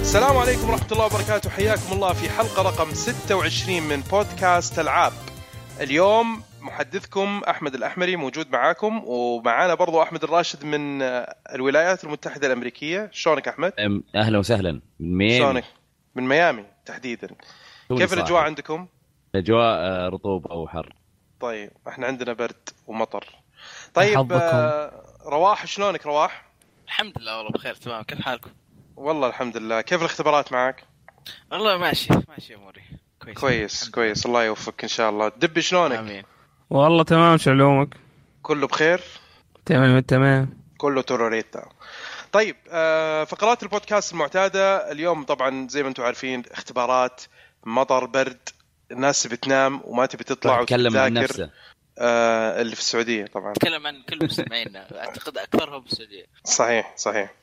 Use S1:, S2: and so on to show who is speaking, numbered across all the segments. S1: السلام عليكم ورحمة الله وبركاته حياكم الله في حلقة رقم 26 من بودكاست ألعاب اليوم محدثكم أحمد الأحمري موجود معاكم ومعانا برضو أحمد الراشد من آه، الولايات المتحدة الأمريكية شلونك أحمد؟
S2: أم- اهلا وسهلا من مين؟
S1: شلونك؟ من ميامي تحديدا
S2: توني
S1: كيف
S2: صاحي.
S1: الأجواء عندكم؟
S2: الاجواء آه، رطوبه وحر
S1: طيب احنا عندنا برد ومطر طيب
S3: حظكم.
S1: آه، رواح شلونك رواح؟
S4: الحمد لله والله بخير تمام كيف حالكم؟
S1: والله الحمد لله كيف الاختبارات معك؟
S4: والله ماشي ماشي اموري كويس
S1: كويس كويس الله يوفقك إن شاء الله دبي شلونك؟
S4: امين
S3: والله تمام شعلومك
S1: كله بخير؟
S3: تمام تمام
S1: كله توروريتا طيب آه، فقرات البودكاست المعتادة اليوم طبعا زي ما انتم عارفين اختبارات مطر برد الناس بتنام وما تبي تطلع
S2: طيب، تكلم عن
S1: وتذاكر.
S2: نفسه
S1: آه اللي في السعودية طبعا
S4: نتكلم عن كل مستمعينا اعتقد اكثرهم بالسعوديه
S1: صحيح صحيح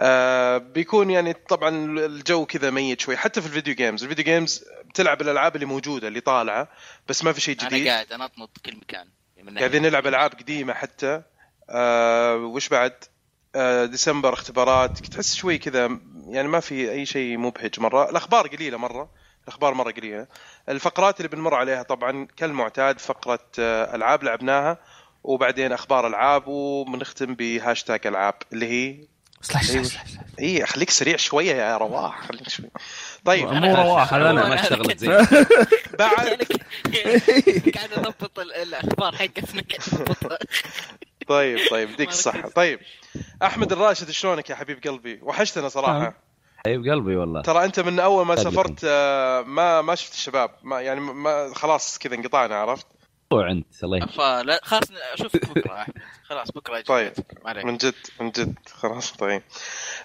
S1: آه بيكون يعني طبعا الجو كذا ميت شوي حتى في الفيديو جيمز الفيديو جيمز بتلعب الالعاب اللي موجوده اللي طالعه بس ما في شيء
S4: انا
S1: جديد
S4: قاعد انطنط كل مكان يعني من
S1: قاعدين نلعب العاب قديمه حتى آه وش بعد آه ديسمبر اختبارات تحس شوي كذا يعني ما في اي شيء مبهج مره الاخبار قليله مره الاخبار مره قليله الفقرات اللي بنمر عليها طبعا كالمعتاد فقره آه العاب لعبناها وبعدين اخبار العاب وبنختم بهاشتاج العاب اللي هي
S3: أيوه.
S1: أيوة. اي خليك سريع شويه يا رواح خليك شوي طيب
S3: مو رواح هذا
S2: انا ما
S3: انا
S4: أنا
S2: اشتغلت
S4: كنت-
S2: زي
S1: بعد
S4: لذلك قاعد اضبط ال- الاخبار حقتنا قاعد أضبطها.
S1: طيب طيب يديك الصحه طيب احمد الراشد شلونك يا حبيب قلبي وحشتنا صراحه
S3: تمام.
S2: حبيب قلبي والله
S1: ترى انت من اول ما
S2: تابعكم.
S1: سافرت آه، ما ما شفت الشباب ما يعني ما خلاص كذا انقطعنا عرفت
S2: مو انت الله يهديك
S4: فلا خلاص اشوفك بكره أحمد. خلاص بكره أجي.
S1: طيب.
S4: ما عليك
S1: من جد من جد خلاص طيب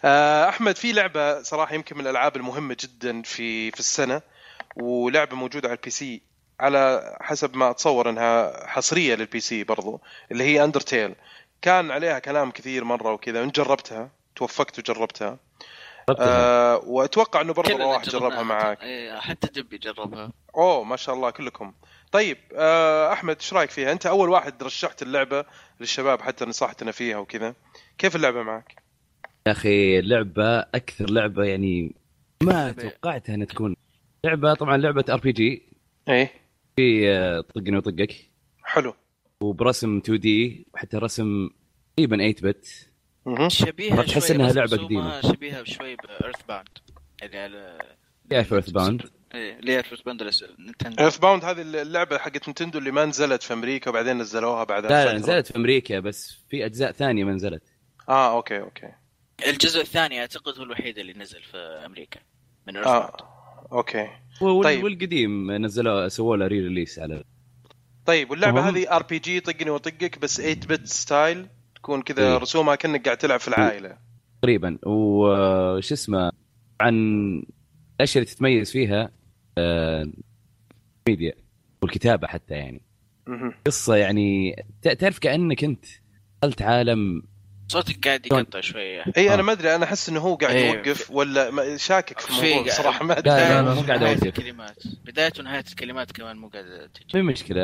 S1: آه، احمد في لعبه صراحه يمكن من الالعاب المهمه جدا في في السنه ولعبه موجوده على البي سي على حسب ما اتصور انها حصريه للبي سي برضو اللي هي اندرتيل كان عليها كلام كثير مره وكذا وانت جربتها توفقت وجربتها آه واتوقع انه برضو
S4: كلنا
S1: رواح جربها معاك
S4: إيه، حتى دبي جربها
S1: اوه ما شاء الله كلكم طيب آه احمد ايش رايك فيها انت اول واحد رشحت اللعبه للشباب حتى نصحتنا فيها وكذا كيف اللعبه معك
S2: يا اخي لعبه اكثر لعبه يعني ما توقعتها انها تكون لعبه طبعا لعبه ار بي جي
S1: ايه
S2: إيه. في آه، طقني وطقك
S1: حلو
S2: وبرسم 2 دي وحتى رسم تقريبا 8 بت
S1: مهم.
S4: شبيهه
S2: تحس
S4: شوي
S2: إنها
S4: بس
S2: لعبة
S4: رسومها
S2: قديمة.
S4: شبيهه شوي بايرث باوند يعني على
S2: يا ايرث باوند
S4: ايه ليه ايرث باوند نينتندو
S1: ايرث باوند هذه اللعبه حقت نتندو اللي ما نزلت في امريكا وبعدين نزلوها بعدها
S2: لا لا
S1: بفترة.
S2: نزلت في امريكا بس في اجزاء ثانيه ما نزلت
S1: اه اوكي اوكي
S4: الجزء الثاني اعتقد هو الوحيد اللي نزل في امريكا من ايرث
S1: اه
S4: باوند
S1: اوكي
S2: وال-
S1: طيب.
S2: والقديم نزلوه سووا له ري ريليس على
S1: طيب واللعبه
S3: مهم.
S1: هذه ار بي جي طقني وطقك بس 8 بت ستايل تكون كذا
S2: إيه.
S1: رسومها كانك قاعد تلعب في العائله
S2: تقريبا وش آه، اسمه عن الاشياء اللي تتميز فيها آه، ميديا والكتابه حتى يعني
S1: مهم.
S2: قصه يعني ت- تعرف كانك انت دخلت عالم
S4: صوتك قاعد يقطع شوي
S1: اي
S2: آه.
S1: انا إيه، ما ادري انا احس انه هو قاعد
S4: إيه.
S1: يوقف ولا ما- شاكك في الموضوع
S4: في-
S1: صراحه ما
S2: لا،
S1: ادري
S2: لا، لا. مو قاعد
S4: نهاية
S2: أوقف.
S4: الكلمات بداية ونهاية الكلمات كمان مو قاعد تجي
S2: ما هي مشكله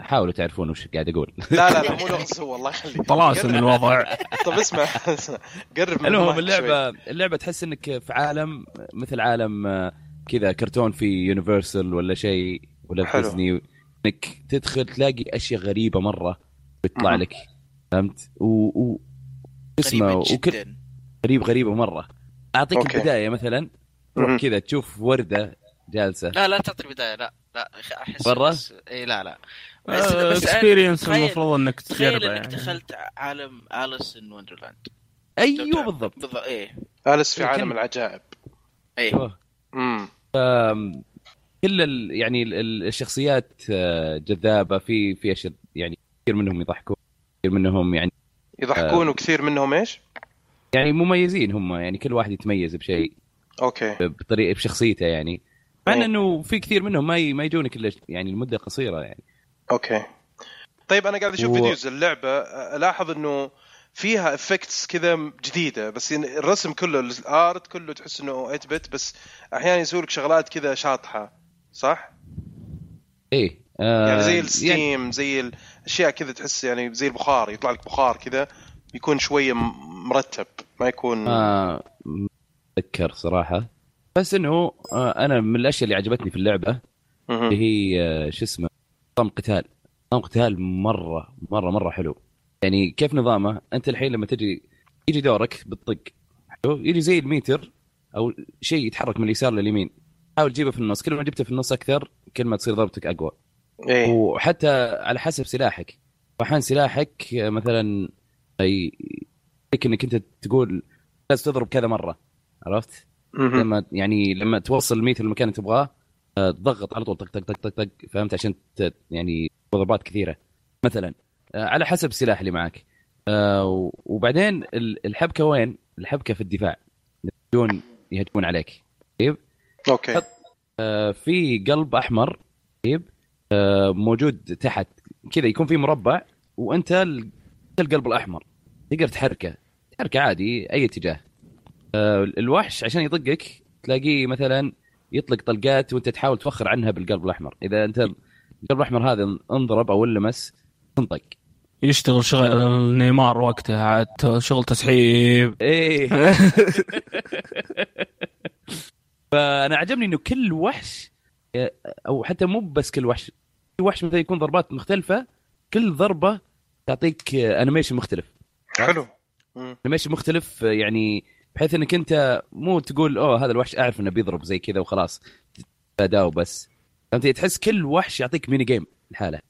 S2: حاولوا تعرفون وش قاعد اقول
S1: لا لا لا مو لغز هو الله يخليك
S3: طلاسم
S1: قرب-
S3: الوضع آه،
S1: طب اسمع اسمع قرب من
S2: المهم
S1: المايك شوي.
S2: اللعبه اللعبه تحس انك في عالم مثل عالم آه، كذا كرتون في يونيفرسال ولا شيء ولا في
S1: حلو.
S2: ديزني انك تدخل تلاقي اشياء غريبه مره بتطلع
S1: مهم.
S2: لك فهمت و, و... اسمه
S4: غريبة
S2: وكل
S4: جدا
S2: غريب غريبه مره اعطيك
S1: أوكي.
S2: أوكي. البدايه مثلا
S1: مهم.
S2: تروح كذا تشوف ورده جالسه
S4: لا لا تعطي بداية لا لا يا أخي احس
S2: برا؟
S4: بس... اي لا لا
S2: يعني
S3: اكسبيرينس
S4: تخيل-
S3: آه، المفروض انك
S4: تخيل
S3: تجربه
S4: انك
S3: يعني
S4: دخلت عالم اليس ان وندرلاند
S2: ايوه بالضبط
S4: بالضبط ايه
S1: ألس في
S2: إيه،
S1: عالم
S2: كمل.
S1: العجائب
S4: ايه
S2: أيوة.
S1: امم
S2: كل ال... يعني ال- ال- الشخصيات آه، جذابه في في اشياء يعني كثير منهم يضحكون كثير منهم يعني
S1: يضحكون وكثير منهم ايش؟
S2: يعني مميزين هم يعني كل واحد يتميز بشيء
S1: اوكي
S2: بطريقه بشخصيته يعني مع
S1: إيه.
S2: انه في كثير منهم ما ي... ما يجونك الا يعني لمده قصيره يعني
S1: اوكي طيب انا قاعد اشوف
S2: و-
S1: فيديوز اللعبه الاحظ انه فيها افكتس كذا جديده بس يعني الرسم كله الارت كله تحس انه 8 بت بس احيانا يسوي لك شغلات كذا شاطحه صح؟
S2: ايه آه
S1: يعني زي الستيم زي الاشياء كذا تحس يعني زي البخار
S2: آه.
S1: يطلع لك بخار كذا يكون شويه م- مرتب ما يكون
S2: ما اتذكر صراحه بس انه آه، انا من الاشياء اللي عجبتني في اللعبه اللي
S1: مهم.
S2: هي آه، شو اسمه نظام قتال نظام قتال مره مره مره حلو يعني كيف نظامه انت الحين لما تجي يجي دورك بالطق حلو يجي زي الميتر او شيء يتحرك من اليسار لليمين حاول تجيبه في النص كل ما جبته في النص اكثر كل ما تصير ضربتك اقوى
S1: ايه
S2: وحتى على حسب سلاحك فاحيانا سلاحك آه، مثلا اي يك انك انت تقول لازم تضرب كذا مره عرفت؟
S1: مهم.
S2: لما يعني لما توصل الميت المكان اللي تبغاه آه، تضغط على طول طق طق طق طق طق فهمت عشان ت- يعني ضربات كثيره مثلا آه، على حسب السلاح اللي معك آه، و- وبعدين ال- الحبكه وين؟ الحبكه في الدفاع يهجمون يهجمون عليك
S1: اوكي
S2: في قلب احمر طيب آه، موجود تحت كذا يكون في مربع وانت ال- أنت القلب الاحمر تقدر تحركه تحركه عادي اي اتجاه آه، الوحش عشان يطقك تلاقيه مثلا يطلق طلقات وانت تحاول تفخر عنها بالقلب الاحمر اذا انت القلب الاحمر هذا انضرب او لمس تنطق
S3: يشتغل شغل نيمار وقتها عاد شغل تسحيب
S2: ايه فانا عجبني انه كل وحش او حتى مو بس كل وحش في وحش مثلا يكون ضربات مختلفه كل ضربه تعطيك انيميشن مختلف
S1: حلو مم.
S2: انيميشن مختلف يعني بحيث انك انت مو تقول اوه هذا الوحش اعرف انه بيضرب زي كذا وخلاص تتفاداه وبس فهمت تحس كل وحش يعطيك ميني جيم لحاله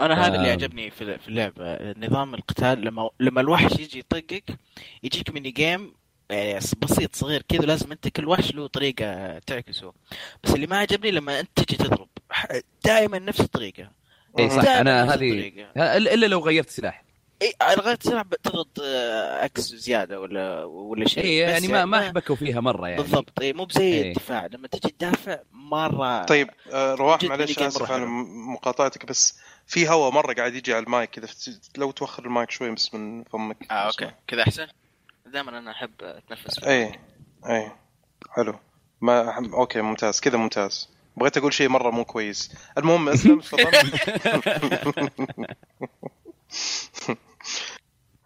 S4: انا هذا اللي
S2: آه.
S4: عجبني في في اللعبه نظام القتال لما لما الوحش يجي يطقك يجيك ميني جيم آه، بسيط صغير كذا لازم انت كل وحش له طريقه تعكسه بس اللي ما عجبني لما انت تجي تضرب دائما نفس الطريقه
S2: اي إيه، صح
S4: دائماً
S2: انا
S4: نفس
S2: هذه
S4: الطريقة.
S2: ه- الا لو غيرت سلاح
S4: اي على غير تلعب تضغط آه، اكس زياده ولا ولا شيء
S2: اي
S4: بس
S2: يعني ما ما حبكوا فيها مره يعني
S4: بالضبط اي مو بزي
S2: إيه.
S4: الدفاع لما تجي تدافع مره
S1: طيب آه، رواح
S4: جد
S1: معلش
S4: ميني جيم
S1: اسف
S4: مرة
S1: على
S4: حلو.
S1: م- مقاطعتك بس في هواء مره قاعد يجي على المايك اذا فت- لو توخر المايك شوي بس من فمك
S4: اه اوكي كذا احسن دائما انا احب اتنفس في
S1: اي اي ايه، حلو ما أحب- اوكي ممتاز كذا ممتاز بغيت اقول شيء مره مو كويس المهم اسلم تفضل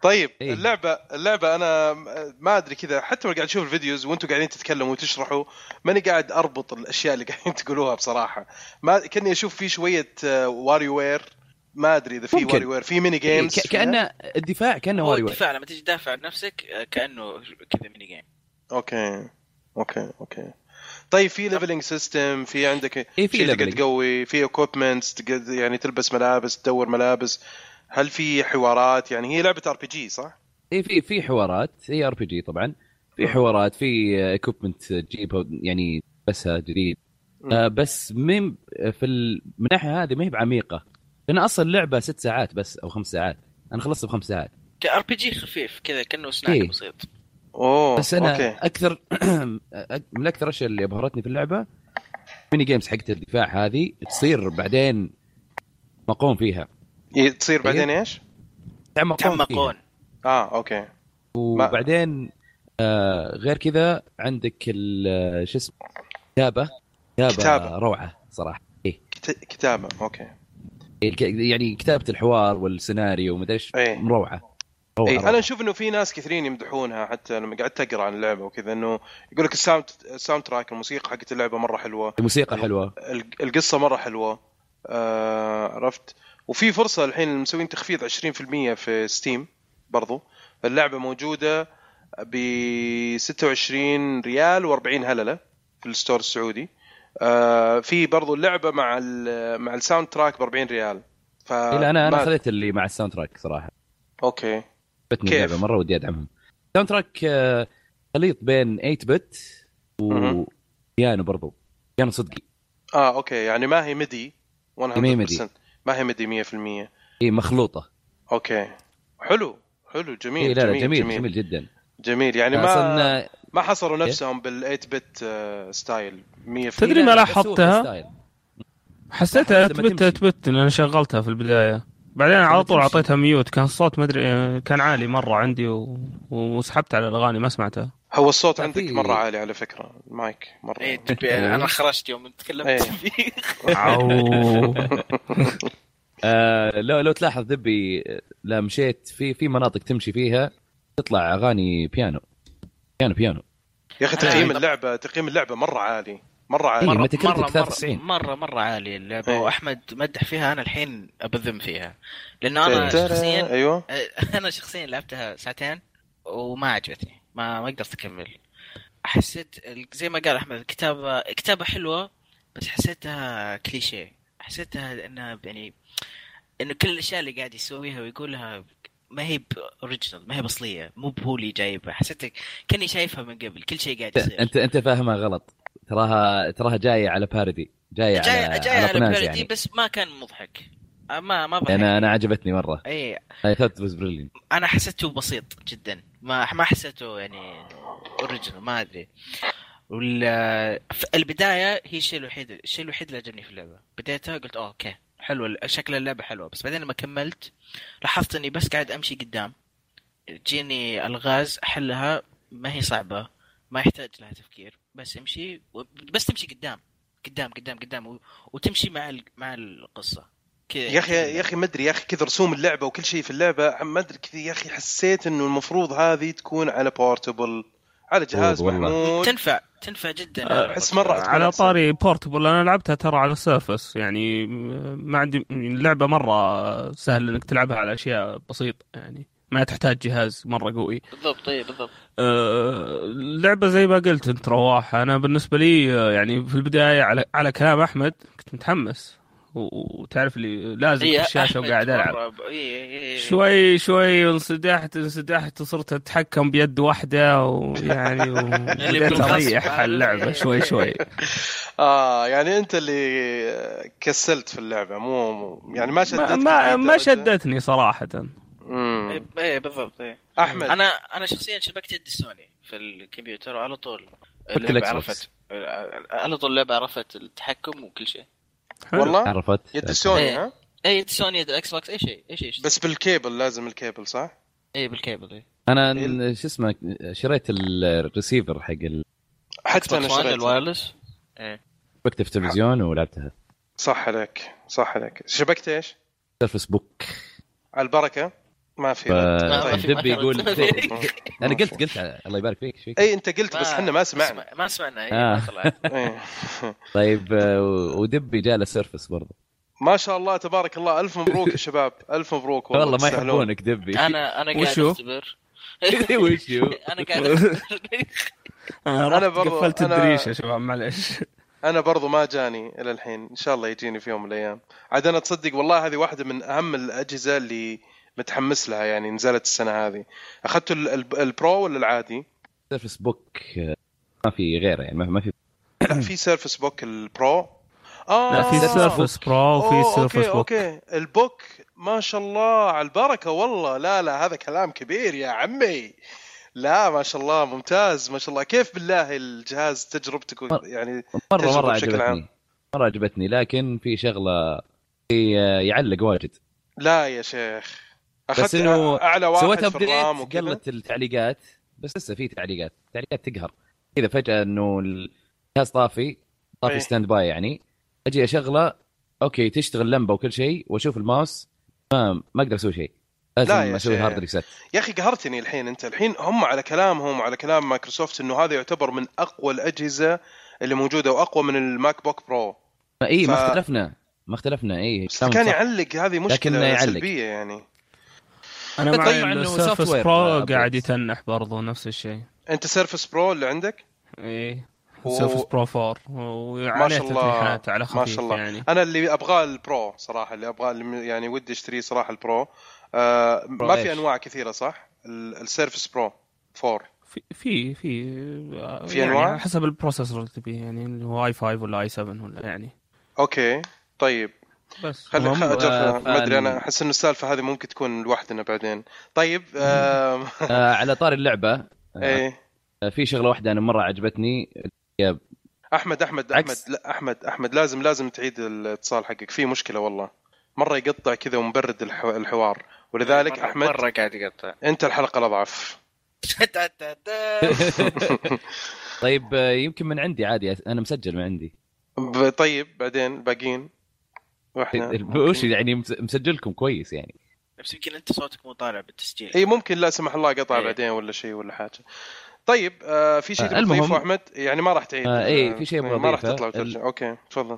S1: طيب
S2: إيه.
S1: اللعبه اللعبه انا م- ما ادري كذا حتى وانا قاعد اشوف الفيديوز وانتم قاعدين تتكلموا وتشرحوا ماني قاعد اربط الاشياء اللي قاعدين تقولوها بصراحه ما كاني اشوف في شويه واري وير ما ادري اذا في
S2: ممكن.
S1: واري وير في ميني
S2: إيه،
S1: جيمز
S2: ك- كانه الدفاع كانه
S4: هو
S2: واري واري
S4: الدفاع لما تجي تدافع عن نفسك آه، كانه كذا ميني جيم
S1: اوكي اوكي اوكي طيب في ليفلنج سيستم في عندك
S2: إيه، نعم. في
S1: شيء تقدر
S2: leveling.
S1: تقوي في اكوبمنتس يعني تلبس ملابس تدور ملابس هل في حوارات يعني هي لعبه ار بي جي صح؟
S2: اي إيه، في في حوارات إيه، هي ار بي جي طبعا في حوارات في اكوبمنت تجيبها يعني بسها جديد
S1: مم.
S2: آه، بس مين في ال- من الناحيه هذه ما هي بعميقه لان اصلا اللعبه ست ساعات بس او خمس ساعات انا خلصت بخمس ساعات
S4: ار بي جي خفيف كذا كانه سناك
S2: إيه.
S4: بسيط
S1: اوه
S2: بس انا
S1: اوكي
S2: اكثر من اكثر الاشياء اللي ابهرتني في اللعبه ميني جيمز حقت الدفاع هذه تصير بعدين مقوم فيها
S1: ي- إيه، تصير
S2: طيب.
S1: بعدين ايش؟
S2: تعمقون فيها.
S4: تعمقون
S1: اه اوكي
S2: وبعدين آه غير كذا عندك ال- آه، شو اسمه كتابه كتابه,
S1: كتابة.
S2: روعه صراحه إيه.
S1: كت- كتابه اوكي
S2: الك- يعني كتابه الحوار والسيناريو ومدري ايش
S1: إيه.
S2: روعه روعه,
S1: اي
S2: روعة.
S1: انا اشوف انه في ناس كثيرين يمدحونها حتى لما قعدت اقرا عن اللعبه وكذا انه يقول لك الساوند الساوند تراك الموسيقى حقت اللعبه مره حلوه
S2: الموسيقى حلوه
S1: الق- القصه مره حلوه آه عرفت وفي فرصه الحين مسوين تخفيض 20% في ستيم برضو اللعبه موجوده ب 26 ريال و40 هلله في الستور السعودي آه في برضو اللعبه مع ال- مع الساوند تراك ب 40 ريال ف
S2: إلا انا انا
S1: آه، ما-
S2: خذيت اللي مع الساوند تراك صراحه
S1: اوكي
S2: عجبتني
S1: كيف؟
S2: اللعبه مره ودي ادعمهم الساوند تراك آه، خليط بين 8 بت
S1: مهم.
S2: وبيانو برضو بيانو صدقي
S1: اه اوكي يعني ما هي ميدي 100%
S2: هي ميدي.
S1: ما هي ميدي 100%
S2: اي مخلوطه
S1: اوكي حلو حلو جميل
S2: اي إيه، لا لا
S1: جميل,
S2: جميل جميل, جدا
S1: جميل يعني ما
S2: اصلا آه،
S1: ما حصروا نفسهم بال 8 بت آه، ستايل 100%
S3: تدري
S2: بس
S3: ما
S2: هو
S3: لاحظتها؟
S2: ستايل.
S3: حسيتها
S2: لما
S3: اثبت
S2: تمشي.
S3: اثبت ان انا شغلتها في البدايه بعدين على طول
S2: تمشي.
S3: اعطيتها ميوت كان الصوت ما ادري كان عالي مره عندي و... وسحبت على الاغاني ما سمعتها
S1: هو الصوت
S2: لا،
S1: عندك
S2: في-
S1: مره عالي على فكره المايك مره
S2: إيه.
S4: اي إيه، تبي- انا خرجت يوم تكلمت
S1: إيه.
S4: فيه
S3: أو...
S2: آه لو لو تلاحظ ذبي لا مشيت في في مناطق تمشي فيها تطلع اغاني بيانو بيانو بيانو
S1: يا اخي
S4: أنا-
S1: تقييم اللعبه تقييم اللعبه مره عالي مره
S2: إيه،
S1: عالي
S2: متى كنت
S4: مرة-
S2: 93.
S4: مرة, مرة مرة عالية اللعبة
S1: إيه.
S4: وأحمد مدح فيها أنا الحين أبذم فيها لأنه أنا شخصيا
S1: ايوه
S4: أه، أنا شخصيا لعبتها ساعتين وما عجبتني ما ما قدرت أكمل حسيت ال- زي ما قال أحمد الكتابة كتابة حلوة بس حسيتها كليشيه حسيتها أنها يعني أنه كل الأشياء اللي قاعد يسويها ويقولها ما هي اوريجنال ما هي بأصلية مو بهو اللي جايبها حسيت كاني شايفها من قبل كل شيء قاعد يصير
S2: انت انت فاهمها غلط تراها تراها جايه على باردي جايه يعني على
S4: جاي جاي على
S2: قناز
S4: بلدي
S2: يعني.
S4: بس ما كان مضحك ما ما إيه، ضحك
S2: انا انا عجبتني مره
S4: اي
S2: اي ثوت واز بريليانت
S4: انا حسيته بسيط جدا ما ما حسيته يعني اوريجنال ما ادري وال في البدايه هي الشيء الوحيد الشيء الوحيد اللي عجبني في اللعبه بدايتها قلت أوه اوكي حلوه شكل اللعبه حلوه بس بعدين لما كملت لاحظت اني بس قاعد امشي قدام تجيني الغاز احلها ما هي صعبه ما يحتاج لها تفكير بس امشي و- بس تمشي قدام قدام قدام قدام و... وتمشي مع ال... مع القصه كذا
S1: يا اخي يا اخي ما ادري يا اخي كذا رسوم اللعبه وكل شيء في اللعبه ما ادري كذا يا اخي حسيت انه المفروض هذه تكون على بورتبل على جهاز
S2: والله.
S1: محمول
S4: تنفع تنفع جدا
S1: أحس مرة أتمنى
S3: على
S1: أحسن.
S3: طاري بورتبل انا لعبتها ترى على السيرفس يعني ما عندي اللعبه مره سهل انك تلعبها على اشياء بسيطه يعني ما تحتاج جهاز مره قوي
S4: بالضبط اي بالضبط
S3: أه، اللعبه زي ما قلت انت رواح انا بالنسبه لي أه، يعني في البدايه على على كلام احمد كنت متحمس و- وتعرف اللي لازم
S4: إيه،
S3: في الشاشه وقاعد العب شوي شوي انصدحت انصدحت وصرت اتحكم بيد واحده ويعني وبديت
S4: بالغصب.
S3: اريح على اللعبه شوي شوي
S1: اه يعني انت اللي كسلت في اللعبه مو مو- يعني ما شدتك
S3: ما ما,
S1: لهذه
S3: ما
S1: الدرجة.
S3: شدتني صراحه
S1: مم.
S4: اي إيه، بالضبط اي
S1: احمد
S4: انا انا شخصيا شبكت يدي سوني في الكمبيوتر وعلى طول
S2: فك
S4: اللعبه
S2: الإكس بوكس.
S4: عرفت على طول اللعبه عرفت التحكم وكل شيء
S3: حلو.
S1: والله
S2: عرفت
S1: يد سوني
S4: إيه.
S1: ها
S4: اي يد سوني يد الاكس بوكس اي شيء اي شيء
S1: بس بالكيبل لازم الكيبل صح؟
S4: اي بالكيبل إيه. اي
S2: انا ن- شو اسمه شريت ال- الريسيفر حق
S1: حتى انا شريته
S4: الوايرلس
S2: شبكته في التلفزيون ولعبتها
S1: صح عليك صح عليك شبكت ايش؟
S2: سيرفس بوك
S1: على البركه ما في
S2: ف-
S1: رد.
S4: ما- ما
S1: طيب.
S4: في- ما
S2: آه، دبي
S4: في
S2: يقول
S4: رد.
S2: دبي.
S1: ما
S2: انا قلت
S1: في.
S2: قلت الله يبارك فيك ايش فيك
S4: إيه.
S1: اي انت إيه، قلت بس احنا ما سمعنا
S4: ما سمعنا اي
S2: آه.
S4: ما طلع.
S1: إيه.
S2: طيب آه، و- ودبي جاء له سيرفس برضه
S1: ما شاء الله تبارك الله الف مبروك يا شباب الف مبروك والله
S2: والله ما
S1: تستاهلون.
S2: يحبونك دبي
S4: انا انا قاعد
S3: وشو؟
S4: اختبر
S2: وشو؟
S4: انا قاعد اختبر
S3: انا
S1: أنا
S3: رحت
S1: برضو-
S3: قفلت
S1: أنا-
S3: الدريشه يا شباب معلش
S1: انا برضو ما جاني الى الحين ان شاء الله يجيني في يوم من الايام عاد انا تصدق والله هذه واحده من اهم الاجهزه اللي متحمس لها يعني نزلت السنه هذه اخذت ال- ال- البرو ولا العادي
S2: سيرفس بوك آه، ما في غيره يعني ما ما في
S1: لا في سيرفس بوك البرو اه
S3: لا في سيرفس برو وفي
S1: أوه،
S3: سيرفس
S1: اوكي
S3: بوك
S1: اوكي البوك ما شاء الله على البركه والله لا لا هذا كلام كبير يا عمي لا ما شاء الله ممتاز ما شاء الله كيف بالله الجهاز تجربتك
S2: أه.
S1: و- يعني
S2: مره
S1: تجربة
S2: مره
S1: بشكل عام.
S2: عجبتني مره عجبتني لكن في شغله في آه، يعلق واجد
S1: لا يا شيخ
S2: بس
S1: اخذت
S2: إنه
S1: اعلى واحد
S2: سويت
S1: في الرام
S2: ابديت
S1: وكذا
S2: قلت التعليقات بس لسه في تعليقات تعليقات تقهر كذا فجاه انه الجهاز طافي طافي
S1: إيه.
S2: ستاند باي يعني اجي اشغله اوكي تشتغل لمبه وكل شيء واشوف الماوس ما ما اقدر اسوي شيء
S1: لا يا
S2: لازم اسوي
S1: شيخ.
S2: هارد ريست
S1: يا اخي قهرتني الحين انت الحين هم على كلامهم وعلى كلام مايكروسوفت انه هذا يعتبر من اقوى الاجهزه اللي موجوده واقوى من الماك بوك برو
S2: اي إيه، ما
S1: ف-
S2: اختلفنا ما اختلفنا إيه، اي
S1: بس كان يعلق هذه مشكله
S2: لكنه يعلق.
S1: سلبيه يعني
S3: انا
S2: أتوقع
S3: معي
S2: إنه
S3: طيب السيرفس
S2: software
S3: برو
S2: updates.
S3: قاعد يتنح برضو نفس الشيء
S1: انت سيرفس برو اللي عندك
S3: ايه
S1: و-
S3: سيرفس برو 4 وعليه تسريحات على خفيف
S1: ما شاء الله
S3: يعني
S1: انا اللي ابغاه البرو صراحه اللي ابغاه اللي يعني ودي اشتريه صراحه البرو آه ما في
S2: إيش؟
S1: انواع كثيره صح ال- السيرفس برو 4
S3: في في في
S1: في
S3: يعني
S1: أنواع؟
S3: على حسب البروسيسور اللي تبيه يعني اللي هو اي 5 ولا اي 7 ولا يعني
S1: اوكي طيب
S3: بس
S1: خلي
S2: هم-
S1: خل... أجل،
S2: آه،
S1: ما ادري انا
S2: فال-
S1: احس انه السالفه هذه ممكن تكون لوحدنا بعدين طيب آه...
S2: آه على طار اللعبه آه
S1: ايه
S2: في شغله واحده انا مره عجبتني
S1: احمد احمد احمد
S2: عكس.
S1: لا احمد احمد لازم لازم تعيد الاتصال حقك في مشكله والله مره يقطع كذا ومبرد الحو... الحوار ولذلك
S4: إيه، مرة-
S1: احمد
S4: مره قاعد يقطع
S1: انت الحلقه الاضعف
S2: طيب آه، يمكن من عندي عادي انا مسجل من عندي
S1: ب- طيب بعدين الباقيين واحنا
S2: وش يعني مس- مسجلكم كويس يعني
S4: بس يمكن انت صوتك مو طالع بالتسجيل
S1: إيه، اي ممكن لا سمح الله قطع
S4: إيه.
S1: بعدين ولا شيء ولا حاجه طيب آه في شيء
S2: آه،
S1: تبي
S2: المهم-
S1: تضيفه احمد يعني ما راح تعيد
S2: آه، إيه، في شيء
S1: ما راح
S2: بضيفه.
S1: تطلع وترجع. اوكي تفضل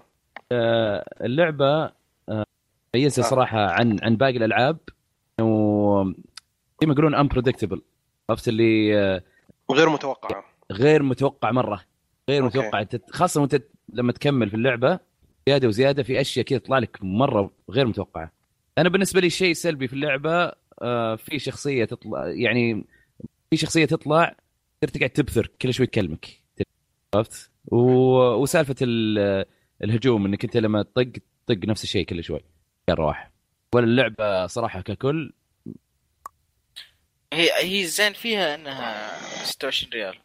S2: آه، اللعبه آه، ميزه
S1: آه.
S2: صراحه عن عن باقي الالعاب انه زي ما يقولون امبريدكتبل عرفت اللي آه،
S1: غير متوقعه
S2: غير متوقع مره غير
S1: أوكي.
S2: متوقع تت- خاصه وانت لما تكمل في اللعبه زياده وزياده في اشياء كذا تطلع لك مره غير متوقعه انا بالنسبه لي شيء سلبي في اللعبه آه، في شخصيه تطلع يعني في شخصيه تطلع تصير تقعد تبثر كل شوي تكلمك عرفت و- وسالفه ال- الهجوم انك انت لما تطق تطق نفس الشيء كل شوي مره واحده ولا اللعبه صراحه ككل
S4: هي هي الزين فيها انها 26 ريال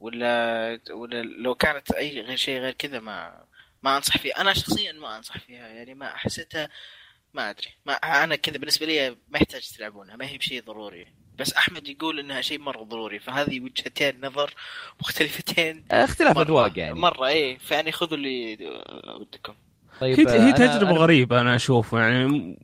S4: ولا ولا لو كانت اي غير شيء غير كذا ما ما انصح فيها انا شخصيا ما انصح فيها يعني ما حسيتها ما ادري ما انا كذا بالنسبه لي ما يحتاج تلعبونها ما هي بشيء ضروري بس احمد يقول انها شيء مره ضروري فهذه وجهتين نظر مختلفتين
S2: اختلاف
S4: مرة-
S2: اذواق يعني
S4: مره ايه فيعني خذوا اللي آه، ودكم
S2: طيب
S3: هي هي
S2: أنا-
S3: تجربه
S2: أنا-
S3: غريبه انا اشوفه يعني م-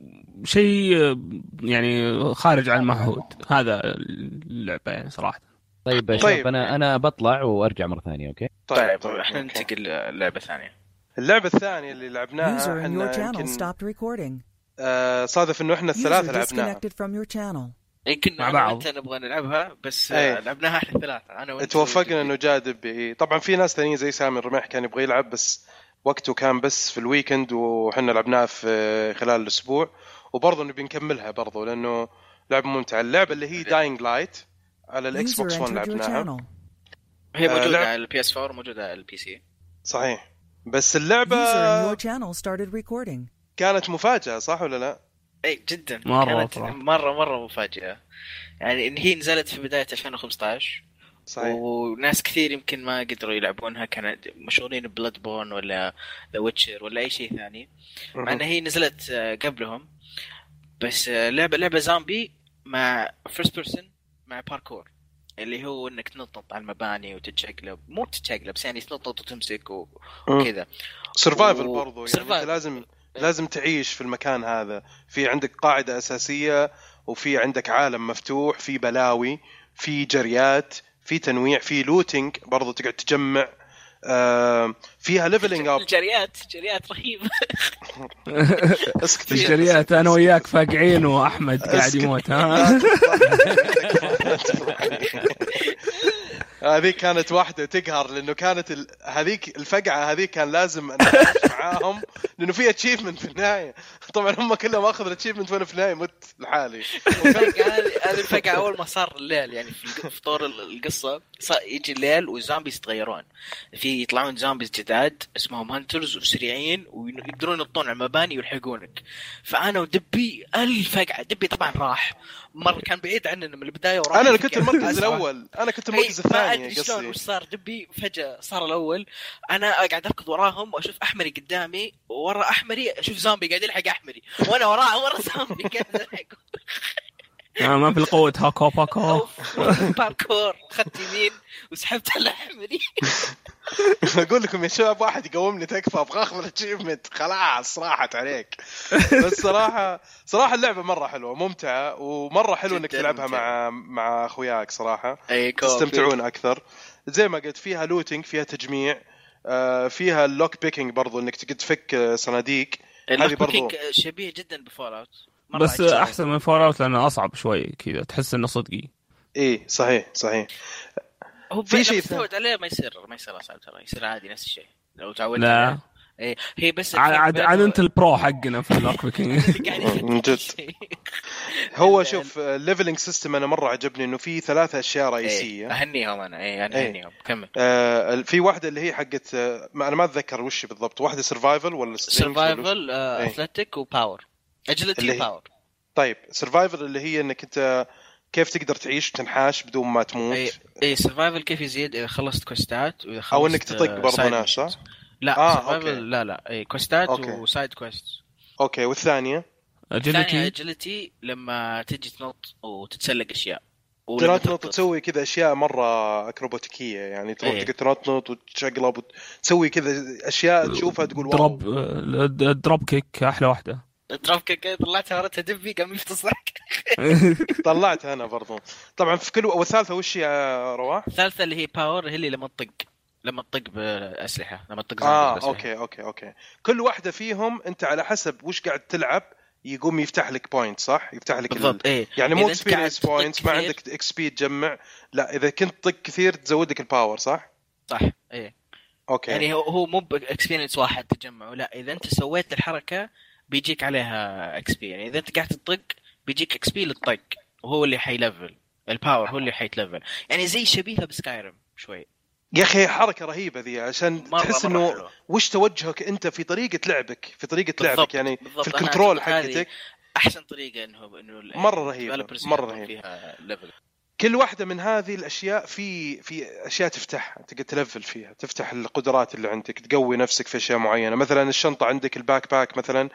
S3: شيء آه، يعني خارج عن المعهود هذا اللعبه يعني صراحه
S2: طيب يا
S1: طيب.
S2: شباب انا انا بطلع وارجع مره ثانيه اوكي
S4: طيب احنا
S1: أوكي.
S4: ننتقل للعبه ثانيه
S1: اللعبه الثانيه اللي
S5: User
S1: لعبناها
S5: in your
S1: احنا
S5: channel
S1: يمكن
S5: stopped recording.
S1: آه، صادف انه احنا الثلاثه
S5: User
S1: لعبناها
S5: disconnected from your channel.
S4: اي إيه، كنا
S3: مع
S4: مع
S3: بعض.
S4: بعض انت نبغى نلعبها بس
S1: إيه.
S4: آه، لعبناها احنا الثلاثه انا وانت
S1: توفقنا انه جاء دبي إيه. طبعا في ناس ثانيين زي سامي الرمح كان يبغى يلعب بس وقته كان بس في الويكند وحنا لعبناها في خلال الاسبوع وبرضه نبي نكملها برضه لانه لعبه ممتعه اللعبه اللي هي داينج لايت على الاكس
S5: User
S1: بوكس 1
S5: entered your
S1: لعبناها
S5: channel.
S4: هي
S1: آه،
S4: موجوده
S1: لعب-
S4: على البي اس 4 وموجوده على البي سي
S1: صحيح بس
S5: User in your
S1: اللعبه
S5: channel started recording.
S1: كانت مفاجاه صح ولا لا؟
S4: اي جدا
S3: مرة
S4: إيه، كانت
S3: صراحة.
S4: مره مره مفاجئه يعني ان هي نزلت في بدايه 2015 Oh.
S1: صحيح
S4: وناس كثير يمكن ما قدروا يلعبونها كانوا مشغولين ببلاد بون ولا ذا ويتشر ولا اي شيء ثاني مع ان هي نزلت آه، قبلهم بس آه، لعبه لعبه زامبي مع فيرست بيرسون مع باركور اللي هو انك تنطط على المباني وتتشقلب مو تتشقلب بس يعني تنطط وتمسك و- وكذا
S1: سرفايفل
S4: و-
S1: برضو يعني
S4: survival. إيه.
S1: انت لازم لازم تعيش في المكان هذا في عندك قاعده اساسيه وفي عندك عالم مفتوح في بلاوي في جريات في تنويع في لوتينج برضو تقعد تجمع آه فيها ليفلنج اب
S4: الجريات جريات رهيبه
S1: اسكت
S3: الجريات انا وياك فاقعين واحمد قاعد
S1: أسكت.
S3: يموت ها
S1: آه، هذيك كانت واحده تقهر لانه كانت ال... هذيك الفقعه هذيك كان لازم انا أعيش معاهم لانه في اتشيفمنت في النهايه طبعا هم كلهم اخذوا الاتشيفمنت وانا في النهايه مت لحالي
S4: هذه هذه الفقعه اول ما صار الليل يعني في الق- في طور ال- القصه صار يجي الليل والزومبيز يتغيرون في يطلعون زومبيز جداد اسمهم هانترز وسريعين ويقدرون ينطون على المباني ويلحقونك فانا ودبي الفقعه دبي طبعا راح مره كان بعيد عننا من البدايه وراح
S1: انا اللي كنت
S4: الفقعة.
S1: المركز الاول انا كنت المركز
S4: إيه، ما
S1: الثاني
S4: ادري شلون وش
S1: قصدي
S4: صار دبي فجاه صار الاول انا قاعد اركض وراهم واشوف احمري قدامي ورا احمري اشوف زومبي قاعد يلحق احمري وانا وراه ورا زومبي قاعد يلحق
S3: آه، ما في قوه هاكو باكو
S4: أوف، باركور اخذت يمين وسحبت على احمري
S1: اقول لكم يا شباب واحد يقومني تكفى ابغى اخذ الاتشيفمنت خلاص راحت عليك بس صراحه صراحه اللعبه مره حلوه ممتعه ومره حلو انك
S4: جداً
S1: تلعبها مع
S4: ممتعة.
S1: مع اخوياك صراحه
S4: اي
S1: تستمتعون اكثر زي ما قلت فيها لوتينج فيها تجميع آه، فيها اللوك بيكينج برضو انك تقعد تفك آه، صناديق هذه برضو
S4: شبيه جدا بفول اوت مرة
S3: بس
S4: عجبني.
S3: آه، احسن من فور اوت لانه اصعب شوي كذا تحس انه صدقي
S1: اي إيه، صحيح صحيح
S4: هو
S1: في
S4: في
S1: شيء
S4: شيء تعود عليه ما يصير ما يصير اصعب ترى يصير عادي نفس الشيء لو تعودت
S3: لا
S4: عليه. اي هي بس
S3: عاد
S4: الفرق
S3: عاد-
S4: بينه
S3: عاد انت
S4: وبين
S3: البرو حقنا في اللوك بيكينج
S4: اللي قاعد يفكر
S1: من جد.
S4: شيء.
S1: هو
S4: ال-
S1: شوف آه، الليفلنج سيستم انا مره عجبني انه في ثلاثة اشياء رئيسيه
S4: إيه، اهنيهم انا اي انا
S1: إيه.
S4: اهنيهم كمل
S1: آه، ال- في واحده اللي هي حقت آه، ما انا ما اتذكر وش بالضبط واحده سرفايفل ولا strength ولا وش؟
S4: سرفايفل
S1: إيه.
S4: اثلتيك وباور
S1: اللي
S4: اجلتي
S1: هي-
S4: باور
S1: طيب سرفايفل اللي هي انك انت كيف تقدر تعيش تنحاش بدون ما تموت
S4: اي اي سرفايفل إيه، كيف يزيد اذا خلصت كوستات واذا خلصت
S1: او انك تطق
S4: آه،
S1: برضو
S4: side
S1: ناس
S4: missions.
S1: صح؟
S4: لا
S1: آه،
S4: آه
S1: أوكي.
S4: سرفايفل لا لا اي كوستات
S1: أوكي.
S4: وسايد كويست
S1: اوكي والثانيه
S4: الثانية
S3: اجلتي
S4: اجلتي لما تجي تنط وتتسلق اشياء ولما
S1: تنطنط وتسوي كذا اشياء مره اكروباتيكيه يعني تروح
S4: إيه.
S1: تقعد تنطنط وتشقلب وتسوي كذا اشياء تشوفها تقول واو
S3: دروب آه، الدروب كيك احلى واحده
S4: دراف كيك طلعتها ورتها دبي قام يفتصك
S1: طلعتها انا برضو طبعا في كل والثالثه وش يا رواح؟
S4: الثالثه اللي هي باور هي اللي لما تطق لما تطق باسلحه لما تطق زنابير
S1: اه
S4: بأسلحة.
S1: اوكي اوكي اوكي كل واحده فيهم انت على حسب وش قاعد تلعب يقوم يفتح لك بوينت صح؟ يفتح لك ال-
S4: بالضبط ايه
S1: يعني
S4: إذا
S1: مو
S4: أنت قاعد
S1: اكسبيرينس
S4: تطق
S1: بوينتس ما
S4: كثير-
S1: عندك اكس بي تجمع لا اذا كنت تطق كثير تزود لك الباور صح؟
S4: صح ايه
S1: اوكي
S4: يعني هو هو مو باكسبيرينس واحد تجمعه لا اذا انت سويت الحركه بيجيك عليها اكس بي يعني اذا انت قاعد تطق بيجيك اكس بي للطق وهو اللي حيلفل الباور هو اللي حيتلفل يعني زي شبيهه بسكايرم شوي
S1: يا اخي حركه رهيبه ذي عشان
S4: مرة
S1: تحس
S4: مرة
S1: انه
S4: حلوة.
S1: وش توجهك انت في طريقه لعبك في طريقه
S4: بالضبط،
S1: لعبك يعني في
S4: بالضبط. أنا
S1: الكنترول
S4: أعتقد هذه
S1: حقتك
S4: احسن طريقه انه انه
S1: مرة رهيبة،
S4: developers
S1: مرة
S4: يحطون
S1: رهيبة.
S4: فيها level.
S1: كل واحده من هذه الاشياء في في اشياء تفتحها تقدر تلفل فيها تفتح القدرات اللي عندك تقوي نفسك في اشياء معينه مثلا الشنطه عندك الباك باك مثلا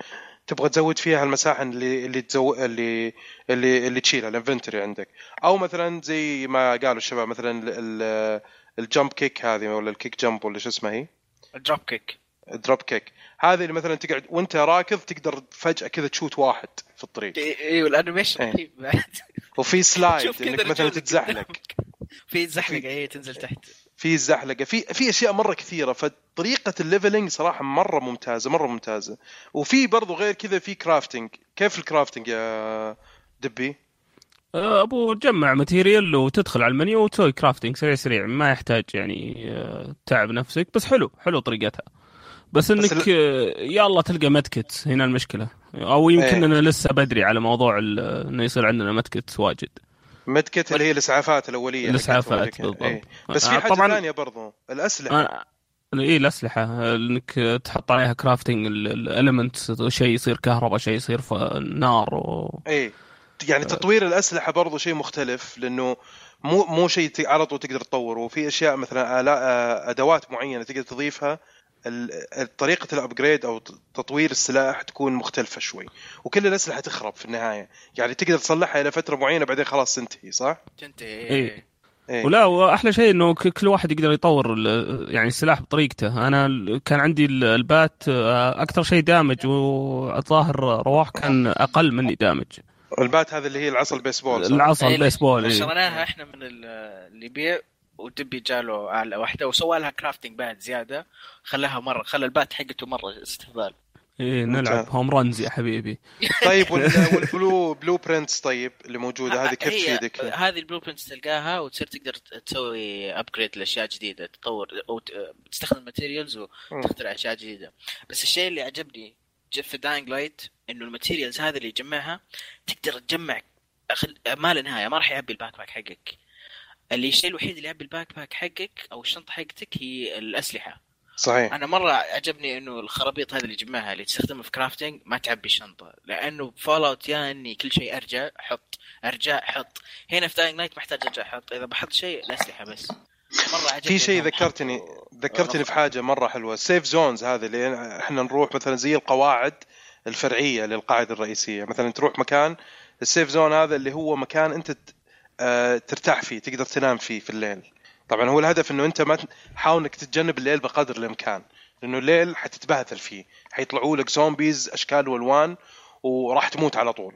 S1: تبغى تزود فيها المساحه اللي اللي تزو... اللي اللي اللي تشيلها الانفنتوري عندك او مثلا زي ما قالوا الشباب مثلا ال- ال- الجمب كيك هذه ولا الكيك جمب ولا شو اسمها هي
S4: الدروب كيك
S1: الدروب كيك هذه اللي مثلا تقعد وانت راكض تقدر فجاه كذا تشوت واحد في الطريق
S4: ايوه الانيميشن
S1: إيه.
S4: رهيب بعد.
S1: وفي سلايد
S4: تشوف كذا
S1: انك مثلا
S4: رجولك
S1: تتزحلق
S4: في زحلقه اي تنزل تحت
S1: في الزحلقه في في اشياء مره كثيره فطريقه الليفلنج صراحه مره ممتازه مره ممتازه وفي برضو غير كذا في كرافتنج كيف الكرافتنج يا دبي
S3: آه، ابو تجمع ماتيريال وتدخل على المنيو وتسوي كرافتنج سريع سريع ما يحتاج يعني آه، تعب نفسك بس حلو حلو طريقتها بس انك
S1: ال-
S3: آه، يا الله تلقى متكت هنا المشكله او يمكن
S1: إيه.
S3: انا لسه بدري على موضوع ال- انه يصير عندنا متكت واجد
S1: إيه، مدكت اللي هي الاسعافات الاوليه
S3: الإسعافات،
S1: حقتهم هذيك.
S3: بالضبط.
S1: إيه. بس في
S3: آه،
S1: حاجه
S3: طبعاً- آه،
S1: ثانيه برضو الاسلحه
S3: انا اي الاسلحه آه، انك آه، تحط عليها كرافتنج الالمنت شيء يصير كهرباء شيء يصير ف- نار و...
S1: ايه
S3: آه.
S1: يعني تطوير الاسلحه برضو شيء مختلف لانه مو مو شيء ت- على طول تقدر تطوره وفي اشياء مثلا آلاء آه، ادوات معينه تقدر تضيفها ال- ال- طريقه الابجريد او ت- تطوير السلاح تكون مختلفه شوي وكل الاسلحه تخرب في النهايه يعني تقدر تصلحها الى فتره معينه بعدين خلاص تنتهي صح
S4: تنتهي
S3: إيه.
S1: إيه.
S3: ولا واحلى شيء انه ك- كل واحد يقدر يطور ال- يعني السلاح بطريقته انا ال- كان عندي ال- البات آه، اكثر شيء دامج والظاهر رواح كان اقل مني دامج
S1: البات هذه اللي هي العصا البيسبول صح؟
S3: العصا
S4: إيه،
S3: البيسبول إيه.
S4: شريناها احنا من ال- اللي يبيع ودبي جاله على واحده وسوى لها كرافتنج بعد زياده خلاها مره خلى البات حقته مره استهبال
S3: إيه نلعب هوم رنز يا حبيبي
S1: طيب وال- والبلو بلو برنتس طيب اللي موجوده هذه كيف
S4: هي-
S1: تفيدك؟
S4: هذه البلو برنتس تلقاها وتصير تقدر ت- تسوي ابجريد لاشياء جديده تطور او ت- تستخدم ماتيريالز وتخترع اشياء جديده بس الشيء اللي عجبني ج- في داينج لايت انه الماتيريالز هذه اللي يجمعها تقدر تجمع أخل- ما لا نهايه ما راح يعبي الباك باك حقك اللي الشيء الوحيد اللي يعبي الباك باك حقك او الشنطه حقتك هي الاسلحه
S1: صحيح
S4: انا مره عجبني انه الخرابيط هذه اللي جمعها اللي تستخدمها في كرافتنج ما تعبي الشنطه لانه فول اوت يا اني يعني كل شيء ارجع احط ارجع احط هنا في داينج نايت محتاج ارجع احط اذا بحط شيء الاسلحه بس مره عجبني
S1: في شيء
S4: إنهم
S1: ذكرتني
S4: حطوا-
S1: ذكرتني في حاجه مره حلوه السيف زونز هذه اللي احنا نروح مثلا زي القواعد الفرعيه للقاعده الرئيسيه مثلا تروح مكان السيف زون هذا اللي هو مكان انت ت- آه، ترتاح فيه تقدر تنام فيه في الليل طبعا هو الهدف انه انت ما ت- حاول انك تتجنب الليل بقدر الامكان لانه الليل حتتبهذل فيه حيطلعوا لك زومبيز اشكال والوان وراح تموت على طول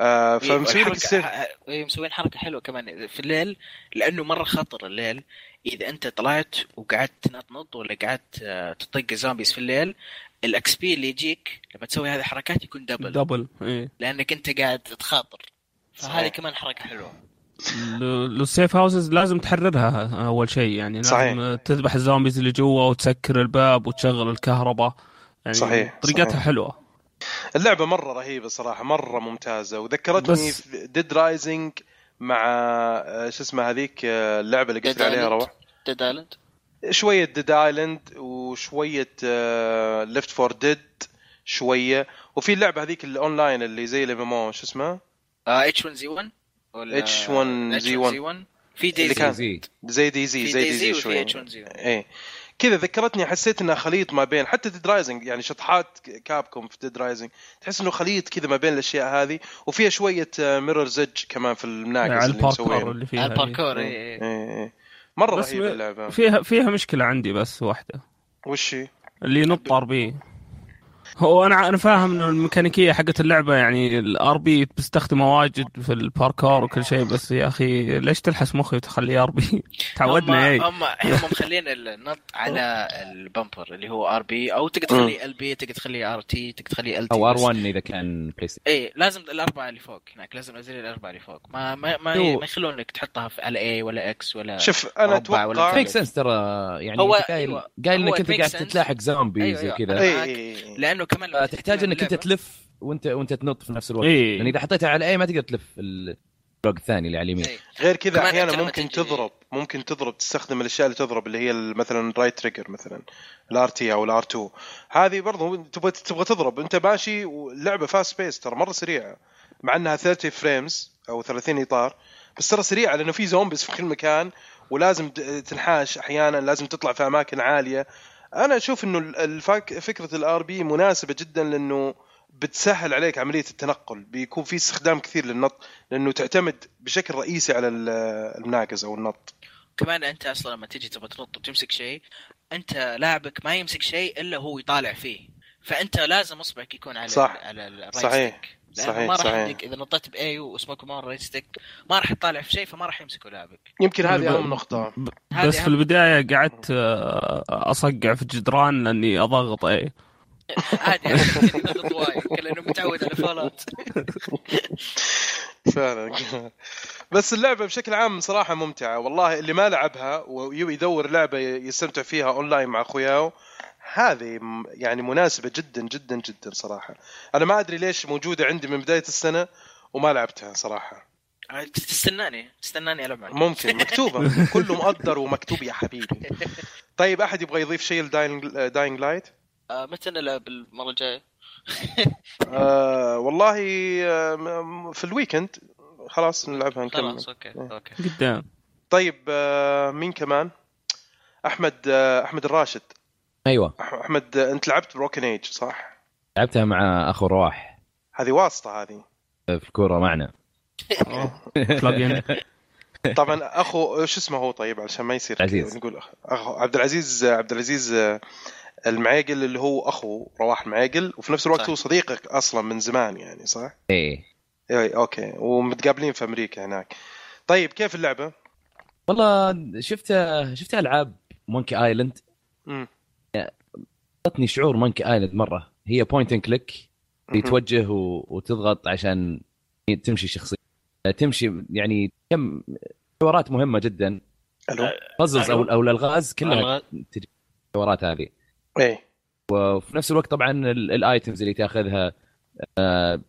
S1: آه، فمسوي لك
S4: إيه، والحركة-
S1: السيف
S4: إيه، مسوين حركه حلوه كمان في الليل لانه مره خطر الليل اذا انت طلعت وقعدت تنطنط ولا قعدت آه، تطق زومبيز في الليل الاكس بي اللي يجيك لما تسوي هذه الحركات يكون دبل
S3: دبل إيه.
S4: لانك انت قاعد تخاطر فهذه
S1: صحيح.
S4: كمان حركه حلوه
S3: السيف هاوسز لازم تحررها اول شيء يعني لازم
S1: صحيح.
S3: تذبح الزومبيز اللي جوا وتسكر الباب وتشغل الكهرباء يعني
S1: صحيح،
S3: طريقتها
S1: صحيح.
S3: حلوه
S1: اللعبه مره رهيبه صراحه مره ممتازه وذكرتني
S3: بس-
S1: في ديد رايزنج مع آه، شو اسمه هذيك آه، اللعبه اللي قلت لي عليها
S4: Dead Island.
S1: روح
S4: ديد ايلاند
S1: شويه ديد ايلاند وشويه ليفت فور ديد شويه وفي اللعبه هذيك الاونلاين اللي زي الام شو اسمها
S4: اتش 1 زي 1 ولا
S1: H1Z1.
S4: في
S1: اللي كان-
S4: ديزي
S2: زي
S1: زي دي زي
S4: في
S1: زي دي زي
S4: ديزي وفي
S1: شويه
S4: اتش 1 زي 1
S1: ايه كذا ذكرتني حسيت انها خليط ما بين حتى ديد رايزنج يعني شطحات كابكم في ديد رايزنج تحس انه خليط كذا ما بين الاشياء هذه وفيها شويه ميرور زج كمان في المناقص
S3: على
S1: اللي
S3: الباركور
S1: مسوينه
S3: اللي فيها
S4: الباركور
S1: إيه.
S4: إيه، إيه.
S1: إيه إيه. مره
S3: بس
S1: رهيبه
S3: ب-
S1: اللعبه
S3: فيها فيها مشكله عندي بس واحده
S1: وش هي؟
S3: اللي ينط ار بي هو انا انا فاهم انه الميكانيكيه حقت اللعبه يعني الار بي بتستخدمه واجد في الباركور وكل شيء بس يا اخي ليش تلحس مخي وتخليه ار بي؟ تعودنا إيه. اي
S4: هم هم مخلين النط على البمبر اللي هو ار بي او تقدر تخليه ال بي تقدر تخليه ار تي تقدر تخليه ال تي
S2: او ار 1 اذا كان بلاي ستيشن
S4: اي إيه، لازم الاربعه اللي فوق هناك لازم الازرار الاربعه اللي فوق ما ما ما,
S3: هو-
S4: ما يخلونك تحطها في على اي ولا اكس ولا
S1: شوف انا
S4: مربع آه. ولا
S1: اتوقع
S4: تريك.
S2: ميك سنس ترى يعني
S4: هو-
S2: أنت قايل
S4: أيوة.
S2: قايل
S4: هو
S2: انك
S4: it
S2: انت
S4: makes
S2: قاعد
S4: sense.
S2: تتلاحق زومبيز
S4: أيوة،
S2: وكذا
S4: أيوة.
S1: إي- إي- إي.
S4: لانه كمان لما
S2: فتحتاج انك انت
S4: اللعبة-
S2: تلف وانت وانت تنط في نفس الوقت
S3: إيه.
S2: لان اذا حطيتها على اي ما تقدر تلف ال- البلوك الثاني اللي على اليمين
S4: إيه.
S1: غير كذا
S4: كمان
S1: احيانا
S4: كلمة
S1: ممكن
S4: تجي-
S1: تضرب ممكن تضرب تستخدم الاشياء اللي تضرب اللي هي ال- مثلا رايت تريجر مثلا الار تي او الار 2 هذه برضه تبغى تبغى تضرب انت ماشي واللعبه فاست بيس ترى مره سريعه مع انها 30 فريمز او 30 اطار بس ترى سريعه لانه في زومبيز في كل مكان ولازم ت- تنحاش احيانا لازم تطلع في اماكن عاليه انا اشوف انه ال- الفك... فكره الار بي مناسبه جدا لانه بتسهل عليك عمليه التنقل بيكون في استخدام كثير للنط لانه تعتمد بشكل رئيسي على ال- المناقز او النط
S4: كمان انت اصلا لما تجي تبغى تنط وتمسك شيء انت لاعبك ما يمسك شيء الا هو يطالع فيه فانت لازم اصبعك يكون على
S1: صح.
S4: على الرايت
S1: صحيح.
S4: ستيك. لأنه
S1: صحيح،
S4: ما راح
S1: صحيح.
S4: يديك- اذا نطيت باي واسمك مار رايت ستيك ما راح يطالع في شيء فما راح يمسكه لاعبك
S1: يمكن هذه
S3: ب-
S1: اهم نقطه
S3: ب-
S4: هذه
S3: بس في
S4: أهم-
S3: البدايه قعدت آه، اصقع في الجدران إيه. لاني اضغط اي
S4: عادي عادي، يضغط وايد لانه متعود على فالات
S1: فعلا بس اللعبه بشكل عام صراحه ممتعه والله اللي ما لعبها ويدور لعبه يستمتع فيها اونلاين مع اخوياه هذه م- يعني مناسبه جدا جدا جدا صراحه انا ما ادري ليش موجوده عندي من بدايه السنه وما لعبتها صراحه
S4: عاد تستناني تستناني العب معك
S1: ممكن مكتوبه كله مقدر ومكتوب يا حبيبي طيب احد يبغى يضيف شيء لداينج لايت
S4: آه، متى نلعب المره الجايه؟
S1: آه والله آه م- في الويكند خلاص نلعبها نكمل
S4: خلاص اوكي
S1: إيه.
S4: اوكي
S3: قدام
S1: طيب آه مين كمان احمد آه احمد الراشد
S2: ايوه
S1: أح- احمد آه انت لعبت بروكن ايج صح
S2: لعبتها مع اخو رواح
S1: هذه واسطه هذه
S2: في الكوره معنا
S3: بلوجن
S1: طبعا اخو شو اسمه هو طيب علشان ما يصير
S2: عزيز.
S1: نقول أخ- اخو عبد العزيز عبد العزيز آه، المعيقل اللي هو اخو رواح المعيقل وفي نفس الوقت
S4: صح.
S1: هو صديقك اصلا من زمان يعني صح؟
S2: ايه
S1: اي اوكي ومتقابلين في امريكا هناك طيب كيف اللعبه؟
S2: والله شفت شفت العاب مونكي ايلاند
S1: مم.
S2: اعطتني شعور مونكي ايلاند مره هي بوينت اند كليك اللي توجه و... وتضغط عشان تمشي الشخصيه تمشي يعني كم حوارات مهمه جدا
S1: الو
S2: بازلز او او الالغاز كلها
S4: الغاز.
S2: تجي الحوارات هذه
S1: ايه
S2: وفي نفس الوقت طبعا ال- الايتمز اللي تاخذها آه،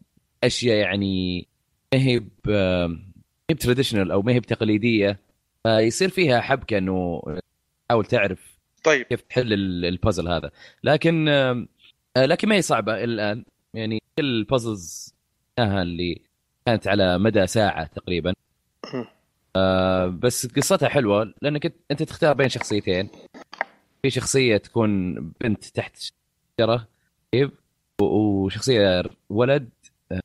S2: اشياء يعني ما هي ب- آه، ما هي تراديشنال او ما هي بتقليديه فيصير فيها حبكه انه تحاول تعرف
S1: طيب
S2: كيف تحل ال- البازل هذا لكن آه، آه، لكن ما هي صعبه الان يعني كل البازلز اللي كانت على مدى ساعه تقريبا آه، بس قصتها حلوه لانك أنت- انت تختار بين شخصيتين في شخصيه تكون بنت تحت شجره طيب و- وشخصيه ولد آه،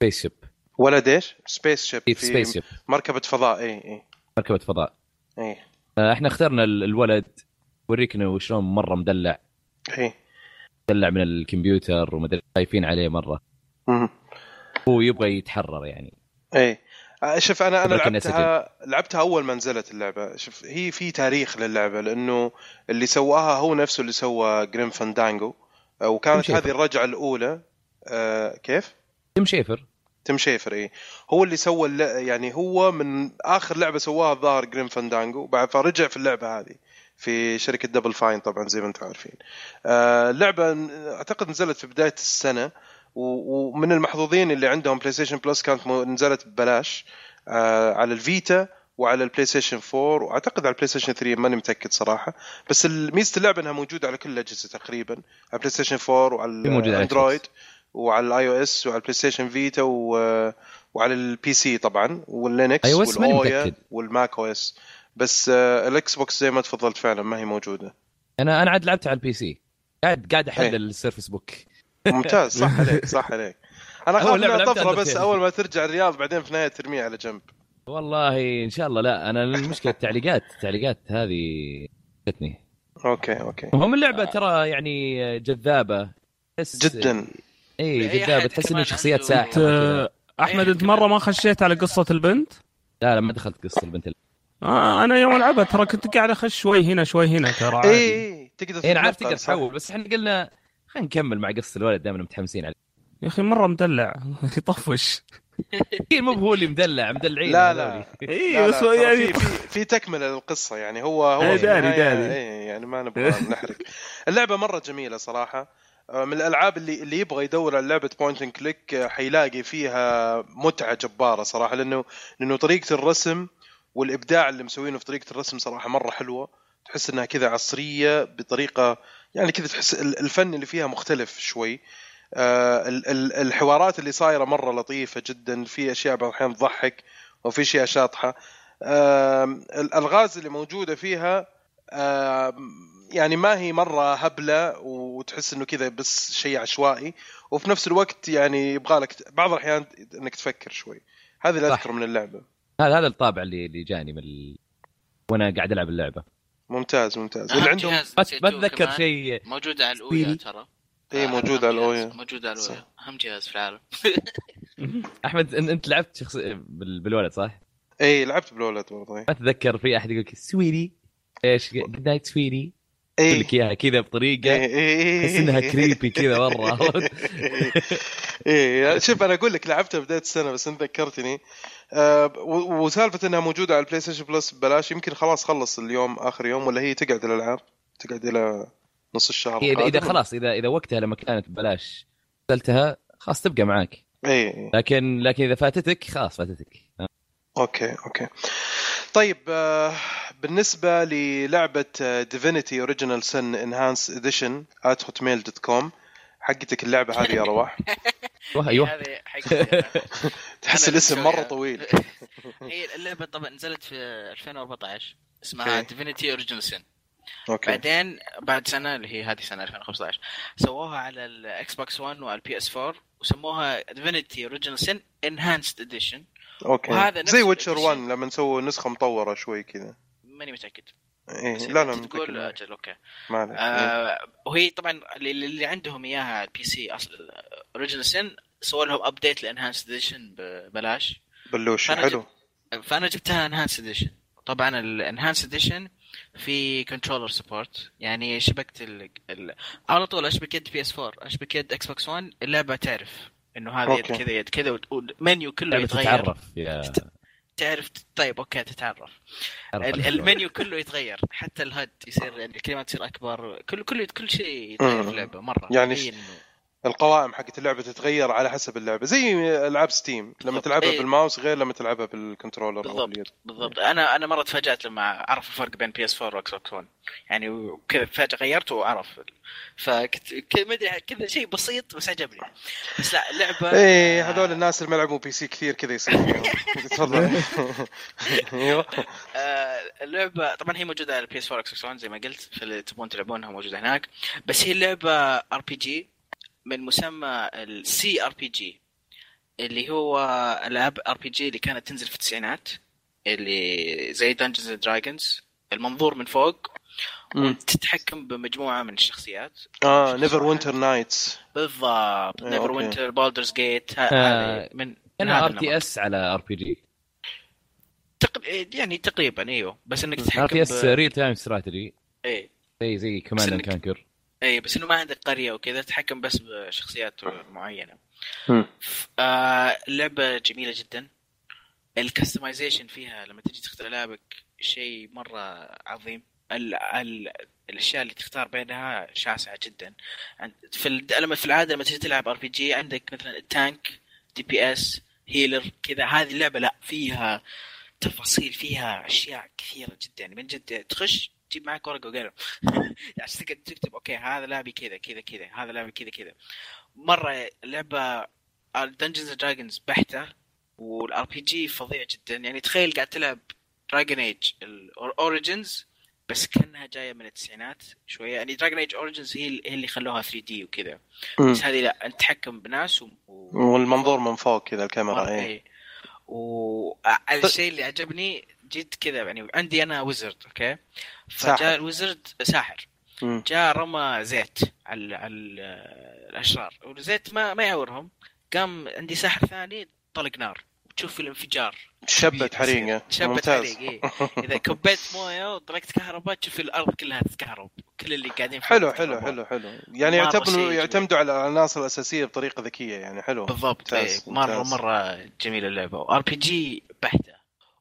S2: سبيس شيب
S1: ولد ايش؟ سبيس شيب في
S2: سبيس شيب
S1: مركبة فضاء إيه، اي اي
S2: مركبه فضاء
S1: اي
S2: آه، احنا اخترنا ال- الولد وريكنا وشلون مره مدلع
S1: اي
S2: مدلع من الكمبيوتر ومدري خايفين عليه مره
S1: مم.
S2: هو يبغى يتحرر يعني
S1: اي آه، شوف انا انا
S2: تبارك الناس
S1: لعبتها لعبتها اول ما نزلت اللعبه شوف هي في تاريخ للعبه لانه اللي سواها هو نفسه اللي سوى جريم فاندانجو آه، وكانت
S2: تمشي.
S1: هذه الرجعه الاولى آه كيف؟
S2: تم شيفر
S1: تيم شيفر إيه. اي هو اللي سوى الل- يعني هو من اخر لعبه سواها الظاهر جريم فاندانجو بعد فرجع في اللعبه هذه في شركه دبل فاين طبعا زي ما انتم عارفين. آه اللعبه ن- اعتقد نزلت في بدايه السنه و- ومن المحظوظين اللي عندهم بلاي ستيشن بلس كانت مو- نزلت ببلاش آه على الفيتا وعلى البلاي ستيشن 4 واعتقد على البلاي ستيشن 3 ماني متاكد صراحه بس ال- ميزه اللعبه انها موجوده على كل الاجهزه تقريبا على البلاي ستيشن 4 وعلى
S2: هي موجودة على
S1: الاندرويد وعلى الاي او اس وعلى البلاي ستيشن فيتا و... وعلى البي سي طبعا واللينكس
S2: iOS ماني
S1: والاويا
S2: متأكد.
S1: والماك او اس بس آه، الاكس بوكس زي ما تفضلت فعلا ما هي موجوده
S2: انا انا عاد لعبت على البي سي قاعد قاعد
S1: إيه.
S2: احلل السيرفس بوك
S1: ممتاز صح عليك صح عليك انا
S2: أول
S1: خاف
S2: لعبة
S1: انها
S2: لعبتها
S1: طفره بس
S2: Undertale.
S1: اول ما ترجع الرياض بعدين في النهايه ترميها على جنب
S2: والله ان شاء الله لا انا المشكله التعليقات التعليقات هذه جتني
S1: اوكي اوكي
S2: المهم اللعبه ترى يعني جذابه تحس-
S1: جدا
S2: اي
S4: أي
S2: جذاب
S4: أحد
S2: تحس
S4: كمان
S2: انه شخصيات
S4: عنده-
S2: ساحره كذا.
S3: احمد انت مره ما خشيت على قصه البنت؟
S2: لا لا ما دخلت قصه البنت ال-
S3: آه انا يوم العبها ترى كنت قاعد اخش شوي هنا شوي هنا ترى
S1: اي
S3: عادي
S1: اي إيه، تقدر
S2: اي انا إيه، عارف
S1: تتنقل،
S2: تقدر
S1: صح.
S2: تحول بس احنا قلنا خلينا نكمل مع قصه الولد دائما متحمسين عليه
S3: يا اخي مره مدلع يطفش
S2: اكيد إيه، مو هو اللي مدلع مدلعين
S1: لا، لا.
S2: هذولي.
S1: لا،
S3: اي
S1: إيه، لا،
S3: بس
S1: ترى
S3: يعني
S1: في في في تكمله للقصه يعني هو هو
S3: إيه،
S1: في
S3: داري،
S1: النهاية-
S3: داري.
S1: إيه، يعني ما نبغى نحرق اللعبه مره جميله صراحه آه، من الالعاب اللي اللي يبغى يدور على لعبه بوينت اند كليك آه، حيلاقي فيها متعه جباره صراحه لانه لانه طريقه الرسم والابداع اللي مسوينه في طريقه الرسم صراحه مره حلوه تحس انها كذا عصريه بطريقه يعني كذا تحس ال- الفن اللي فيها مختلف شوي آه، ال- ال- الحوارات اللي صايره مره لطيفه جدا في اشياء بعض الاحيان تضحك وفي اشياء شاطحه آم، الالغاز اللي موجوده فيها آم، يعني ما هي مره هبله وتحس انه كذا بس شيء عشوائي وفي نفس الوقت يعني يبغى لك بعض الاحيان انك تفكر شوي هذا اللي
S2: صح.
S1: اذكره من اللعبه
S2: هذا هذا الطابع اللي اللي جاني من ال... وانا قاعد العب اللعبه
S1: ممتاز ممتاز واللي عندهم
S2: بس بتذكر شيء
S4: موجودة على الاولى
S2: سبيري.
S4: ترى آه،
S1: إيه، موجودة على الأويا.
S4: موجودة على الاولى اهم جهاز في العالم
S2: احمد إن- انت لعبت شخص بال... بالولد صح؟
S1: اي إيه، لعبت بالولد برضه
S2: ما اتذكر في احد يقول لك سويدي ايش جود نايت سويدي يقول
S1: اي
S2: لك اياها كذا
S1: إيه،
S2: بطريقه تحس انها كريبي كذا مره
S1: ايه شوف انا اقول لك لعبتها بدايه السنه بس انت ذكرتني آه، و- وسالفه انها موجوده على البلاي ستيشن بلس ببلاش يمكن خلاص خلص اليوم اخر يوم ولا هي تقعد الالعاب تقعد الى نص الشهر
S2: هي إذا- اذا
S1: القادم.
S2: خلاص اذا اذا وقتها لما كانت ببلاش نزلتها خلاص تبقى معاك
S1: اي إي.
S2: لكن لكن اذا فاتتك خلاص فاتتك
S1: اوكي اوكي طيب آه، بالنسبه للعبه ديفينيتي اوريجينال سن انهانس اديشن at hotmail دوت كوم حقتك اللعبه هذه يا رواح
S2: وه- ايوه
S4: هذه حقيقة
S1: تحس
S4: أنا
S1: الاسم
S4: بسويها.
S1: مره طويل
S4: هي اللعبة طبعا نزلت في 2014 اسمها
S1: أوكي.
S4: ديفينيتي اوريجن سن
S1: اوكي
S4: بعدين بعد سنة اللي هي هذه سنة 2015 سووها على الاكس بوكس 1 وعلى البي اس 4 وسموها ديفينيتي اوريجن سن انهانسد اديشن
S1: اوكي
S4: وهذا نفس
S1: زي ويتشر 1
S4: الإديشن.
S1: لما نسوي نسخه مطوره شوي كذا
S4: ماني متأكد
S1: ايه
S4: بس
S1: لا
S4: إذا
S1: لا
S4: أنت تقول
S1: متأكد.
S4: اجل اوكي
S1: ما عليك. إيه.
S4: آه وهي طبعا اللي, اللي عندهم اياها على البي سي اصلا اوريجن سن سووا لهم ابديت لانهانس اديشن ببلاش
S1: بلوش
S4: فأنا
S1: حلو
S4: فانا جبتها انهانس اديشن طبعا الانهانس اديشن في كنترولر سبورت يعني شبكه ال... ال... على طول اشبك يد بي اس 4 اشبك يد اكس بوكس 1 اللعبه تعرف انه هذا يد
S1: أوكي.
S4: كذا يد كذا والمنيو كله
S2: لعبه
S4: يتغير
S2: تتعرف يا
S4: تعرف طيب اوكي تتعرف
S2: تعرف
S4: ال-
S2: على شلون.
S4: المنيو كله يتغير حتى الهد يصير يعني الكلمات تصير اكبر كل كل كل شيء يتغير في اللعبه مره
S1: يعني
S4: هي
S1: ش-
S4: إنه-
S1: القوائم حقت اللعبه تتغير على حسب اللعبه زي العاب ستيم لما
S4: بالضبط.
S1: تلعبها
S4: إيه.
S1: بالماوس غير لما تلعبها بالكنترولر او
S4: بالضبط.
S1: باليد
S4: بالضبط انا انا مره تفاجات لما عرف الفرق بين بي اس 4 واكس بوكس 1 يعني وكذا فجاه غيرته وعرف فكنت كذا ما ادري كذا شيء بسيط بس عجبني بس لا اللعبه
S1: ايه هذول الناس اللي ما يلعبوا بي سي كثير كذا يصير فيهم. تفضل ايوه
S4: آه، اللعبه طبعا هي موجوده على البي اس 4 اكس بوكس 1 زي ما قلت فاللي تبون تلعبونها موجوده هناك بس هي لعبه ار بي جي من مسمى السي ار بي جي اللي هو العاب ار بي جي اللي كانت تنزل في التسعينات اللي زي دنجنز اند دراجونز المنظور من فوق
S1: مم.
S4: تتحكم بمجموعه من الشخصيات
S1: اه نيفر وينتر نايتس
S4: بالضبط
S1: إيه،
S4: نيفر
S1: أوكي.
S4: وينتر بولدرز جيت
S2: آه،
S4: من من
S2: انا
S4: هذا
S2: ار تي
S4: النمط.
S2: اس على ار بي جي
S4: تق... يعني تقريبا ايوه بس انك
S2: ار
S4: تتحكم
S2: تي اس
S4: ب... إيه.
S2: ريل تايم استراتيجي
S4: اي
S2: زي زي كوماند
S4: إنك-
S2: كانكر
S4: اي إيه، بس انه ما عندك قريه وكذا تتحكم بس بشخصيات معينه
S1: مم.
S4: ف- آه اللعبه جميله جدا الكستمايزيشن فيها لما تجي تختار لعبك شيء مره عظيم ال... ال... الاشياء اللي تختار بينها شاسعه جدا عند- في ال- لما في العاده لما تجي تلعب ار بي جي عندك مثلا التانك دي بي اس هيلر كذا هذه اللعبه لا فيها تفاصيل فيها اشياء كثيره جدا يعني من جد تخش تجيب معك ورقه وقلم عشان تقعد تكتب اوكي هذا لاعبي كذا كذا كذا هذا لاعبي كذا كذا مره لعبه دنجنز اند دراجونز بحته والار بي جي فظيع جدا يعني تخيل قاعد تلعب دراجون ايج اوريجنز بس كانها جايه من التسعينات شويه يعني دراجون ايج اوريجنز هي هي اللي خلوها 3 دي وكذا
S1: مم.
S4: بس هذه لا انت تحكم بناس و... و...
S1: والمنظور من فوق كذا
S4: آه،
S1: الكاميرا ايه
S4: اي والشيء اللي عجبني جيت كذا يعني عندي انا ويزرد اوكي فجاء
S1: ساحر.
S4: الويزرد ساحر
S1: مم.
S4: جاء رمى زيت على على الاشرار والزيت ما ما يعورهم قام عندي ساحر ثاني طلق نار وتشوف الانفجار
S1: شبت حريقه
S4: شبت
S1: ممتاز
S4: حريق إيه. اذا كبيت مويه وطلقت كهرباء تشوف الارض كلها تتكهرب كل اللي قاعدين في
S1: حلو
S4: الأرض
S1: حلو
S4: كهرباء.
S1: حلو حلو يعني
S4: مرة شيء
S1: يعتبروا
S4: جميل.
S1: يعتمدوا على العناصر الاساسيه بطريقه ذكيه يعني حلو
S4: بالضبط إيه.
S1: ممتاز،
S4: مره
S1: ممتاز.
S4: مره جميله اللعبه ار بي جي بحته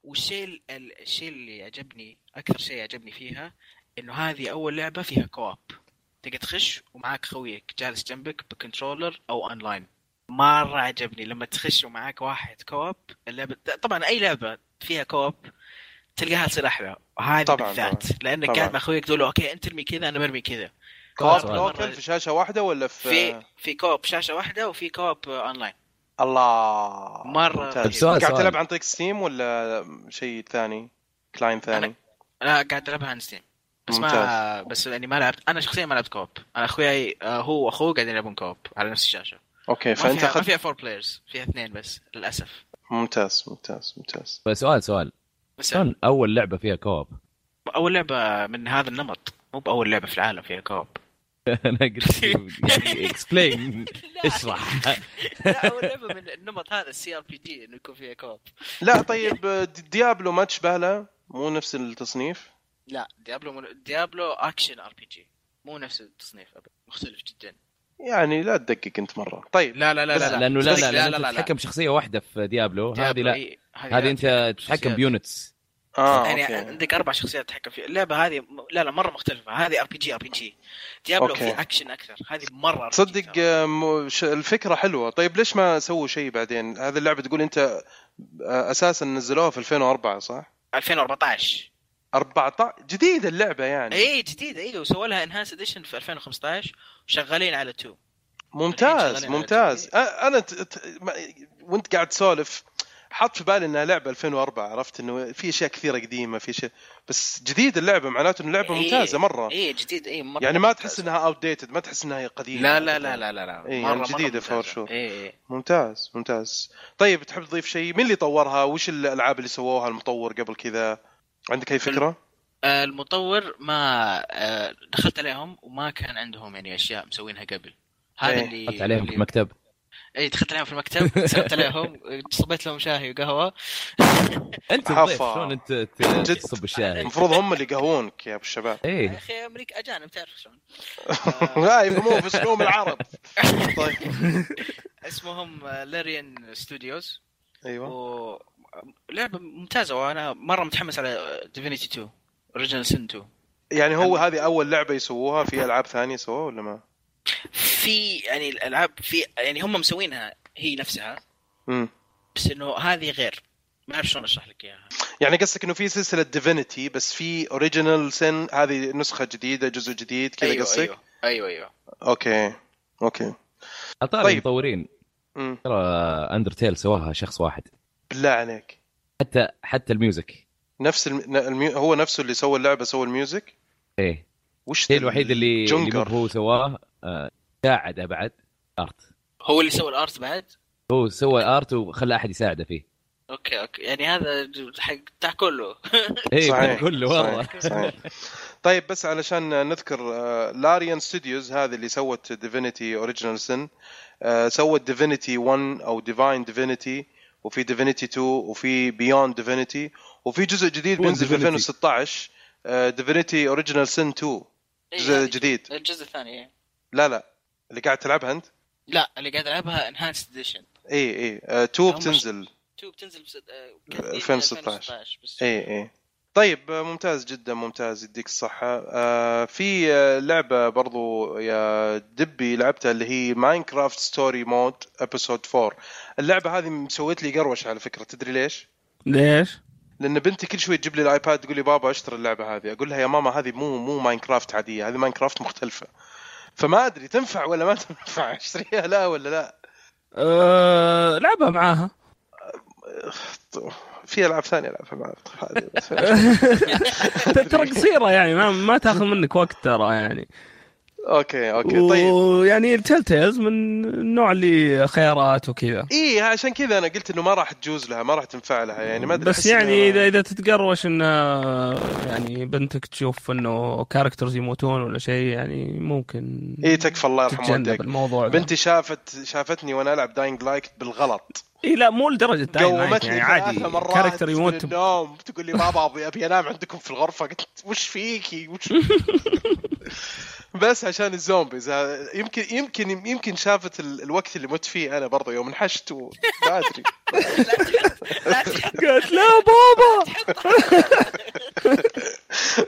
S4: والشيء ال- ال- الشيء اللي عجبني اكثر شيء عجبني فيها انه هذه اول لعبه فيها كواب تقدر تخش ومعاك خويك جالس جنبك بكنترولر او اونلاين مره عجبني لما تخش ومعاك واحد كواب اللعبه طبعا اي لعبه فيها كواب تلقاها تصير احلى وهذه
S1: طبعاً،
S4: بالذات لانك
S1: طبعاً.
S4: قاعد مع خويك تقول له اوكي انت ارمي كذا انا برمي كذا
S1: كواب
S4: مرة-
S1: لوكل في شاشه واحده ولا في,
S4: في في كواب شاشه واحده وفي كواب اونلاين
S1: الله
S4: مرة
S1: ممتاز.
S4: طيب
S2: سؤال-
S1: قاعد
S2: سؤال.
S1: تلعب عن طريق ستيم ولا شيء ثاني كلاين ثاني
S4: انا قاعد العبها عن ستيم بس ما
S1: ممتاز.
S4: بس لاني ما لعبت انا شخصيا ما لعبت كوب انا اخوياي آه، هو واخوه قاعدين يلعبون كوب على نفس الشاشه
S1: اوكي
S4: ما
S1: فانت
S4: فيها ما
S1: اخذت
S4: فيها فور بلايرز فيها اثنين بس للاسف
S1: ممتاز ممتاز ممتاز
S2: فسؤال سؤال
S4: بس
S2: شلون اول لعبه فيها كوب؟
S4: اول لعبه من هذا النمط مو باول لعبه في العالم فيها كوب
S2: انا قلت يعني اكسبلين اشرح
S4: لا اول لعبه من النمط هذا السي ار بي جي انه يكون فيها كوب
S1: لا طيب دي- ديابلو ما تشبه له مو نفس التصنيف
S4: لا ديابلو من... ديابلو اكشن ار بي جي مو نفس التصنيف أبداً، مختلف جدا
S1: يعني لا تدقق انت مره طيب
S4: لا لا لا لا إيه،
S2: لانه لا لا لا, لا, تتحكم بشخصيه واحده في ديابلو هذه لا هذه انت تتحكم بيونتس
S1: اه
S4: يعني
S1: اوكي
S4: عندك اربع شخصيات تتحكم فيها اللعبه هذه م- لا لا مره مختلفه هذه ار بي جي ار بي جي ديابلو
S1: أوكي.
S4: في اكشن اكثر هذه مره RPG
S1: تصدق
S4: ترى.
S1: آه، مو- ش- الفكره حلوه طيب ليش ما سووا شيء بعدين هذه اللعبه تقول انت آه، اساسا نزلوها في 2004 صح
S4: 2014
S1: 14 جديده اللعبه يعني
S4: اي جديده ايوه وسووا لها انهانس اديشن في 2015 وشغالين على 2 الحين
S1: ممتاز
S4: شغالين على
S1: ممتاز
S4: جديد.
S1: أ- انا ت... ت... ما... وانت قاعد تسولف حط في بالي انها لعبه 2004 عرفت انه في اشياء كثيره قديمه في شيء بس جديد اللعبه معناته انه لعبه
S4: إيه.
S1: ممتازه مره
S4: اي جديد اي مره
S1: يعني ما
S4: ممتازة.
S1: تحس انها اوت ديتد ما تحس انها قديمه
S4: لا لا لا لا لا لا
S1: إيه، يعني جديدة for sure.
S4: اي
S1: ممتاز ممتاز طيب تحب تضيف شيء مين اللي طورها وش الالعاب اللي سووها المطور قبل كذا عندك اي فكره
S4: آه، المطور ما آه، دخلت عليهم وما كان عندهم يعني اشياء مسوينها قبل هذا
S1: إيه.
S4: اللي
S2: حط عليهم في
S4: اللي-
S2: المكتب
S4: اي دخلت عليهم في المكتب سويت عليهم صبيت لهم شاهي وقهوه
S2: انت
S1: عفا.
S2: الضيف شلون انت ت-
S1: جد.
S2: تصب الشاي
S1: المفروض هم اللي يقهونك يا ابو الشباب
S4: يا
S2: ايه
S4: اخي امريكا اجانب تعرف شلون آه.
S1: لا يفهمون في سلوم العرب طيب
S4: اسمهم آه، لاريان ستوديوز
S1: ايوه
S4: ولعبه ممتازه وانا مره متحمس على آه، ديفينيتي 2 اوريجينال سن 2
S1: يعني هو هذه اول لعبه يسووها في العاب ثانيه سووها ولا ما؟
S4: في يعني الالعاب في يعني هم مسوينها هي نفسها
S1: امم
S4: بس انه هذه غير ما اعرف شلون اشرح لك اياها
S1: يعني قصدك انه في سلسله ديفينيتي بس في اوريجينال سن هذه نسخه جديده جزء جديد كذا
S4: ايوه
S1: قصدك؟
S4: ايوه ايوه ايوه
S1: اوكي اوكي
S2: اطار
S1: طيب.
S2: المطورين
S1: امم
S2: ترى اندرتيل سواها شخص واحد
S1: بالله عليك
S2: حتى حتى الميوزك
S1: نفس الم... الم... هو نفسه اللي سوى اللعبه سوى الميوزك
S2: ايه
S1: وش
S2: الشيء الوحيد اللي, اللي مو
S1: جونجر.
S2: هو سواه آه، ساعده بعد ارت
S4: هو اللي سوى الارت بعد
S2: هو سوى الارت وخلى احد يساعده فيه
S4: اوكي اوكي يعني هذا حق بتاع كله
S2: ايه
S1: صحيح.
S2: كله والله
S1: صحيح. صحيح. طيب بس علشان نذكر آه، لاريان ستوديوز هذه اللي سوت ديفينيتي اوريجينال سن آه، سوت ديفينيتي 1 او ديفاين ديفينيتي وفي ديفينيتي 2 وفي بيوند ديفينيتي وفي جزء جديد
S2: Beyond
S1: بينزل في
S2: Divinity.
S1: 2016 آه، ديفينيتي اوريجينال سن 2 جزء
S4: إيه، هذه
S1: جديد.
S4: الجزء الثاني إيه.
S1: لا لا اللي قاعد تلعبها انت؟
S4: لا اللي قاعد العبها انهانس اديشن
S1: اي اي آه، 2
S4: هم-
S1: بتنزل
S4: 2 بتنزل بس... آه،
S1: 2016.
S4: بس
S1: اي اي إيه، طيب آه، ممتاز جدا ممتاز يديك الصحة آه في آه، لعبة برضو يا دبي لعبتها اللي هي ماينكرافت ستوري مود ابيسود 4 اللعبة هذه مسويت لي قروش على فكرة تدري ليش؟
S3: ليش؟
S1: لأن بنتي كل شوي تجيب لي الايباد تقول لي بابا اشتري اللعبة هذه اقول لها يا ماما هذه مو مو ماينكرافت عادية هذه ماينكرافت مختلفة فما ادري تنفع ولا ما تنفع اشتريها لا ولا لا
S3: أه... لعبها معاها
S1: في العاب ثانية العبها مع هذه بس.
S3: ترى قصيره يعني ما, ما تاخذ منك وقت ترى يعني
S1: اوكي اوكي طيب
S3: ويعني التيل تيلز من النوع اللي خيارات وكذا
S1: اي إيه، عشان كذا انا قلت انه ما راح تجوز لها ما راح تنفع لها يعني ما ادري
S3: بس
S1: أحس
S3: يعني
S1: إنه-
S3: اذا اذا تتقروش انه يعني بنتك تشوف انه كاركترز يموتون ولا شيء يعني ممكن
S1: اي إيه، تكفى الله يرحم والديك
S3: تتجنب الموضوع ده.
S1: بنتي شافت شافتني وانا العب داينج لايت بالغلط
S3: اي لا مو لدرجه Dying Light،
S1: قومتني
S3: يعني
S1: ثلاث
S3: عادي
S1: مرات
S3: كاركتر
S1: من
S3: يموت ب-
S1: النوم تقول لي بابا ابي ابي انام عندكم في الغرفه قلت وش فيكي وش بس عشان الزومبيز ها- يمكن يمكن يمكن شافت ال... الوقت اللي مت فيه انا برضه يوم انحشت و- ما ادري
S4: لا تحط
S3: قالت لا بابا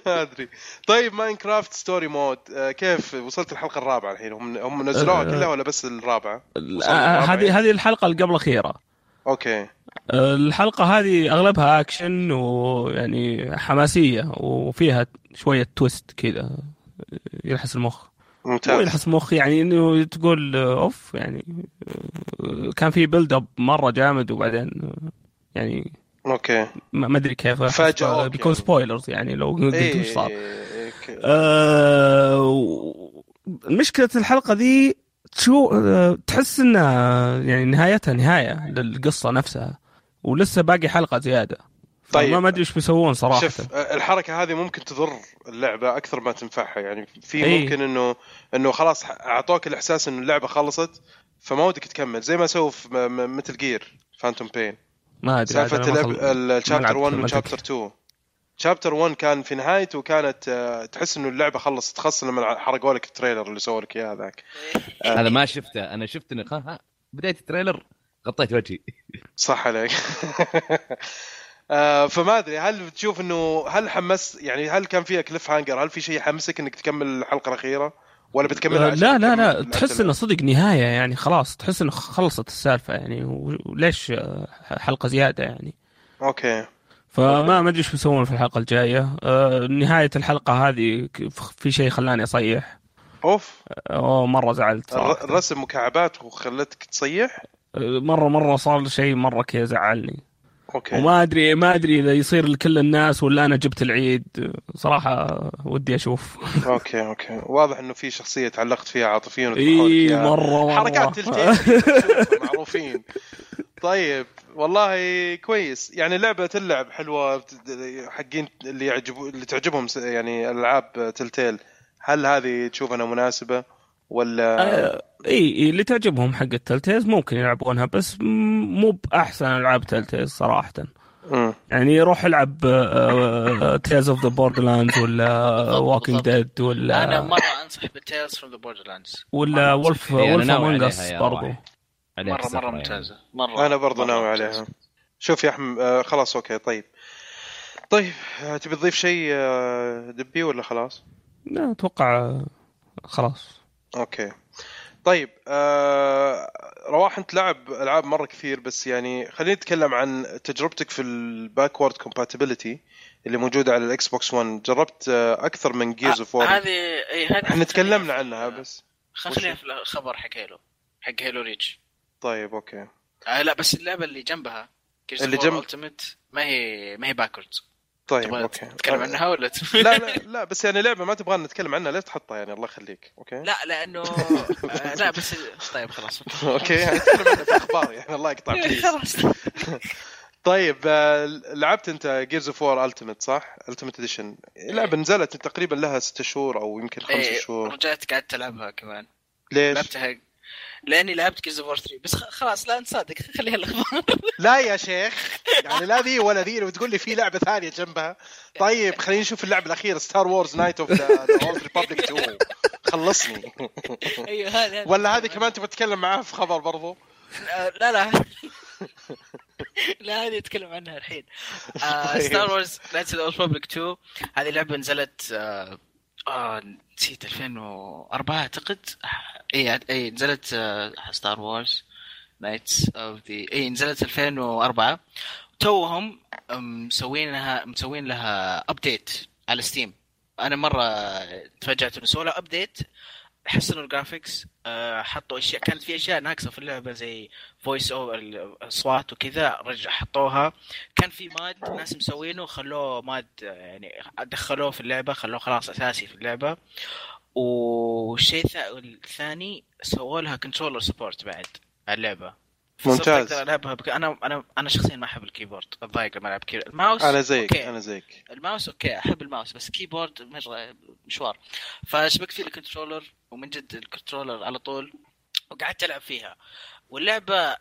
S1: ما ادري طيب ماينكرافت ستوري مود آه، كيف وصلت الحلقه الرابعه الحين هم هم
S3: أه.
S1: نزلوها كلها ولا بس الرابعه؟ وصلت
S3: آه،
S1: الرابعة
S3: هذه هذه الحلقه اللي قبل الاخيره
S1: اوكي
S3: الحلقة هذه أغلبها أكشن ويعني حماسية وفيها شوية تويست كذا يلحس المخ مو
S1: ممتاز
S3: يلحس المخ يعني انه تقول آه، اوف يعني آه، كان في بيلد اب مره جامد وبعدين آه، يعني
S1: اوكي
S3: ما ما ادري كيف
S1: فاجأوك
S3: بيكون
S1: يعني.
S3: سبويلرز يعني لو قلت وش صار
S1: إيه، إيه، إيه.
S3: آه، و- مشكلة الحلقة ذي تشو آه، تحس انها يعني نهايتها نهاية للقصة نفسها ولسه باقي حلقة زيادة
S1: طيب.
S3: طيب ما ادري ايش بيسوون صراحة
S1: شوف آه، الحركه هذه ممكن تضر اللعبه اكثر ما تنفعها يعني في
S3: إيه.
S1: ممكن انه انه خلاص ح- اعطوك الاحساس انه اللعبه خلصت فما ودك تكمل زي ما سووا في م- م- مثل جير فانتوم بين
S3: ما ادري
S1: سالفه
S3: عاد أنا ما
S1: اللعب-
S3: خل-
S1: ال-
S3: ما لعبت
S1: الشابتر 1
S3: ما
S1: وشابتر
S3: أدري.
S1: 2 شابتر 1 كان في نهايته كانت آه، تحس انه اللعبه خلصت خاصه لما حرقوا لك التريلر اللي سووا لك اياه ذاك آه.
S2: هذا ما شفته انا شفت إنه- ها- ها، بدايه التريلر غطيت وجهي إيه،
S1: صح عليك آه، فما ادري هل تشوف انه هل حمس يعني هل كان فيها كليف هانجر هل في شيء يحمسك انك تكمل الحلقه الاخيره ولا بتكملها
S3: آه،
S1: عشان
S3: لا لا
S1: تكمل
S3: لا
S1: العدد؟
S3: تحس انه صدق نهاية يعني خلاص تحس انه خلصت السالفة يعني و- وليش آه، حلقة زيادة يعني
S1: اوكي
S3: فما ما ادري ايش بيسوون في الحلقة الجاية آه، نهاية الحلقة هذه ك- في شيء خلاني اصيح
S1: اوف
S3: اوه مرة زعلت صراحة.
S1: الر- الرسم مكعبات وخلتك تصيح
S3: مره مره صار شيء مره كذا زعلني
S1: اوكي
S3: وما ادري ما ادري اذا يصير لكل الناس ولا انا جبت العيد صراحه ودي اشوف
S1: اوكي اوكي واضح انه في شخصيه تعلقت فيها
S3: إيه،
S1: عاطفيا وذبحوا لك
S3: اي
S1: إياها.
S3: مره مره
S1: حركات تلك معروفين طيب والله كويس يعني لعبه تلعب حلوه بت- حقين اللي يعجبوا اللي تعجبهم س- يعني العاب تلتيل هل هذه تشوف انها مناسبه ولا
S3: اي اي آه، إيه، اللي تعجبهم حق التلتيز ممكن يلعبونها بس م- مو باحسن العاب تلتيز صراحه
S1: مم.
S3: يعني روح العب تيلز اوف ذا بوردلاند ولا
S4: بالضبط،
S3: ووكينج ديد
S4: انا
S3: ولا
S4: مره انصح بتيلز فروم ذا بوردر لاندز
S3: ولا ولف
S2: إيه، أنا
S3: ولف
S2: ناوي عليها
S3: امونجاس
S2: يا
S3: برضو
S2: راعي. عليها
S4: مره
S2: السفرة
S4: مره
S2: يعني.
S4: ممتازه مره
S1: انا برضو
S4: مرة
S1: ناوي
S4: ممتازة.
S1: عليها شوف يا احمد آه خلاص اوكي طيب طيب آه، تبي تضيف شيء آه، دبي ولا خلاص
S3: لا اتوقع آه، خلاص
S1: اوكي طيب آه رواح انت لعب العاب مره كثير بس يعني خلينا نتكلم عن تجربتك في الباكورد كومباتيبلتي اللي موجوده على الاكس بوكس 1 جربت آه اكثر من جيرز اوف وور
S4: آه، هذه اي هذه
S1: احنا تكلمنا عنها بس
S4: خلينا في الخبر حق هيلو حق هيلو ريتش
S1: طيب اوكي
S4: آه لا بس اللعبه اللي جنبها
S1: اللي
S4: اللي
S1: جنب-
S4: جنب التمت ما هي ما هي باكوردز
S1: طيب
S4: تبغى
S1: اوكي
S4: تتكلم عنها ولا ت-
S1: لا لا لا بس يعني لعبه ما تبغى نتكلم عنها ليش تحطها يعني الله يخليك اوكي
S4: لا لانه آه، لا بس طيب خلاص
S1: اوكي يعني نتكلم عنها في اخبار يعني الله يقطع فيك
S4: خلاص
S1: طيب آه، لعبت انت جيرز اوف وور التيمت صح؟ التيمت اديشن لعبه نزلت تقريبا لها ستة شهور او يمكن خمسة
S4: إيه،
S1: شهور
S4: رجعت قعدت العبها كمان
S1: ليش؟
S4: لعبتها لاني لعبت جيرز اوف 3 بس خ- خلاص لا نصادق خليها الاخبار
S1: لا يا شيخ يعني لا ذي ولا ذي وتقول لي في لعبه ثانيه جنبها طيب خلينا نشوف اللعبه الاخيره ستار وورز نايت اوف ذا اولد ريببليك 2 خلصني
S4: ايوه هذه
S1: ولا هذه كمان تبغى تتكلم معاها في خبر برضو
S4: آه، لا لا لا هذه نتكلم عنها الحين آه،
S1: طيب.
S4: ستار وورز نايتس اوف بابليك 2 هذه لعبه نزلت آه، آه، نسيت 2004 اعتقد اي اي إيه، نزلت آه، ستار وورز نايتس اوف ذا اي إيه، نزلت 2004 توهم آه، مسوينها مسوين لها ابديت على ستيم انا مره تفاجات انه سووا لها ابديت حسنوا الجرافيكس آه، حطوا اشياء كانت في اشياء ناقصه في اللعبه زي فويس اوفر الاصوات وكذا رجع حطوها كان في ماد ناس مسوينه خلوه ماد آه، يعني دخلوه في اللعبه خلوه خلاص اساسي في اللعبه والشيء الثا- الثاني سووا لها كنترولر سبورت بعد على اللعبه
S1: ممتاز.
S4: فصرت اقدر العبها بك... انا انا انا شخصيا ما احب الكيبورد اتضايق لما العب كيبورد الماوس
S1: انا زيك
S4: أوكي.
S1: انا زيك
S4: الماوس اوكي احب الماوس بس كيبورد مره مشوار فشبكت فيه الكنترولر ومن جد الكنترولر على طول وقعدت العب فيها واللعبه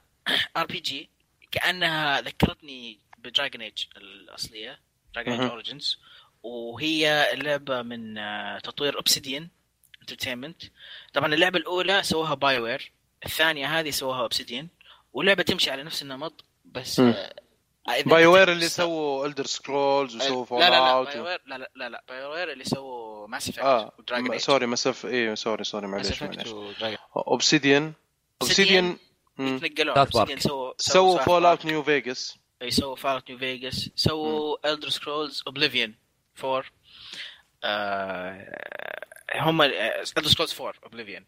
S4: ار بي جي كانها ذكرتني بدراجن ايج الاصليه دراجن ايج
S1: مهم.
S4: اوريجنز وهي لعبه من آه، تطوير اوبسيديان انترتينمنت طبعا اللعبه الاولى سووها باي وير الثانيه هذه سووها اوبسيديان واللعبه تمشي على نفس النمط بس
S1: مم.
S4: آه، إذا
S1: باي
S4: أنت
S1: وير اللي
S4: تبي-
S1: سووا الدر سكرولز وسووا فول
S4: لا لا لا
S1: اوت
S4: باي وير لا لا لا لا باي وير اللي سووا ماس افكت
S1: اه
S4: ودراجون
S1: م-
S4: ايج
S1: سوري مسف اي سوري سوري
S4: ماس
S1: إيه، معليش
S4: افكت
S1: معليش
S4: ودراجون
S1: اوبسيديان اوبسيديان
S4: يتنقلون
S2: South Park.
S4: Obsidian سووا
S1: سووا
S4: South
S1: فول اوت
S4: Park.
S1: نيو فيجاس
S4: اي سووا فول اوت نيو فيجاس سووا الدر سكرولز اوبليفيون 4 آه، هم الدر سكرولز 4 اوبليفيون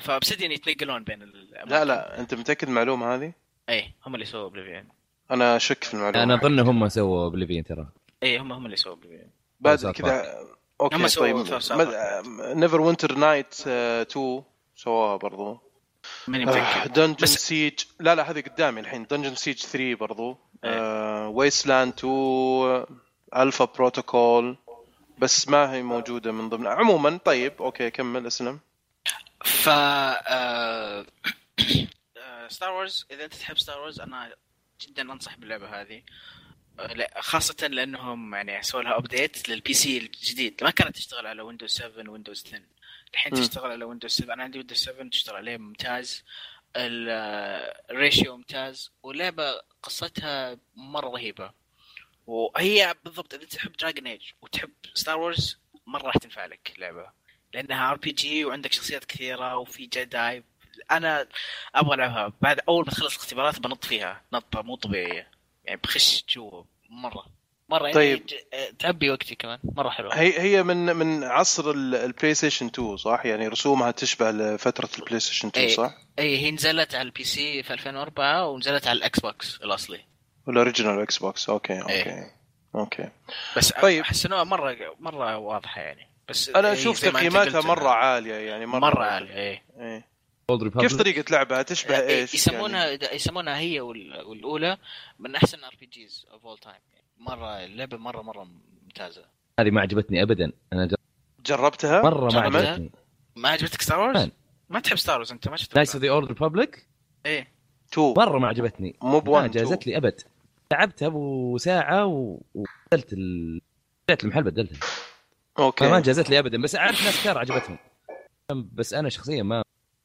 S4: فابسيديان يتنقلون بين الأماكن.
S1: لا لا انت متاكد من المعلومه هذه؟
S4: اي هم اللي سووا اوبليفيون
S1: انا شك في المعلومه
S2: انا
S1: هذه.
S2: اظن يعني. هم سووا اوبليفيون ترى
S4: اي هم هم إيه، اللي سووا اوبليفيون
S1: بعد
S2: South
S1: كذا
S4: هم
S1: اوكي
S4: سووا
S1: طيب آه،
S4: South Park.
S1: نيفر وينتر نايت 2 آه، سواها برضو آه،
S4: ماني متاكد
S1: دنجن
S4: بس-
S1: سيج لا لا هذه قدامي الحين دنجن سيج 3 برضو آه،
S4: إيه.
S1: ويستلاند 2 الفا بروتوكول بس ما هي موجوده من ضمن عموما طيب اوكي كمل اسلم
S4: ف آه، ستار وورز اذا انت تحب ستار وورز انا جدا انصح باللعبه هذه آه، لا، خاصة لانهم يعني سووا لها ابديت للبي سي الجديد ما كانت تشتغل على ويندوز 7 ويندوز 10 الحين
S1: مم.
S4: تشتغل على ويندوز 7 انا عندي ويندوز 7 تشتغل عليه ممتاز ال- آه، الريشيو ممتاز واللعبة قصتها مرة رهيبة وهي بالضبط اذا تحب دراجن ايج وتحب ستار وورز مرة راح تنفع لك اللعبة لانها ار بي جي وعندك شخصيات كثيره وفي جداي انا ابغى العبها بعد اول ما تخلص الاختبارات بنط فيها نطه مو طبيعيه يعني بخش جوا مره مره يعني
S1: طيب.
S4: ج- تعبي وقتي كمان مره حلوه
S1: هي هي من من عصر ال- البلاي ستيشن 2 صح يعني رسومها تشبه لفتره البلاي ستيشن 2
S4: إيه.
S1: صح
S4: اي هي نزلت على البي سي في 2004 ونزلت على الاكس بوكس الاصلي
S1: الاوريجنال اكس بوكس
S4: إيه.
S1: اوكي اوكي اوكي
S4: بس
S1: طيب.
S4: طيب. حسنوها مره مره واضحه يعني بس
S1: انا
S4: هي
S1: اشوف
S4: زي ما أنت
S1: تقييماتها
S4: قلت
S1: مره
S4: إنها
S1: عاليه يعني مره
S4: مره عاليه إيه.
S1: إيه.
S2: Old
S1: كيف
S2: Republic.
S1: طريقه لعبها تشبه يعني؟ ايش
S4: يسمونها يسمونها هي وال- والاولى من احسن ار بي جيز اوف اول تايم مره اللعبه مره مره ممتازه
S2: هذه ما عجبتني ابدا انا جر-
S1: جربتها
S2: مره ما
S4: جربت؟
S2: عجبتني
S4: ما عجبتك ستار
S2: فين؟
S4: وورز؟ ما تحب ستار وورز انت ما شفت
S2: نايس اوف ذا اولد ريببلك
S4: 2
S1: 2
S2: مره ما عجبتني
S1: مو
S2: ما
S1: بوان
S2: جازت لي ابد لعبتها ابو ساعه و- وبدلت ال... بدلت المحل بدلتها
S1: اوكي
S2: فما جازت لي ابدا بس اعرف ناس كثار عجبتهم بس انا شخصيا ما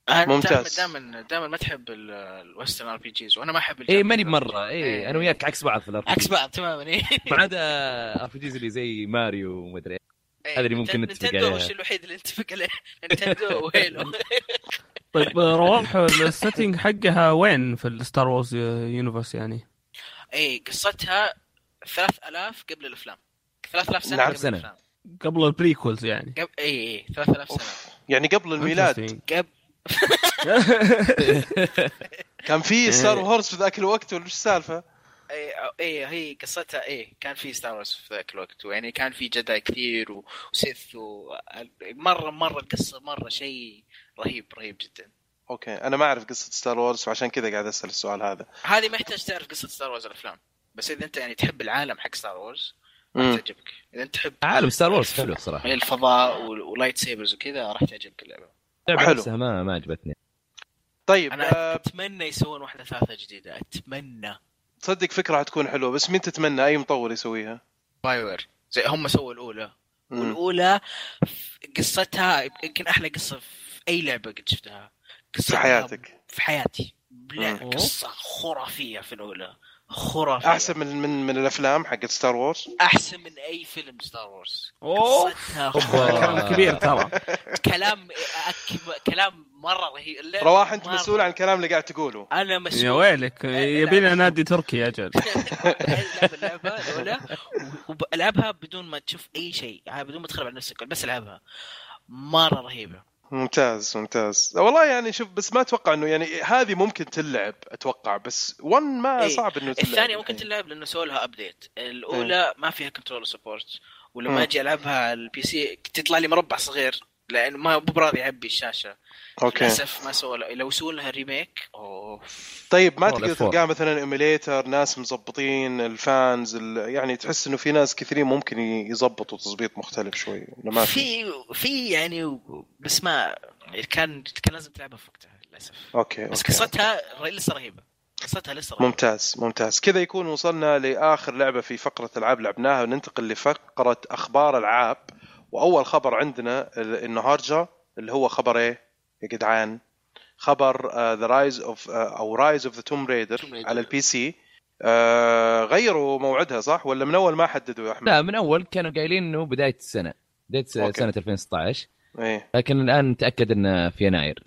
S1: ممتاز.
S4: دائما دائما ما تحب ال- الويسترن ار بي جيز وانا ما احب الجابان
S2: اي إيه، ماني
S4: RPG.
S2: بمره
S1: إيه.
S2: اي انا وياك عكس بعض في الار
S4: إيه، عكس بعض تماما اي
S2: ما عدا ار بي جيز اللي زي ماريو ومدري إيه. هذا اللي ممكن نتفق
S4: نتندو هو
S2: عليها.
S4: الشيء الوحيد اللي نتفق عليه نتندو وهيلو
S3: طيب آه، رواح السيتنج حقها وين في الستار وورز يونيفرس يعني؟
S4: اي إيه، قصتها 3000 قبل الافلام 3000 سنه
S1: نعم،
S4: قبل إيه،
S2: سنة.
S4: الافلام
S3: قبل البريكولز يعني
S4: قبل اي اي 3000 سنه
S1: يعني قبل الميلاد
S3: Interesting.
S4: قبل
S1: كان
S4: إيه.
S1: في ستار وورز في ذاك الوقت ولا ايش السالفه؟
S4: اي اي إيه، هي قصتها اي كان في ستار وورز في ذاك الوقت ويعني كان في جداي كثير و- وسيث ومره مره القصه مره شيء رهيب رهيب جدا
S1: اوكي انا ما اعرف قصه ستار وورز وعشان كذا قاعد اسال السؤال هذا
S4: هذه ما يحتاج تعرف قصه ستار وورز الافلام بس اذا انت يعني تحب العالم حق ستار وورز راح
S1: مم.
S4: تعجبك اذا انت تحب
S2: عالم ستار وورز حلو صراحه
S4: الفضاء وال- ولايت سيبرز وكذا راح تعجبك اللعبه
S2: اللعبه
S1: حلو.
S2: نفسها ما ما عجبتني
S1: طيب
S4: انا
S1: آه،
S4: اتمنى يسوون واحده ثالثه جديده اتمنى
S1: تصدق فكره حتكون حلوه بس مين تتمنى اي مطور يسويها؟
S4: باي وير زي هم سووا الاولى
S1: مم.
S4: والاولى قصتها يمكن احلى قصه في اي لعبه قد شفتها
S1: في
S4: قصتها
S1: حياتك
S4: في حياتي لا
S3: مم.
S4: قصه خرافيه في الاولى خرافيه
S1: احسن من من من الافلام حقت ستار وورز
S4: احسن من اي فيلم ستار وورز
S3: أوه.
S4: قصتها
S2: أوبا.
S4: خرافية.
S3: كلام كبير ترى
S4: كلام أك- كلام مره رهيب اللعبة
S1: رواح انت
S4: مرة-
S1: مسؤول عن الكلام اللي قاعد تقوله
S4: انا
S3: يا
S4: مسؤول
S3: ويلك آه، يبينا نادي تركي اجل
S4: العب اللعبه الاولى والعبها بدون ما تشوف اي شيء يعني بدون ما تخرب على نفسك بس العبها مره رهيبه
S1: ممتاز ممتاز والله يعني شوف بس ما اتوقع انه يعني هذه ممكن تلعب اتوقع بس 1 ما
S4: إيه.
S1: آه، صعب انه تلعب يعني.
S4: الثانيه ممكن
S1: الحين.
S4: تلعب لانه سووا لها ابديت الاولى ما فيها كنترول سبورت
S1: مم.
S4: ولما اجي العبها على البي سي تطلع لي مربع صغير لانه ما مو براضي يعبي الشاشه
S1: اوكي
S4: للاسف ما سووا له- لو سووا لها ريميك اوف
S1: طيب ما
S2: والله
S1: تقدر
S2: فور.
S1: تلقاه مثلا ايميليتر ناس مظبطين الفانز ال- يعني تحس انه في ناس كثيرين ممكن ي- يظبطوا تظبيط مختلف شوي ولا ما في
S4: في في يعني بس ما كان كان لازم تلعبها في وقتها للاسف
S1: اوكي
S4: بس
S1: اوكي
S4: قصتها ر- لسه رهيبه قصتها لسه رهيبه
S1: ممتاز ممتاز كذا يكون وصلنا لاخر لعبه في فقره العاب لعبناها وننتقل لفقره اخبار العاب واول خبر عندنا ال- النهارده اللي هو خبر ايه يا جدعان خبر آه، ذا رايز اوف او رايز اوف ذا توم ريدر
S4: Tomb Raider.
S1: على البي سي آه غيروا موعدها صح ولا من اول ما حددوا يا احمد
S2: لا من اول كانوا قايلين انه بدايه السنه بدايه س-
S1: أوكي.
S2: سنه 2016
S1: ايه
S2: لكن الان تاكد انه في يناير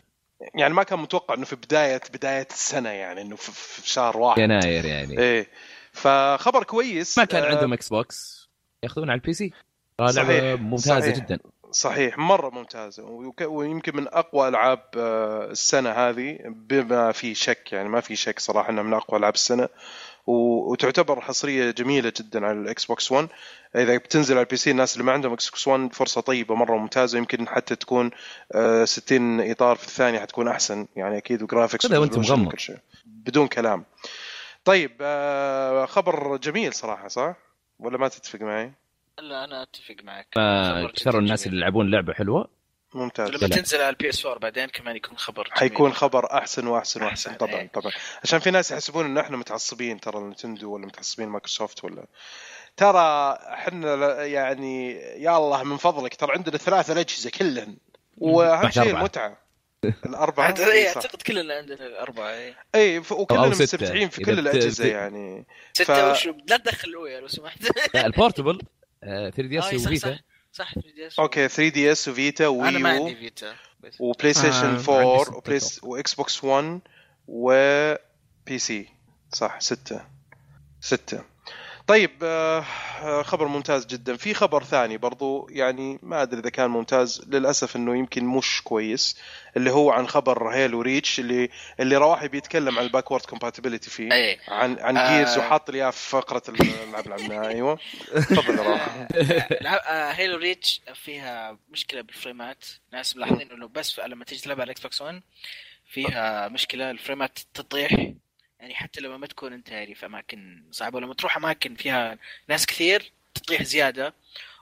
S1: يعني ما كان متوقع انه في بدايه بدايه السنه يعني انه في, في شهر واحد
S2: يناير يعني
S1: ايه فخبر كويس
S2: ما كان
S1: آه،
S2: عندهم اكس بوكس ياخذون على آه، البي سي ترى لعبه
S1: صحيح،
S2: ممتازه
S1: صحيح.
S2: جدا
S1: صحيح مره ممتازه وك- ويمكن من اقوى العاب آه، السنه هذه بما في شك يعني ما في شك صراحه انها من اقوى العاب السنه و- وتعتبر حصريه جميله جدا على الاكس بوكس 1 اذا بتنزل على البي سي الناس اللي ما عندهم اكس بوكس 1 فرصه طيبه مره ممتازه يمكن حتى تكون آه، 60 اطار في الثانيه حتكون احسن يعني اكيد وجرافيكس
S2: كذا وأنت
S1: وresolution
S2: مغمض.
S1: وكل شيء. بدون كلام طيب آه، خبر جميل صراحه صح ولا ما تتفق معي
S4: لا انا اتفق معك
S2: آه، شروا الناس اللي يلعبون لعبه حلوه
S1: ممتاز
S4: لما
S2: لا.
S4: تنزل على البي اس 4 بعدين كمان يكون خبر جميل.
S1: حيكون خبر احسن واحسن واحسن
S4: أحسن،
S1: طبعا
S4: إيه.
S1: طبعا عشان في ناس يحسبون ان احنا متعصبين ترى نتندو ولا متعصبين مايكروسوفت ولا ترى احنا ل- يعني يا الله من فضلك ترى عندنا ثلاث الاجهزه كلهن واهم
S2: بعد
S1: شيء
S2: أربعة.
S1: المتعه الاربعه
S4: عاد- إيه،
S1: صح.
S4: اعتقد كلنا عندنا الاربعه إيه.
S1: اي ف- وكلنا
S2: ستة.
S1: مستمتعين في
S2: إذا
S1: كل
S2: بت-
S1: الاجهزه
S2: بت-
S1: يعني
S4: سته وشو لا تدخل الاويا لو سمحت
S2: لا، البورتبل آه، 3 دي
S4: آه،
S2: اس
S4: صح صح
S2: وفيتا
S4: صح 3 دي اس
S1: اوكي 3 دي اس وفيتا
S4: انا ما
S1: ويو
S4: عندي فيتا بس.
S1: وبلاي ستيشن
S3: عندي
S1: 4
S2: ستة
S1: وبلايس واكس بوكس 1 وبي سي صح ستة ستة طيب آه، آه، خبر ممتاز جدا في خبر ثاني برضو يعني ما ادري اذا كان ممتاز للاسف انه يمكن مش كويس اللي هو عن خبر هيلو ريتش اللي اللي رواحي بيتكلم عن الباكورد كومباتيبلتي فيه
S4: ايه
S1: عن عن
S4: آه.
S1: جيرز وحاط لي إياه في فقره الملعب اللي لعبناها ايوه تفضل يا رواحي
S4: لعب- آه، هيلو ريتش فيها مشكله بالفريمات ناس ملاحظين انه بس لما تيجي تلعبها على الاكس بوكس 1 فيها مشكله الفريمات تطيح يعني حتى لما ما تكون انت يعني في اماكن صعبه ولما تروح اماكن فيها ناس كثير تطيح زياده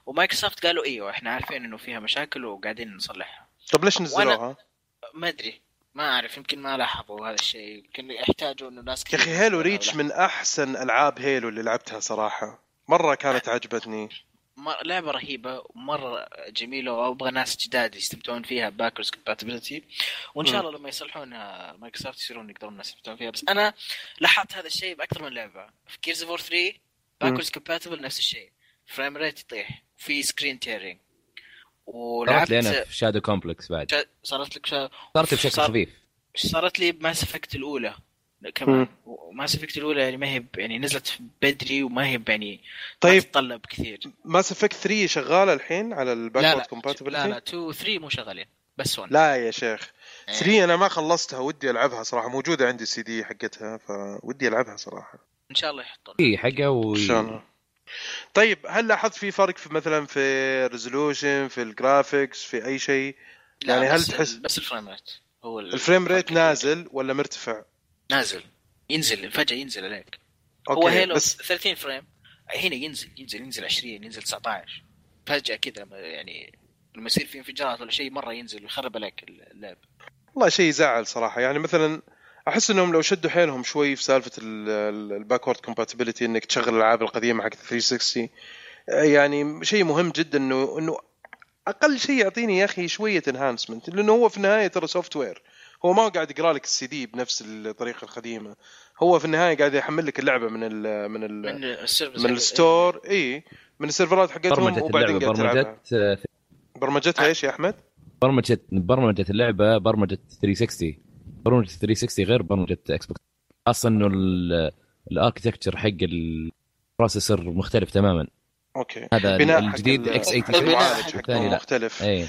S4: ومايكروسوفت قالوا ايوه احنا عارفين انه فيها مشاكل وقاعدين نصلحها
S1: طب ليش نزلوها؟
S4: ما ادري ما اعرف يمكن ما لاحظوا هذا الشيء يمكن يحتاجوا انه ناس
S1: يا
S4: كثير
S1: اخي هيلو
S4: يلعبوا
S1: ريتش
S4: لعبة.
S1: من احسن العاب هيلو اللي لعبتها صراحه مره كانت عجبتني
S4: مر- لعبه رهيبه ومره جميله وابغى ناس جداد يستمتعون فيها باكرز كومباتبلتي وان شاء الله لما يصلحونها مايكروسوفت يصيرون يقدرون الناس يستمتعون فيها بس انا لاحظت هذا الشيء باكثر من لعبه في جيرز فور 3 باكرز كومباتبل نفس الشيء فريم ريت يطيح في سكرين تيرنج
S2: صارت لي انا
S4: ولعبت
S2: في شادو كومبلكس بعد
S4: شا- صارت لك شا...
S2: صارت بشكل
S4: صار-
S2: خفيف
S4: صارت لي بماس افكت الاولى
S1: مم.
S4: كمان وماس افكت الاولى يعني ما هي ب- يعني نزلت بدري وما هي ب- يعني
S1: طيب.
S4: ما تتطلب كثير
S1: ماس افكت 3 شغاله الحين على الباكورد
S4: لا لا
S1: كومباتبلتي
S4: 2 3 مو شغالين بس 1
S1: لا يا شيخ
S4: إيه.
S1: 3 انا ما خلصتها ودي العبها صراحه موجوده عندي سي دي حقتها فودي العبها صراحه
S4: ان شاء الله يحطون
S2: في حقه و
S1: ان شاء الله طيب هل لاحظت في فرق في مثلا في ريزولوشن في الجرافيكس في اي شيء
S4: لا،
S1: يعني هل
S4: بس-
S1: تحس-
S4: بس الفريم ريت هو ال-
S1: الفريم ريت
S4: الفرق
S1: نازل ولا مرتفع
S4: نازل ينزل فجاه ينزل عليك
S1: اوكي
S4: هو هيلو
S1: بس
S4: 30 فريم هنا ينزل ينزل ينزل 20 ينزل 19 فجاه كذا لما يعني لما يصير في انفجارات ولا شيء مره ينزل ويخرب عليك اللعب
S1: والله شيء يزعل صراحه يعني مثلا احس انهم لو شدوا حيلهم شوي في سالفه الباكورد كومباتيبلتي انك تشغل الالعاب القديمه حق 360 آه، يعني شيء مهم جدا انه انه اقل شيء يعطيني يا اخي شويه انهانسمنت لانه هو في النهايه ترى سوفت وير هو ما هو قاعد يقرا لك السي دي بنفس الطريقه القديمه هو في النهايه قاعد يحمل لك اللعبه من ال من ال
S4: من السيرفس
S1: من الستور اي من السيرفرات حقتهم
S2: برمجه
S1: وبعدين
S2: اللعبه
S1: قاعد تلعبها
S2: برمجه آه،
S1: برمجتها ايش يا احمد؟
S2: برمجه برمجه اللعبه برمجه 360 برمجه 360 غير برمجه اكس بوكس خاصه انه ال- الاركتكتشر حق البروسيسور مختلف تماما
S1: اوكي
S2: هذا
S1: بناء حق
S2: الجديد
S1: ال-
S2: اكس
S4: البناء
S2: 86
S1: المعالج
S4: حق
S1: حقهم
S2: الثاني لا أيوه. إيه.
S1: مختلف
S2: اي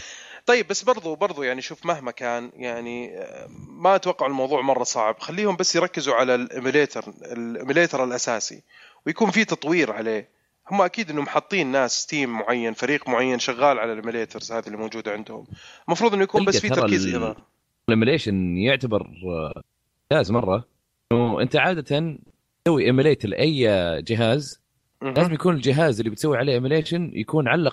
S1: طيب بس برضو برضو يعني شوف مهما كان يعني آه، ما اتوقع الموضوع مره صعب خليهم بس يركزوا على الايميليتر الايميليتر الاساسي ويكون في تطوير عليه هم اكيد انهم حاطين ناس تيم معين فريق معين شغال على الايميليترز هذه اللي موجوده عندهم المفروض انه يكون بس في
S2: تلقى ترى
S1: تركيز
S2: ال-
S1: اضافي
S2: الايميليشن يعتبر آه، ممتاز مره انه انت عاده تسوي ايميليت لاي جهاز
S1: مهم.
S2: لازم يكون الجهاز اللي بتسوي عليه ايميليشن يكون على يعني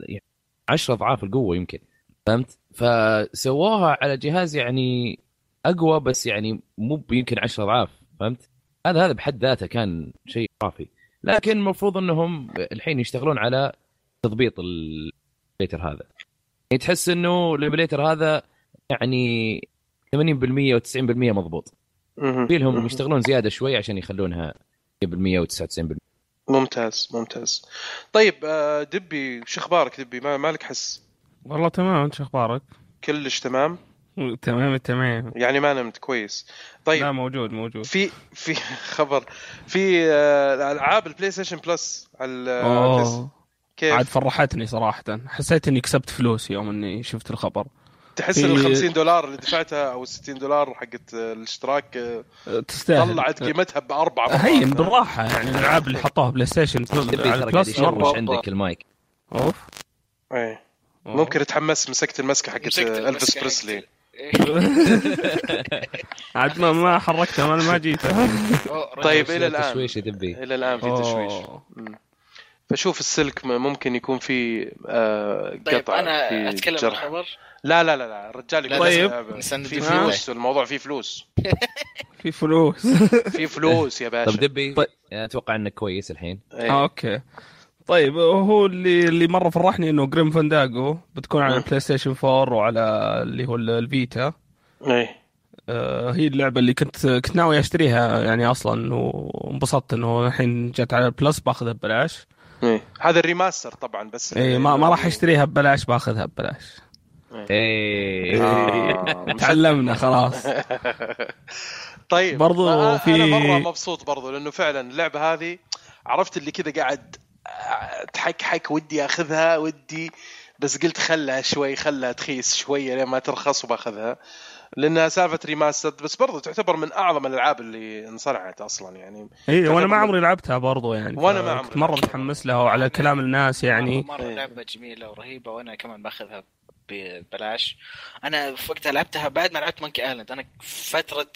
S2: الاقل 10 اضعاف القوه يمكن فهمت؟ فسووها على جهاز يعني اقوى بس يعني مو يمكن 10 اضعاف فهمت؟ هذا هذا بحد ذاته كان شيء خرافي لكن المفروض انهم الحين يشتغلون على تضبيط الايميليتر هذا يعني تحس انه الايميليتر هذا يعني 80% و90% مضبوط
S1: مهم.
S2: في لهم
S1: مهم.
S2: يشتغلون زياده شوي عشان يخلونها 100% و99%
S1: ممتاز ممتاز طيب آه، دبي شو اخبارك دبي ما مالك حس
S3: والله تمام انت شو اخبارك؟
S1: كلش تمام
S3: تمام تمام
S1: يعني ما نمت كويس
S3: لا
S1: طيب
S3: موجود موجود
S1: في في خبر في آه، العاب البلاي ستيشن بلس على ال- على الديسك.
S3: اوه آه. عاد
S1: كيف
S3: فرحتني صراحة حسيت اني كسبت فلوس يوم اني شفت الخبر
S1: تحس
S3: في-
S1: ال 50 دولار اللي دفعتها او 60 دولار حقت آه، الاشتراك آه،
S3: أه، تستاهل
S1: طلعت قيمتها باربع مرات.
S3: هين بالراحه يعني الالعاب اللي حطوها بلاي ستيشن
S2: تبي
S3: على
S2: ترى قاعد
S3: البلس مرة.
S2: يشوش عندك المايك
S3: اوف
S1: إيه. ممكن اتحمس مسكت المسكه حقت
S4: مسكت إيه،
S1: آه، الفيس
S4: المسكة
S1: بريسلي
S3: عاد ما ما حركته ما ما جيت
S4: أوه،
S1: طيب
S2: بس
S1: الى
S2: لا
S1: الان
S2: تشويش تبي
S1: الى الان في
S3: آه.
S1: تشويش
S3: أوه.
S1: مم. فشوف السلك م- ممكن يكون في آه،
S4: طيب
S1: قطع
S4: انا
S1: في
S4: اتكلم عن
S1: جرح.
S4: الخبر
S1: لا لا لا لا الرجال يقول
S3: طيب.
S1: لا،
S4: نسند
S1: في
S4: الفلوس.
S1: فلوس الموضوع فيه فلوس
S3: في فلوس
S1: في فلوس يا
S2: طب
S1: باشا
S2: دبي اتوقع انك كويس الحين
S3: آه،
S1: إيه.
S3: اوكي طيب هو اللي اللي مره فرحني انه جريم فانداجو بتكون على
S1: مم.
S3: البلاي ستيشن 4 وعلى اللي هو ال- الفيتا
S1: إيه.
S3: آه، هي اللعبه اللي كنت كنت ناوي اشتريها يعني اصلا وانبسطت انه الحين جت على البلس باخذها ببلاش
S1: إيه. هذا الريماستر طبعا بس
S3: اي إيه، ما, ما راح اشتريها ببلاش باخذها ببلاش
S1: إيه.
S2: ايه
S3: آه. تعلمنا خلاص
S1: طيب
S3: برضو
S1: أنا- انا
S3: في-
S1: مره مبسوط برضو لانه فعلا اللعبه هذه عرفت اللي كذا قاعد تحكحك ودي اخذها ودي بس قلت خلها شوي خلها تخيس شويه لين ما ترخص وباخذها لانها سالفه ريماستر بس برضو تعتبر من اعظم الالعاب اللي انصنعت اصلا يعني
S3: اي وانا إيه، ما عمري لعبتها برضو يعني
S1: وأنا ما
S3: فكنت
S1: عمري
S3: مره
S1: لعبتها.
S3: متحمس لها وعلى كلام الناس يعني
S4: مره لعبه جميله ورهيبه وانا كمان باخذها ببلاش انا في وقتها لعبتها بعد ما لعبت مانكي ايلاند انا فتره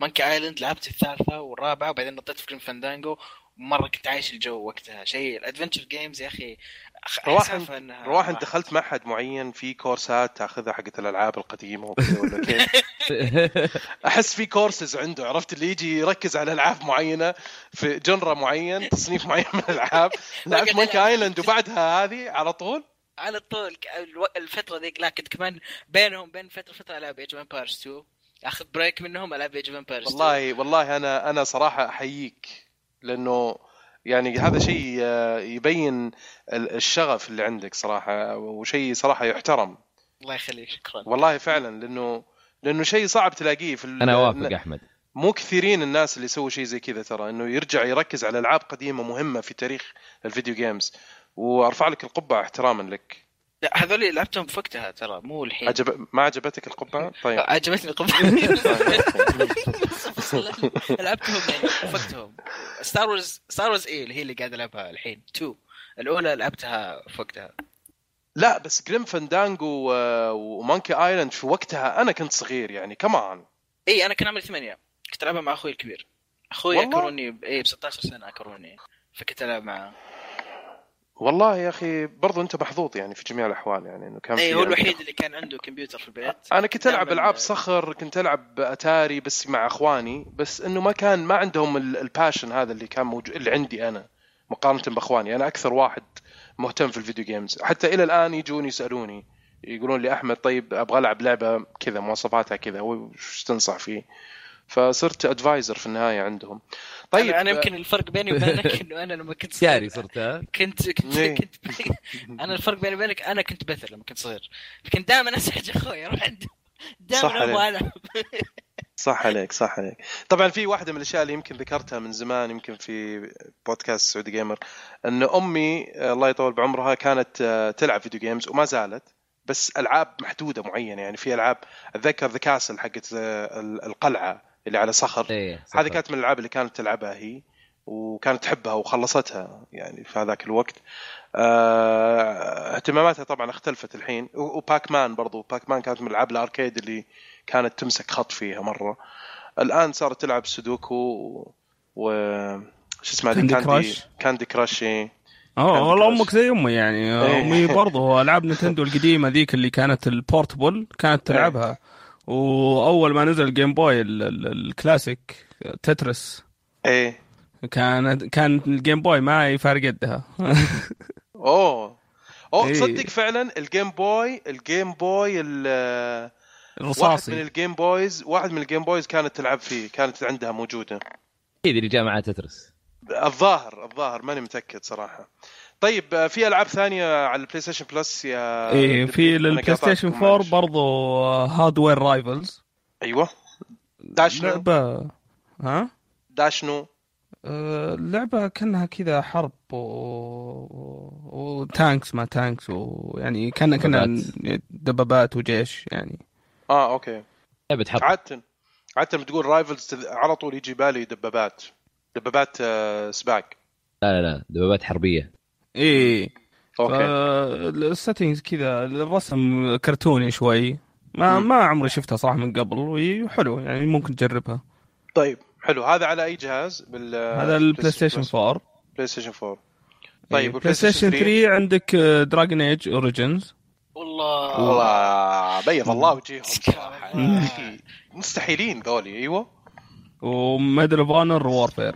S4: مانكي ايلاند لعبت الثالثه والرابعه وبعدين نطيت في جرين فاندانجو مره كنت عايش الجو وقتها شيء الادفنتشر جيمز يا اخي أخ-
S1: رواح
S4: أحسها في إنها-
S1: رواح انت دخلت معهد معين في كورسات تاخذها حقت الالعاب القديمه وكذا ولا كيف؟ احس في كورسز عنده عرفت اللي يجي يركز على العاب معينه في جنرا معين تصنيف معين من الالعاب لعبت مونكي ايلاند وبعدها هذه على طول
S4: على طول ك- الو- الفتره ذيك لا كنت كمان بينهم بين فتره فتره العب ايج اوف امبايرز 2 اخذ بريك منهم العب ايج اوف امبايرز
S1: والله والله انا انا صراحه احييك لانه يعني هذا شيء آه، يبين ال- الشغف اللي عندك صراحه وشيء صراحه يحترم
S4: الله يخليك شكرا
S1: والله فعلا لانه لانه شيء صعب تلاقيه في ال-
S2: انا اوافق احمد
S1: مو كثيرين الناس اللي يسووا شيء زي كذا ترى انه يرجع يركز على العاب قديمه مهمه في تاريخ الفيديو جيمز وارفع لك القبعه احتراما لك
S4: لا، هذول لعبتهم في وقتها ترى مو الحين
S1: عجب... ما عجبتك القبعه
S4: إيه.
S1: طيب
S4: عجبتني
S1: أيوة،
S4: قبل لعبتهم يعني فقتهم ستار وورز ستار وورز اي اللي هي اللي قاعد العبها الحين 2 الاولى لعبتها في وقتها
S1: لا بس جريم فاندانجو و- ومونكي ايلاند في وقتها انا كنت صغير يعني كمان
S4: اي انا كان عمري ثمانية كنت العبها مع اخوي الكبير اخوي
S1: والله؟
S4: اكروني ب- اي ب 16 سنه اكروني فكنت العب معه
S1: والله يا اخي برضو انت محظوظ يعني في جميع الاحوال يعني انه كان
S4: اي
S1: في
S4: إيه، هو
S1: عندك-
S4: الوحيد اللي كان عنده كمبيوتر في البيت
S1: انا كنت العب
S4: دائماً-
S1: العاب صخر كنت العب اتاري بس مع اخواني بس انه ما كان ما عندهم ال- الباشن هذا اللي كان موجود اللي عندي انا مقارنه باخواني انا اكثر واحد مهتم في الفيديو جيمز حتى الى الان يجوني يسالوني يقولون لي احمد طيب ابغى العب لعبه كذا مواصفاتها كذا وش تنصح فيه فصرت ادفايزر في النهايه عندهم طيب
S4: انا أنا يمكن الفرق بيني وبينك انه انا لما كنت صغير
S2: ساري صرت ها؟
S4: كنت كنت
S1: إيه.
S4: كنت انا الفرق بيني وبينك انا كنت بثر لما كنت صغير فكنت دائما ازعج اخوي اروح عنده
S1: صح
S4: دائما ابغى العب
S1: صح عليك صح عليك طبعا في واحده من الاشياء اللي يمكن ذكرتها من زمان يمكن في بودكاست سعودي جيمر ان امي آه، الله يطول بعمرها كانت آه، تلعب فيديو جيمز وما زالت بس العاب محدوده معينه يعني في العاب اتذكر ذا كاسل حقت آه، ال- القلعه اللي على صخر
S2: ايه
S1: هذه كانت من الالعاب اللي كانت تلعبها هي وكانت تحبها وخلصتها يعني في هذاك الوقت آه، اهتماماتها طبعا اختلفت الحين و- وباك مان برضو باك مان كانت من العاب الاركيد اللي كانت تمسك خط فيها مره الان صارت تلعب سودوكو و- و شو اسمها هذه؟
S3: Candy Crush؟
S1: كاندي كراش إيه.
S3: اه
S1: Candy
S3: والله
S1: Crush.
S3: امك زي امي يعني
S1: إيه.
S3: امي برضه العاب نينتندو القديمه ذيك اللي كانت البورتبل كانت
S1: إيه.
S3: تلعبها واول ما نزل جيم بوي ال- ال- الكلاسيك تترس
S1: ايه
S3: كان كان الجيم بوي ما يفارق يدها
S1: اوه اوه
S3: إيه.
S1: تصدق فعلا الجيم بوي الجيم بوي ال- واحد من
S3: الرصاصي
S1: الجيم بويز واحد من الجيم بويز كانت تلعب فيه كانت عندها موجوده
S2: اكيد اللي جاء معاه تترس
S1: الظاهر الظاهر ماني متاكد صراحه طيب آه، في العاب ثانيه على البلاي ستيشن بلس يا
S3: ايه
S1: دبي؟
S3: في
S1: آه، أنا
S3: للبلاي
S1: قاطعتكم،
S3: ستيشن 4
S1: معلش.
S3: برضه آه، هاردوير رايفلز
S1: ايوه داشنو
S3: لعبه ها
S1: داشنو
S3: آه، اللعبة كانها كذا حرب و... و- وتانكس ما تانكس ويعني كان كان دبابات وجيش يعني
S1: اه اوكي
S2: لعبه حرب
S1: عاده عاده لما تقول رايفلز تذ- على طول يجي بالي دبابات دبابات آه، سباق
S2: لا لا لا دبابات حربيه
S3: ايه
S1: اوكي
S3: السيتنجز كذا الرسم كرتوني شوي ما
S1: مم.
S3: ما عمري شفتها صراحة من قبل وحلو يعني ممكن تجربها
S1: طيب حلو هذا على اي جهاز بال
S3: هذا البلاي ستيشن 4
S1: بلاي ستيشن 4
S3: إيه،
S1: آه، طيب
S3: بلاي ستيشن 3 عندك آه، دراجون ايج اوريجنز
S6: والله
S1: والله بيض الله وجيههم صراحه
S6: مم.
S1: أخي، مستحيلين ذولي ايوه
S3: وميدل اوف اونر وورفير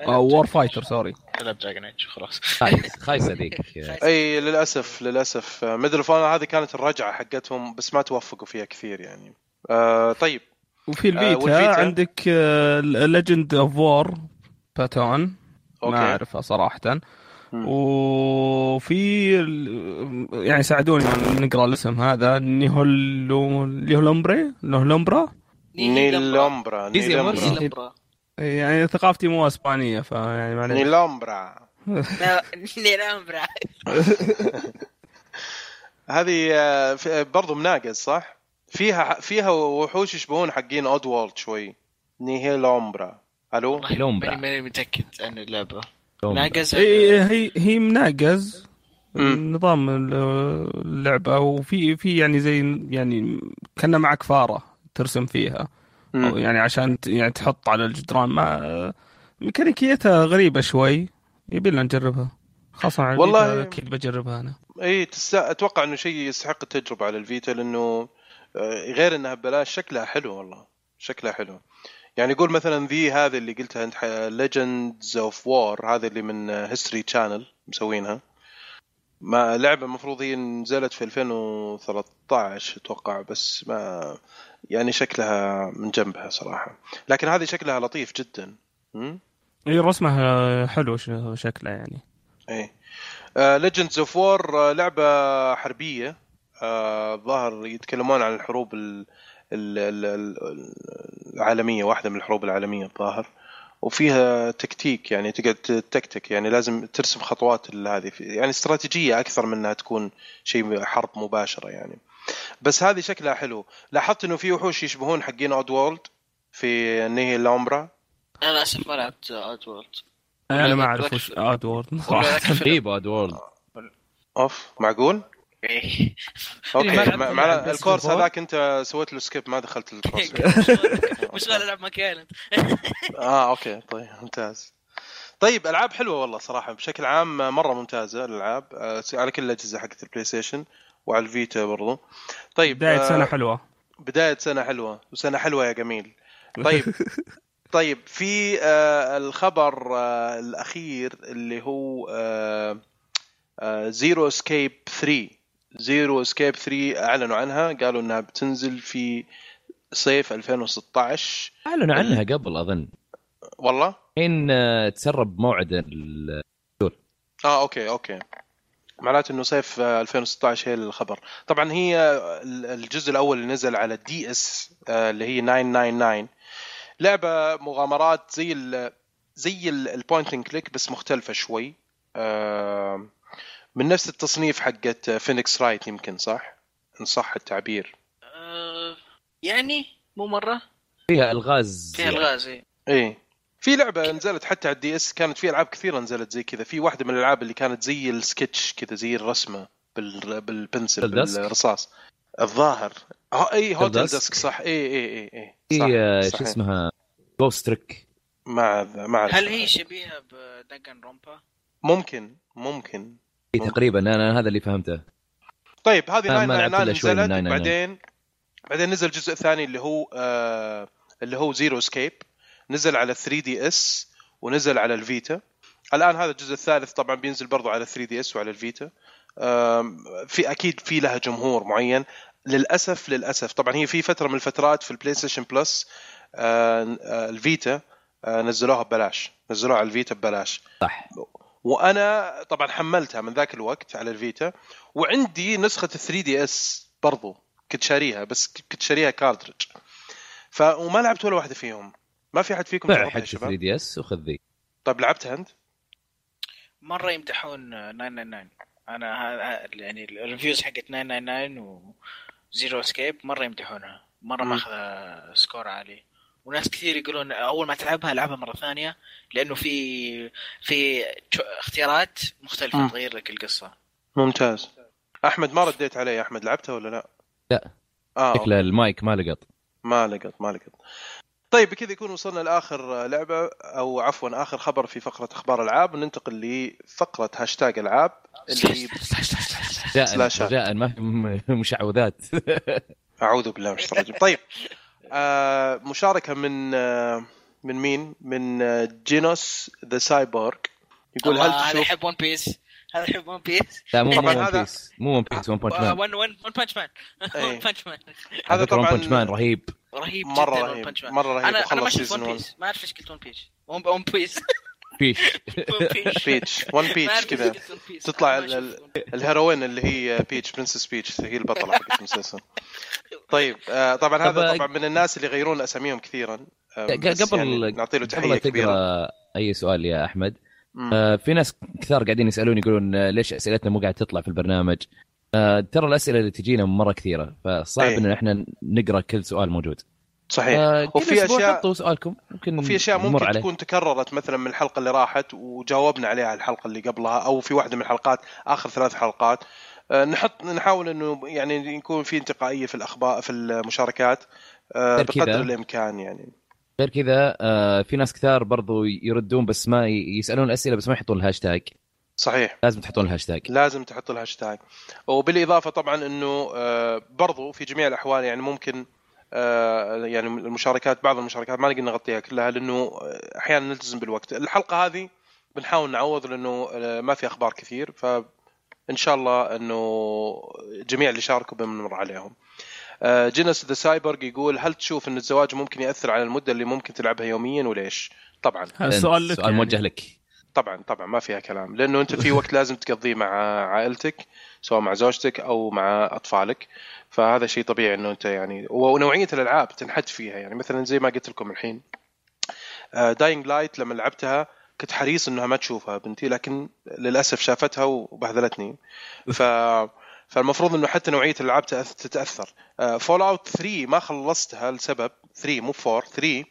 S3: او وور فايتر سوري
S6: العب دراجون ايج خلاص
S2: خايس خايسه ذيك
S1: اي للاسف للاسف ميدل اوف هذه كانت الرجعه حقتهم بس ما توفقوا فيها كثير يعني آه طيب
S3: وفي
S1: آه،
S3: الفيتا
S1: والفيتا.
S3: عندك آه، ليجند اوف وور باتون
S1: اوكي
S3: ما اعرفها صراحه
S1: مم.
S3: وفي ال- يعني ساعدوني إن نقرا الاسم هذا نيهولو نيهولومبري نيهولومبرا
S1: نيلومبرا
S2: إيزي
S1: نيلومبرا
S2: أمورز.
S6: نيلومبرا
S3: يعني ثقافتي مو اسبانيه فيعني معليش
S1: نيلومبرا
S6: نيلومبرا
S1: هذه آه، في- آه، برضو مناقز صح؟ فيها فيها وحوش يشبهون حقين اود وولد شوي نيهيلومبرا الو
S2: لومبرا.
S6: ماني ماني متاكد عن اللعبه
S2: لا
S6: ناقز
S3: إي- هي إيه، هي مناقز
S1: مم.
S3: نظام ال- اللعبه وفي في يعني زي يعني كان معك فاره ترسم فيها أو يعني عشان ت- يعني تحط على الجدران ما ميكانيكيتها غريبه شوي يبي لنا نجربها خاصه على
S1: والله-
S3: الفيتا اكيد بجربها انا
S1: اي تست... اتوقع انه شيء يستحق التجربه على الفيتا لانه آه، غير انها ببلاش شكلها حلو والله شكلها حلو يعني يقول مثلا ذي هذه اللي قلتها انت ليجندز اوف وار هذه اللي من هيستوري تشانل مسوينها ما لعبه المفروض هي نزلت في 2013 اتوقع بس ما يعني شكلها من جنبها صراحه لكن هذه شكلها لطيف جدا م?
S3: اي إيه، رسمها حلو ش- شكلها يعني
S1: ايه ليجندز اوف وور لعبه حربيه آه، ظهر يتكلمون عن الحروب ال- ال- ال- ال- العالميه واحده من الحروب العالميه الظاهر وفيها تكتيك يعني تقعد تكتك يعني لازم ترسم خطوات ال- هذه في- يعني استراتيجيه اكثر من انها تكون شيء حرب مباشره يعني بس هذه شكلها حلو لاحظت انه في وحوش يشبهون حقين اود وورلد في نهي لومبرا
S6: انا اسف ما لعبت اوت وورلد
S3: انا ما
S6: ولا
S3: اعرف
S6: لك-
S3: وش ادوارد
S6: ولا
S3: صراحه
S6: لك فيلم.
S2: غريبه اد وورد
S1: اوف معقول
S6: إيه.
S1: اوكي
S3: ما-
S1: مع-
S3: ما-
S1: مع الكورس هذاك انت سويت له سكيب ما دخلت الكورس
S6: مش غالي العب مكان
S1: اه اوكي طيب ممتاز طيب العاب حلوه والله صراحه بشكل عام مره ممتازه الالعاب آه، على كل الاجهزه حقت البلاي ستيشن وعلى الفيتا برضو طيب
S3: بدايه
S1: آه،
S3: سنه حلوه
S1: بدايه سنه حلوه وسنه حلوه يا جميل طيب طيب في آه الخبر آه الاخير اللي هو آه آه زيرو اسكيب 3 زيرو اسكيب 3 اعلنوا عنها قالوا انها بتنزل في صيف 2016
S2: اعلنوا عنها قبل اظن
S1: والله
S2: الحين آه، تسرب موعد ال-
S1: اه اوكي اوكي معناته انه صيف آه، 2016 هي الخبر طبعا هي آه، الجزء الاول اللي نزل على الدي اس آه، اللي هي 999 لعبه مغامرات زي ال زي البوينت اند كليك بس مختلفه شوي آه، من نفس التصنيف حقت فينيكس رايت يمكن صح ان صح التعبير
S6: يعني مو مره
S2: فيها الغاز
S6: فيها الغاز إيه.
S1: ايه في لعبه نزلت حتى على الدي اس كانت في العاب كثيره نزلت زي كذا في واحده من الالعاب اللي كانت زي السكتش كذا زي الرسمه بال... بالبنسل
S2: Heldesk؟
S1: بالرصاص الظاهر اه اي هوتل
S2: Heldesk؟
S1: ديسك صح إيه، اي اي اي
S2: في آه،
S1: اي صح
S2: شو
S1: صحيح.
S2: اسمها جوست تريك
S1: ما أذ- ما اعرف
S6: هل هي شبيهه بدقن رومبا؟
S1: ممكن ممكن
S2: تقريبا انا هذا اللي فهمته
S1: طيب هذه
S2: ما-
S1: ناين
S2: آه، ما
S1: ناين
S2: لعبت
S1: ناين
S2: إلا شوي من
S1: نزلت
S2: ناين ناين
S1: بعدين بعدين نزل الجزء الثاني اللي هو آه اللي هو زيرو سكيب نزل على 3 دي اس ونزل على الفيتا الان هذا الجزء الثالث طبعا بينزل برضو على 3 دي اس وعلى الفيتا آم، في اكيد في لها جمهور معين للاسف للاسف طبعا هي في فتره من الفترات في البلاي ستيشن بلس آه، آه، الفيتا آه، نزلوها ببلاش نزلوها على الفيتا ببلاش
S2: صح
S1: وانا طبعا حملتها من ذاك الوقت على الفيتا وعندي نسخه 3 دي اس برضو كنت شاريها بس كنت شاريها كارترج ف وما لعبت ولا واحده فيهم ما في احد فيكم
S2: بيع
S1: جربها
S2: حق
S1: يا
S2: 3
S1: شباب
S2: دي اس وخذ ذي
S1: طيب لعبتها انت
S6: مره يمدحون 999 انا ه- ه- يعني الريفيوز حقت 999 وزيرو اسكيب مره يمدحونها مره
S1: مم.
S6: ماخذه سكور عالي وناس كثير يقولون اول ما تلعبها العبها مره ثانيه لانه في في تش- اختيارات مختلفه
S1: مم.
S6: تغير لك القصه
S1: ممتاز احمد ما رديت علي يا احمد لعبتها ولا لا
S2: لا.
S1: اه
S2: شكله المايك ما لقط
S1: ما لقط ما لقط طيب بكذا يكون وصلنا لاخر لعبه او عفوا اخر خبر في فقره اخبار العاب وننتقل لفقره هاشتاج العاب اللي
S2: رجاء
S1: سلاشات.
S2: رجاء ما في م- مشعوذات
S1: اعوذ بالله من الشيطان الرجيم طيب آه مشاركه من آه من مين من آه جينوس ذا سايبورغ يقول
S6: الله،
S1: هل
S6: هذا
S1: تشوف
S6: يحب ون بيس هذا يحب آه، ون بيس
S2: لا مو مو
S1: طبعاً
S2: ون
S1: هذا-
S2: بيس مو ون بيس ون بانش مان
S6: ون ون ون بانش مان
S1: إيه.
S6: ون بانش مان
S1: هذا
S2: ون بانش مان
S1: طبعا
S2: رهيب
S6: رهيب جدا
S1: مره
S6: ون
S1: رهيب
S6: بانش مان
S1: مره رهيب
S6: انا انا ما
S1: وخلص
S6: شفت
S1: سيزون
S6: ون
S1: 1
S6: بيس ما اعرف ايش قلت ون بيس ون بيس
S2: فيش
S6: ون بيس
S1: بيتش ون بيتش كذا تطلع ال- ال- الهيروين اللي هي بيتش برنسس بيتش هي البطله حقت المسلسل طيب آه طبعا هذا
S2: طب-
S1: طبعا من الناس اللي يغيرون اساميهم كثيرا آه، بس
S2: قبل
S1: يعني نعطي له تحيه
S2: قبل
S1: كبيره
S2: تقرا اي سؤال يا احمد
S1: مم.
S2: آه، في ناس كثار قاعدين يسالون يقولون آه، ليش اسئلتنا مو قاعد تطلع في البرنامج آه، ترى الاسئله اللي تجينا مره كثيره فصعب
S1: إيه.
S2: ان احنا نقرا كل سؤال موجود
S1: صحيح
S2: آه، كل
S1: وفي
S2: أسبوع
S1: أشياء-
S2: حطوا سؤالكم يمكن
S1: وفي اشياء
S2: نمر
S1: ممكن
S2: عليه.
S1: تكون تكررت مثلا من الحلقه اللي راحت وجاوبنا عليها الحلقه اللي قبلها او في واحده من الحلقات اخر ثلاث حلقات آه، نحط نحاول انه يعني يكون في انتقائيه في الاخبار في المشاركات آه،
S2: غير كذا-
S1: بقدر الامكان يعني
S2: غير كذا آه، في ناس كثار برضو يردون بس ما ي- يسالون الاسئله بس ما يحطون الهاشتاج
S1: صحيح
S2: لازم تحطون الهاشتاج
S1: لازم تحط الهاشتاج وبالاضافه طبعا انه آه، برضو في جميع الاحوال يعني ممكن آه، يعني المشاركات بعض المشاركات ما نقدر نغطيها كلها لانه آه، احيانا نلتزم بالوقت الحلقه هذه بنحاول نعوض لانه آه، ما في اخبار كثير فان شاء الله انه جميع اللي شاركوا بنمر عليهم آه، جينيس ذا سايبرغ يقول هل تشوف ان الزواج ممكن ياثر على المده اللي ممكن تلعبها يوميا وليش طبعا
S3: هذا سؤال لك
S2: سؤال
S3: يعني.
S2: موجه لك
S1: طبعا طبعا ما فيها كلام لانه انت في وقت لازم تقضيه مع عائلتك سواء مع زوجتك او مع اطفالك فهذا شيء طبيعي انه انت يعني ونوعيه الالعاب تنحد فيها يعني مثلا زي ما قلت لكم الحين داينج لايت لما لعبتها كنت حريص انها ما تشوفها بنتي لكن للاسف شافتها وبهذلتني ف فالمفروض انه حتى نوعيه الالعاب تأث- تتاثر فول اوت 3 ما خلصتها لسبب 3 مو 4 3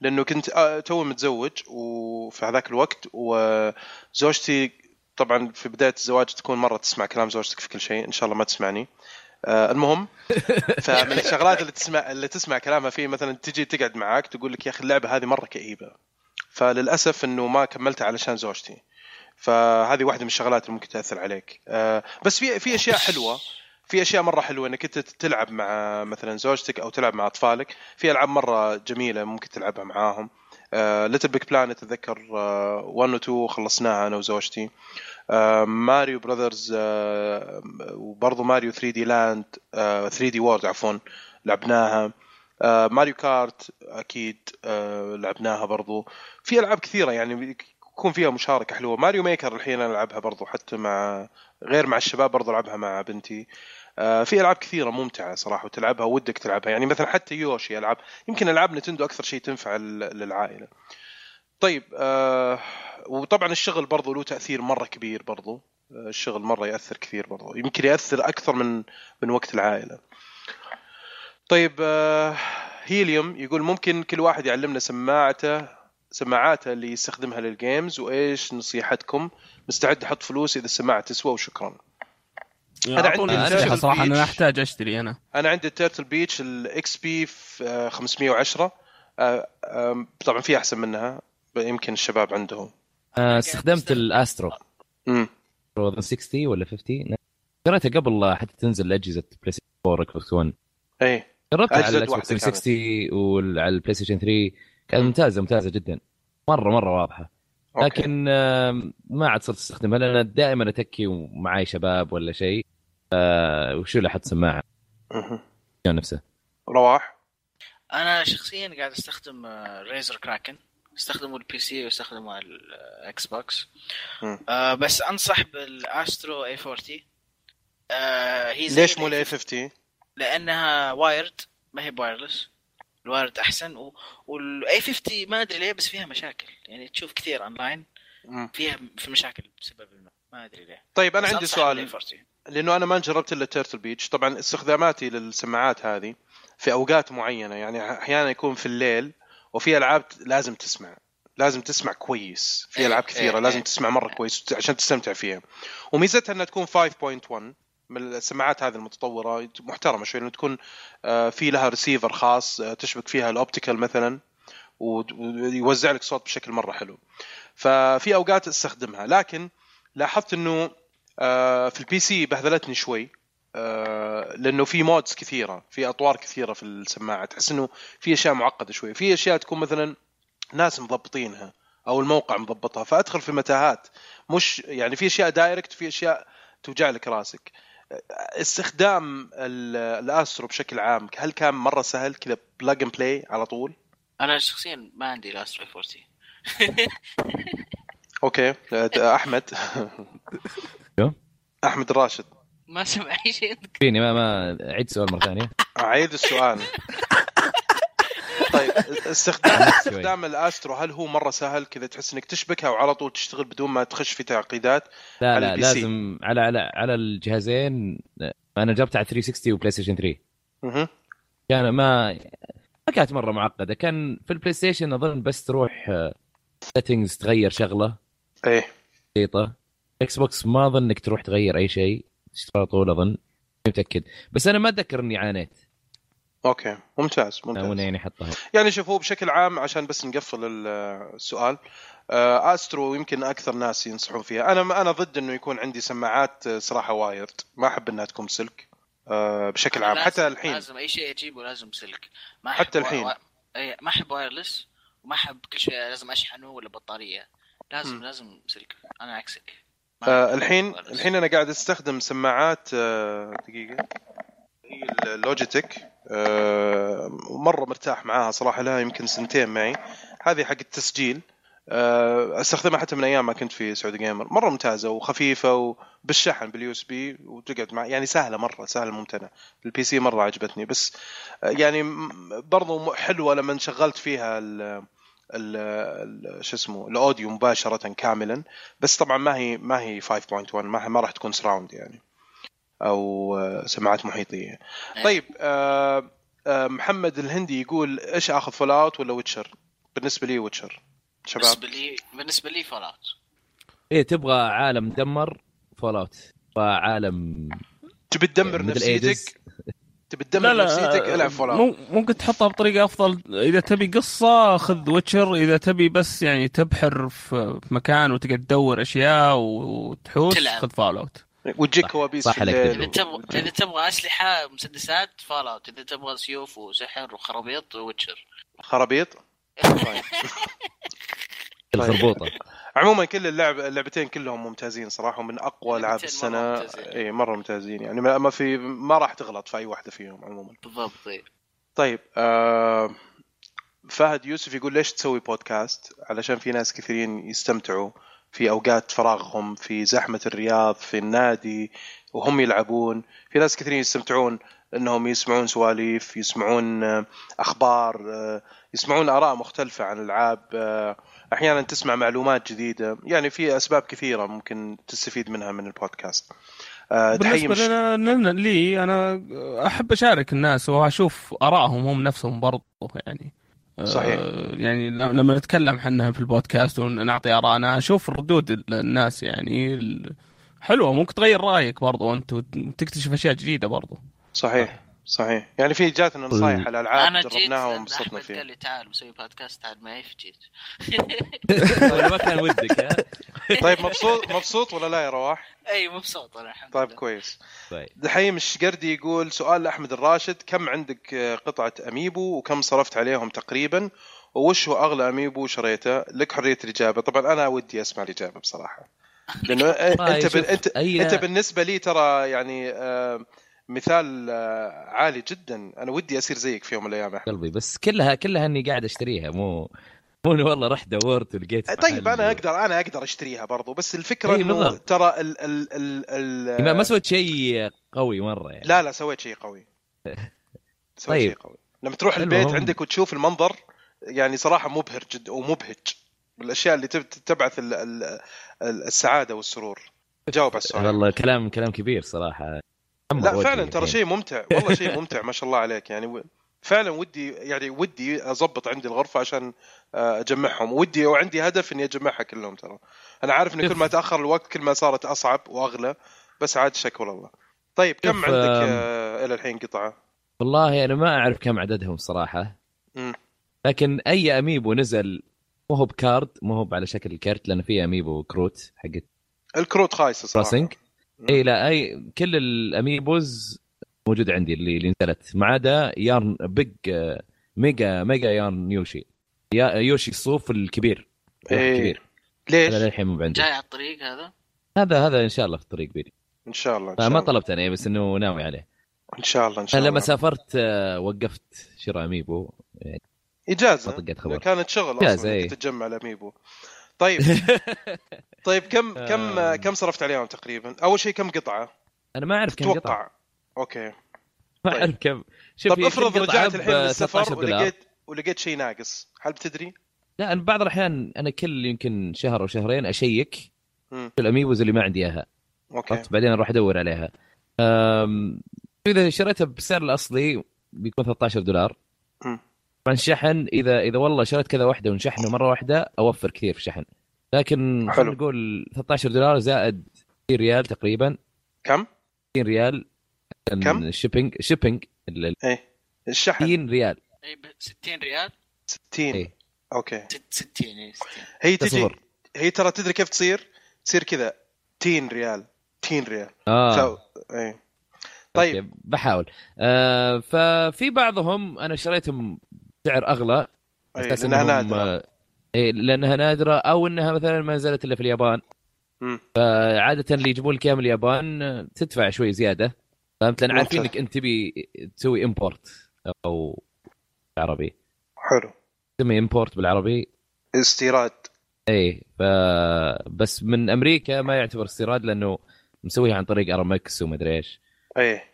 S1: لانه كنت آه، توي متزوج وفي هذاك الوقت وزوجتي طبعا في بدايه الزواج تكون مره تسمع كلام زوجتك في كل شيء ان شاء الله ما تسمعني آه، المهم فمن الشغلات اللي تسمع اللي تسمع كلامها فيه مثلا تجي تقعد معاك تقول لك يا اخي اللعبه هذه مره كئيبه فللاسف انه ما كملتها علشان زوجتي فهذه واحده من الشغلات اللي ممكن تاثر عليك آه، بس في في اشياء حلوه في اشياء مره حلوه انك انت تلعب مع مثلا زوجتك او تلعب مع اطفالك في العاب مره جميله ممكن تلعبها معاهم آه، ليتل بيك بلانت اتذكر 1 آه، و 2 خلصناها انا وزوجتي آه، ماريو براذرز آه، وبرضه ماريو 3 دي لاند 3 دي وورد عفوا لعبناها آه، ماريو كارت اكيد آه، لعبناها برضو في العاب كثيره يعني يكون فيها مشاركه حلوه ماريو ميكر الحين انا العبها برضو حتى مع غير مع الشباب برضو العبها مع بنتي آه، في العاب كثيره ممتعه صراحه وتلعبها ودك تلعبها يعني مثلا حتى يوشي العاب يمكن العاب نتندو اكثر شيء تنفع لل- للعائله طيب آه، وطبعا الشغل برضو له تاثير مره كبير برضو آه، الشغل مره ياثر كثير برضو يمكن ياثر اكثر من من وقت العائله طيب آه، هيليوم يقول ممكن كل واحد يعلمنا سماعته سماعاته اللي يستخدمها للجيمز وايش نصيحتكم مستعد احط فلوس اذا السماعه تسوى وشكرا أنا
S3: أعطوني
S1: عندي
S3: نصيحة
S1: تيرتل
S3: صراحة أنا
S1: بيتش.
S3: أحتاج أشتري أنا
S1: انا عندي التيرتل بيتش الاكس بي 510 آه، آم، طبعا في احسن منها يمكن الشباب عندهم
S2: آه، استخدمت الاسترو
S1: امم
S2: استرو 60 ولا 50 شريتها قبل حتى تنزل اجهزه بلاي ستيشن 4 اكس 1
S1: اي
S2: جربتها على
S1: أجهزة
S2: الاكس
S1: واحدة
S2: بوكس 360
S1: كانت.
S2: وعلى البلاي ستيشن 3 كانت
S1: مم.
S2: ممتازه ممتازه جدا مره مره واضحه
S1: أوكي.
S2: لكن آم، ما عاد صرت استخدمها لان دائما اتكي ومعاي شباب ولا شيء آه، وشيل احط سماعه
S1: مهم.
S2: عشان نفسه
S1: رواح
S6: انا شخصيا قاعد آه، استخدم ريزر كراكن استخدمه البي سي واستخدمه على الاكس بوكس
S1: مم.
S6: آه بس انصح بالاسترو اي 40 آه هي زي
S1: ليش مو
S6: ال
S1: الاي 50
S6: لانها وايرد ما هي بوايرلس الوايرد احسن و... والاي 50 ما ادري ليه بس فيها مشاكل يعني تشوف كثير اونلاين
S1: مم.
S6: فيها في مشاكل بسبب ما, ما ادري ليه
S1: طيب انا
S6: بس
S1: عندي
S6: أنصح
S1: سؤال
S6: بال A40.
S1: لانه انا ما جربت الا تيرتل بيتش طبعا استخداماتي للسماعات هذه في اوقات معينه يعني احيانا يكون في الليل وفي العاب لازم تسمع لازم تسمع كويس في
S6: إيه،
S1: العاب
S6: إيه،
S1: كثيره
S6: إيه.
S1: لازم تسمع مره كويس عشان تستمتع فيها وميزتها انها تكون 5.1 من السماعات هذه المتطوره محترمه شوي لانه تكون آه، في لها ريسيفر خاص آه، تشبك فيها الاوبتيكال مثلا وت- ويوزع لك صوت بشكل مره حلو ففي اوقات استخدمها لكن لاحظت انه آه، في البي سي بهذلتني شوي آه، لانه في مودز كثيره في اطوار كثيره في السماعه تحس انه في اشياء معقده شوي في اشياء تكون مثلا ناس مضبطينها او الموقع مضبطها فادخل في متاهات مش يعني في اشياء دايركت في اشياء توجع لك راسك استخدام ال- الاسترو بشكل عام هل كان مره سهل كذا بلاج اند بلاي على طول
S6: انا شخصيا ما عندي الاسترو اي 40
S1: اوكي آه، احمد
S2: شو؟
S1: احمد الراشد
S6: ما سمع اي شيء
S2: فيني ما ما عيد السؤال مره ثانيه
S1: اعيد السؤال طيب استخدام استخدام الاسترو هل هو مره سهل كذا تحس انك تشبكها وعلى طول تشتغل بدون ما تخش في تعقيدات
S2: لا
S1: على
S2: لا
S1: البي سي.
S2: لازم على على على الجهازين انا جربت على 360 وبلاي ستيشن 3
S1: مهم.
S2: كان ما ما كانت مره معقده كان في البلاي ستيشن اظن بس تروح سيتنجز تغير شغله
S1: ايه
S2: بسيطه اكس بوكس ما اظن انك تروح تغير اي شيء على طول اظن ماني متاكد بس انا ما اتذكر اني عانيت
S1: اوكي ممتاز ممتاز
S2: وانا يعني حطها
S1: يعني شوف هو بشكل عام عشان بس نقفل ال- السؤال آه، استرو يمكن اكثر ناس ينصحون فيها انا انا ضد انه يكون عندي سماعات آه، صراحه وايرد ما احب انها تكون سلك آه، بشكل عام
S6: لازم-
S1: حتى الحين
S6: لازم اي شيء اجيبه لازم سلك ما أحب
S1: حتى الحين.
S6: و... و... أي... ما احب وايرلس وما احب كل شيء لازم اشحنه ولا بطاريه لازم
S1: مم.
S6: لازم سلك انا عكسك ما
S1: آه
S6: أحب
S1: الحين
S6: وايرلس.
S1: الحين انا قاعد استخدم سماعات آه دقيقه هي اللوجيتك آه مره مرتاح معاها صراحه لها يمكن سنتين معي هذه حق التسجيل آه استخدمها حتى من ايام ما كنت في سعودي جيمر مره ممتازه وخفيفه وبالشحن باليو اس بي وتقعد مع يعني سهله مره سهله ممتنه البي سي مره عجبتني بس آه، يعني م- برضو م- حلوه لما شغلت فيها ال ال- ال- شو اسمه الاوديو مباشره كاملا بس طبعا ما هي ما هي 5.1 ما, ما راح تكون سراوند يعني او آه، سماعات محيطيه
S6: إيه.
S1: طيب آه، آه، محمد الهندي يقول ايش اخذ فول اوت ولا ويتشر بالنسبه لي ويتشر شباب
S6: بالنسبه لي بالنسبه لي فول اوت
S2: ايه تبغى عالم مدمر فول اوت عالم
S1: تبي تدمر نفسيتك تبي تدمر نفسيتك
S3: آه،
S1: العب فول اوت
S3: مم- ممكن تحطها بطريقه افضل اذا تبي قصه خذ ويتشر اذا تبي بس يعني تبحر في في مكان وتقعد تدور اشياء و- وتحوس
S6: تلعب.
S3: خذ فال اوت
S1: وتجيك
S2: صح-
S1: كوابيس
S2: صح
S1: في
S2: عليك.
S6: اذا
S1: الليل
S6: تبغى اذا تبغى اسلحه مسدسات فول اوت اذا تبغى سيوف وسحر وخرابيط ويتشر
S1: خرابيط طيب.
S2: الخربوطه
S1: عموما كل اللعب اللعبتين كلهم ممتازين صراحه ومن اقوى
S6: اللعبتين
S1: العاب
S6: مرة
S1: السنه
S6: ممتازين.
S1: اي مره ممتازين يعني ما ما في ما راح تغلط في اي واحده فيهم عموما
S6: بالضبط إيه.
S1: طيب آه فهد يوسف يقول ليش تسوي بودكاست؟ علشان في ناس كثيرين يستمتعوا في اوقات فراغهم في زحمه الرياض في النادي وهم يلعبون في ناس كثيرين يستمتعون انهم يسمعون سواليف يسمعون آه، اخبار آه، يسمعون اراء مختلفه عن العاب آه، احيانا تسمع معلومات جديده يعني في اسباب كثيره ممكن تستفيد منها من البودكاست آه، تحيي
S3: بالنسبه
S1: مش...
S3: لنا لنا لي انا احب اشارك الناس واشوف ارائهم هم نفسهم برضو يعني
S1: صحيح.
S3: آه، يعني ل- لما نتكلم عنها في البودكاست ونعطي ارائنا اشوف ردود ال- الناس يعني ال- حلوه ممكن تغير رايك برضو انت وت- وتكتشف اشياء جديده برضو
S1: صحيح صحيح يعني في جاتنا نصايح على العاب
S6: جيت
S1: جربناها
S6: أحمد
S1: وانبسطنا
S6: قال
S1: فيها
S6: لي تعال مسوي بودكاست تعال معي فجيت
S2: ما كان ودك ها؟
S1: طيب مبسوط مبسوط ولا لا يا رواح؟
S6: اي مبسوط انا الحمد
S1: طيب
S6: لله.
S1: كويس
S2: طيب
S1: دحيم الشقردي يقول سؤال لاحمد الراشد كم عندك آه، قطعه اميبو وكم صرفت عليهم تقريبا؟ وش هو اغلى اميبو شريته؟ لك حريه الاجابه، طبعا انا ودي اسمع الاجابه بصراحه. لانه آه،
S2: والله
S1: انت
S2: شوف،
S1: بال- انت
S2: هي-
S1: انت بالنسبه لي ترى يعني آه، مثال آه، عالي جدا، انا ودي اصير زيك في يوم من الايام يا أحمد.
S2: قلبي بس كلها كلها اني قاعد اشتريها مو مو إني والله رحت دورت ولقيت
S1: طيب
S2: محل.
S1: انا اقدر انا اقدر اشتريها برضو بس الفكره
S2: أي
S1: انه
S2: إيه، بالضبط.
S1: ترى ال ال ال, ال
S2: ما ما سويت شيء قوي مره يعني
S1: لا لا سويت شيء قوي سويت
S2: طيب.
S1: شيء قوي لما تروح
S2: حلو،
S1: البيت
S2: هم-
S1: عندك وتشوف المنظر يعني صراحه مبهر جدا ومبهج بالاشياء اللي تب- تبعث ال ال ال السعاده والسرور جاوب على السؤال
S2: والله كلام كلام كبير صراحه أمر
S1: لا
S2: وجهي
S1: فعلا ترى
S2: الحين.
S1: شيء ممتع والله شيء ممتع ما شاء الله عليك يعني و- فعلا ودي يعني ودي اضبط عندي الغرفه عشان آه، اجمعهم ودي وعندي هدف اني اجمعها كلهم ترى انا عارف ان كل ما تاخر الوقت كل ما صارت اصعب واغلى بس عاد شكوى الله طيب كم
S2: شوف،
S1: عندك
S2: آم،
S1: آه، الى الحين قطعه
S2: والله انا ما اعرف كم عددهم صراحه
S1: مم.
S2: لكن اي اميبو نزل مو هو بكارد مو هو على شكل كرت لان في اميبو كروت حقت
S1: الكروت خايسه صراحه
S2: كروسنج اي لا اي كل الاميبوز موجود عندي اللي, اللي نزلت ما عدا يارن بيج آه، ميجا ميجا يارن يوشي يا يوشي الصوف الكبير
S1: إيه.
S2: الكبير هذا
S1: ليش؟
S2: للحين مو عندي
S6: جاي على الطريق هذا
S2: هذا هذا ان شاء الله في الطريق بيجي
S1: ان شاء الله ان شاء
S2: آه، ما
S1: الله
S2: طلبت انا بس انه ناوي عليه
S1: ان شاء الله ان شاء
S2: انا
S1: الله
S2: لما سافرت آه، وقفت شراء اميبو
S1: اجازه
S2: طقت خبر.
S1: كانت شغل
S2: إجازة،
S1: اصلا
S2: إيه.
S1: إنك تتجمع الاميبو طيب طيب كم كم كم صرفت عليهم تقريبا؟ اول شيء كم قطعه؟
S2: انا ما اعرف كم قطع
S1: توقع اوكي
S2: ما
S1: طيب.
S2: اعرف كم شوف
S1: طب
S2: هي كل
S1: طيب، افرض
S2: قطعة
S1: رجعت
S2: ب
S1: الحين من
S2: 13
S1: السفر
S2: دولار.
S1: ولقيت ولقيت شيء ناقص هل بتدري؟
S2: لا انا بعض الاحيان انا كل يمكن شهر او شهرين اشيك
S1: مم.
S2: في الاميبوز اللي ما عندي اياها
S1: اوكي
S2: عرفت بعدين اروح ادور عليها أم... اذا شريتها بسعر الاصلي بيكون 13 دولار
S1: مم.
S2: طبعا الشحن اذا اذا والله شريت كذا واحده ونشحنه مره واحده اوفر كثير في الشحن لكن
S1: حلو.
S2: خلينا نقول 13 دولار زائد 60 ريال تقريبا
S1: كم؟
S2: 60 ريال عشان
S1: كم؟
S2: الشيبينج الشيبينج ال-
S1: ايه الشحن
S2: 60 ريال
S6: اي ب 60 ريال
S1: 60
S2: إيه.
S1: اوكي
S6: ست- 60 اي 60
S1: هي تجي
S2: تصور.
S1: هي ترى تدري كيف تصير؟ تصير كذا تين ريال تين ريال
S2: اه
S1: فا- ايه طيب
S2: أوكي، بحاول آه ففي بعضهم انا شريتهم بسعر اغلى
S1: إيه،
S2: أساس
S1: لأنها
S2: إنهم-
S1: نادرة.
S2: آه، إيه لانها نادره او انها مثلا ما نزلت الا في اليابان
S1: مم.
S2: آه عاده اللي يجيبون لك إياها من اليابان آه، تدفع شوي زياده فهمت لان عارفين
S1: ممتاز.
S2: انك انت تبي تسوي امبورت او عربي
S1: حلو
S2: تسمي امبورت بالعربي
S1: استيراد
S2: اي ف بس من امريكا ما يعتبر استيراد لانه مسويها عن طريق ارامكس ومدري ايش
S1: ايه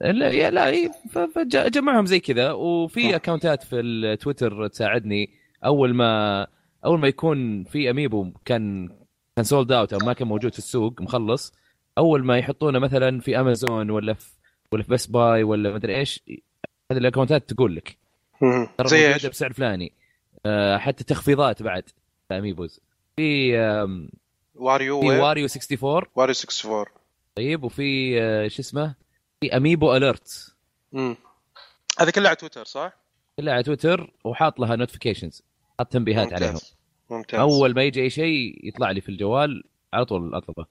S2: لا يا- لا إيه، ف- فج- جمعهم زي كذا وفي اكونتات في التويتر تساعدني اول ما اول ما يكون في اميبو كان كان سولد اوت او ما كان موجود في السوق مخلص اول ما يحطونه مثلا في امازون ولا في ولا في بس باي ولا مدري ايش هذه الاكونتات تقول لك
S1: مم.
S2: ترى
S1: زي
S2: موجوده
S1: ايش؟
S2: بسعر فلاني آه، حتى تخفيضات بعد في اميبوز في آم،
S1: واريو
S2: في
S1: وير
S2: واريو 64
S1: واريو 64
S2: طيب وفي آه، شو اسمه في اميبو اليرت
S1: مم. هذا كله على تويتر صح؟
S2: كلها على تويتر وحاط لها نوتيفيكيشنز حاط تنبيهات عليهم
S1: ممتاز ممتاز
S2: اول ما يجي اي شيء يطلع لي في الجوال على طول اطلبه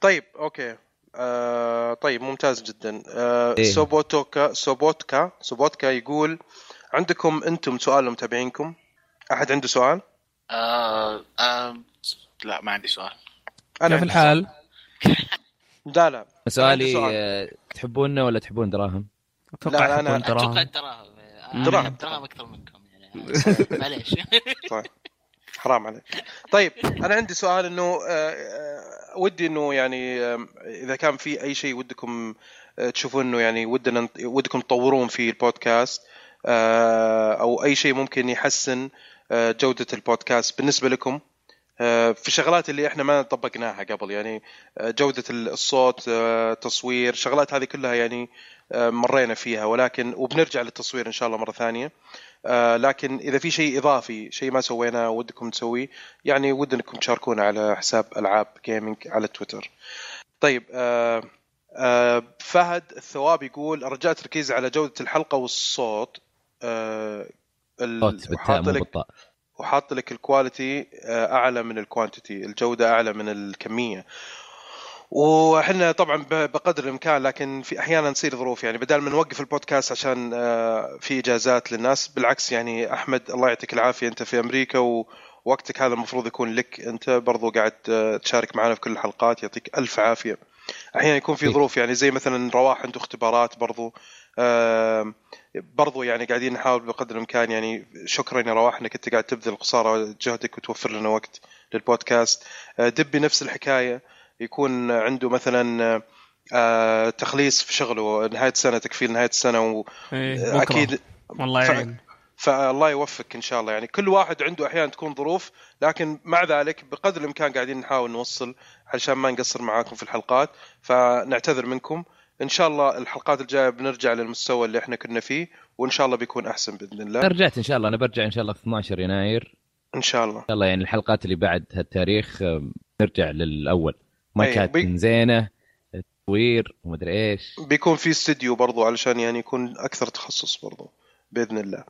S1: طيب اوكي آه، طيب ممتاز جدا آه،
S2: إيه.
S1: سوبوتوكا سوبوتكا سوبوتكا يقول عندكم انتم سؤال لمتابعينكم احد عنده سؤال
S6: آه آه لا ما عندي سؤال
S1: انا
S3: كيف
S1: عندي
S3: الحال؟
S1: سؤال. لا لا
S2: سؤالي
S1: سؤال.
S2: آه، تحبوننا ولا تحبون دراهم؟
S1: لا،
S3: اتوقع
S1: أنا-
S3: يحبون
S6: اتوقع
S3: دراهم
S6: الدراهم آه،
S3: مم.
S6: أنا أحب الدراهم اكثر منكم يعني معليش
S1: طيب حرام عليك طيب انا عندي سؤال انه آه، آه، ودي انه يعني آم، اذا كان في اي شيء ودكم آه، تشوفون انه يعني ودنا نط- ودكم تطورون في البودكاست آه، او اي شيء ممكن يحسن آه، جوده البودكاست بالنسبه لكم آه، في شغلات اللي احنا ما طبقناها قبل يعني آه، جوده الصوت آه، تصوير شغلات هذه كلها يعني آه، مرينا فيها ولكن وبنرجع للتصوير ان شاء الله مره ثانيه آه، لكن اذا في شيء اضافي شيء ما سويناه ودكم تسويه يعني ودنا انكم تشاركونا على حساب العاب جيمنج على تويتر طيب آه، آه، فهد الثواب يقول رجاء تركيز على جوده الحلقه والصوت آه، ال-
S2: صوت بالتاء
S1: وحاط
S2: مو
S1: لك
S2: بالطاء
S1: وحاط لك الكواليتي آه، اعلى من الكوانتيتي الجوده اعلى من الكميه وحنا طبعا ب- بقدر الامكان لكن في احيانا تصير ظروف يعني بدل ما نوقف البودكاست عشان آه، في اجازات للناس بالعكس يعني احمد الله يعطيك العافيه انت في امريكا و وقتك هذا المفروض يكون لك انت برضو قاعد آه، تشارك معنا في كل الحلقات يعطيك الف عافيه احيانا يكون في
S2: أكيد.
S1: ظروف يعني زي مثلا رواح عنده اختبارات برضو آم، برضو يعني قاعدين نحاول بقدر الامكان يعني شكرا يا رواح انك انت قاعد تبذل قصارى جهدك وتوفر لنا وقت للبودكاست آه، دبي نفس الحكايه يكون عنده مثلا آه، تخليص في شغله نهايه سنه تكفيل نهايه السنه
S3: إيه، بكرة.
S1: واكيد
S3: والله يعني. يعين
S1: فالله يوفقك ان شاء الله يعني كل واحد عنده احيانا تكون ظروف لكن مع ذلك بقدر الامكان قاعدين نحاول نوصل عشان ما نقصر معاكم في الحلقات فنعتذر منكم ان شاء الله الحلقات الجايه بنرجع للمستوى اللي احنا كنا فيه وان شاء الله بيكون احسن باذن الله
S2: رجعت ان شاء الله انا برجع ان شاء الله في 12 يناير ان
S1: ان شاء الله
S2: شاء الله يعني الحلقات اللي بعد هالتاريخ آم، نرجع للاول ما
S1: أي،
S2: كانت
S1: إيه، بي-
S2: زينه التصوير ومدري ايش
S1: بيكون في استديو برضو علشان يعني يكون اكثر تخصص برضو باذن الله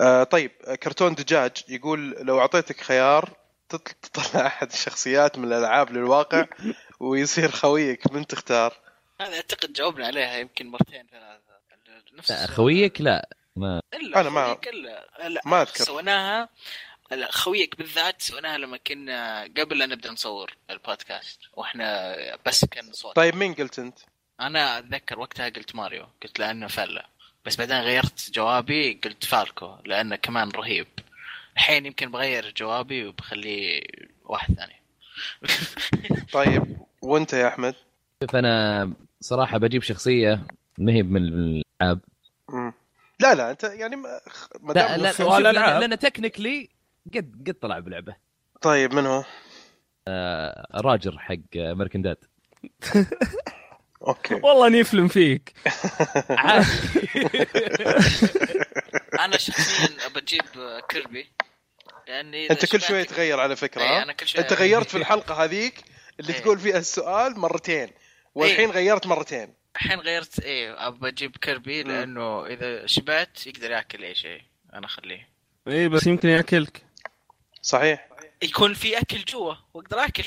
S1: آه طيب آه، كرتون دجاج يقول لو اعطيتك خيار تطل- تطلع احد الشخصيات من الالعاب للواقع ويصير خويك من تختار
S4: هذا اعتقد جاوبنا عليها يمكن مرتين ثلاثه نفس
S2: لا خويك لا
S4: الا
S1: أنا ما-
S4: خويك الا لا
S1: ما أذكر.
S4: سويناها لا خويك بالذات سويناها لما كنا قبل لا نبدا نصور البودكاست واحنا بس كان صوت
S1: طيب مين قلت انت؟
S4: انا اتذكر وقتها قلت ماريو قلت لانه فله بس بعدين غيرت جوابي قلت فالكو لانه كمان رهيب الحين يمكن بغير جوابي وبخليه واحد ثاني
S1: طيب وانت يا احمد؟
S2: شوف انا صراحه بجيب شخصيه ما هي من الالعاب
S1: مم. لا لا انت يعني ما خ- ما
S2: لا
S1: دام-
S2: لا
S3: سؤال
S2: شوف، لأن-
S3: ألعاب.
S2: لان تكنيكلي قد قد طلع بلعبه
S1: طيب من هو؟
S2: راجر حق امريكان داد
S1: اوكي
S3: والله اني افلم فيك
S4: انا شخصيا بجيب كيربي لاني إذا
S1: انت كل شويه
S4: شبعت-
S1: تغير على فكره
S4: إيه،
S1: ها؟
S4: أنا كل شوية-
S1: انت غيرت في الحلقه هذيك اللي
S4: إيه.
S1: تقول فيها السؤال مرتين والحين غيرت مرتين
S4: الحين غيرت ايه ابى اجيب كيربي
S1: مم.
S4: لانه اذا شبعت يقدر ياكل اي شيء انا اخليه
S3: اي إيه، بس يمكن ياكلك
S1: صحيح؟
S4: يكون في اكل جوا واقدر اكل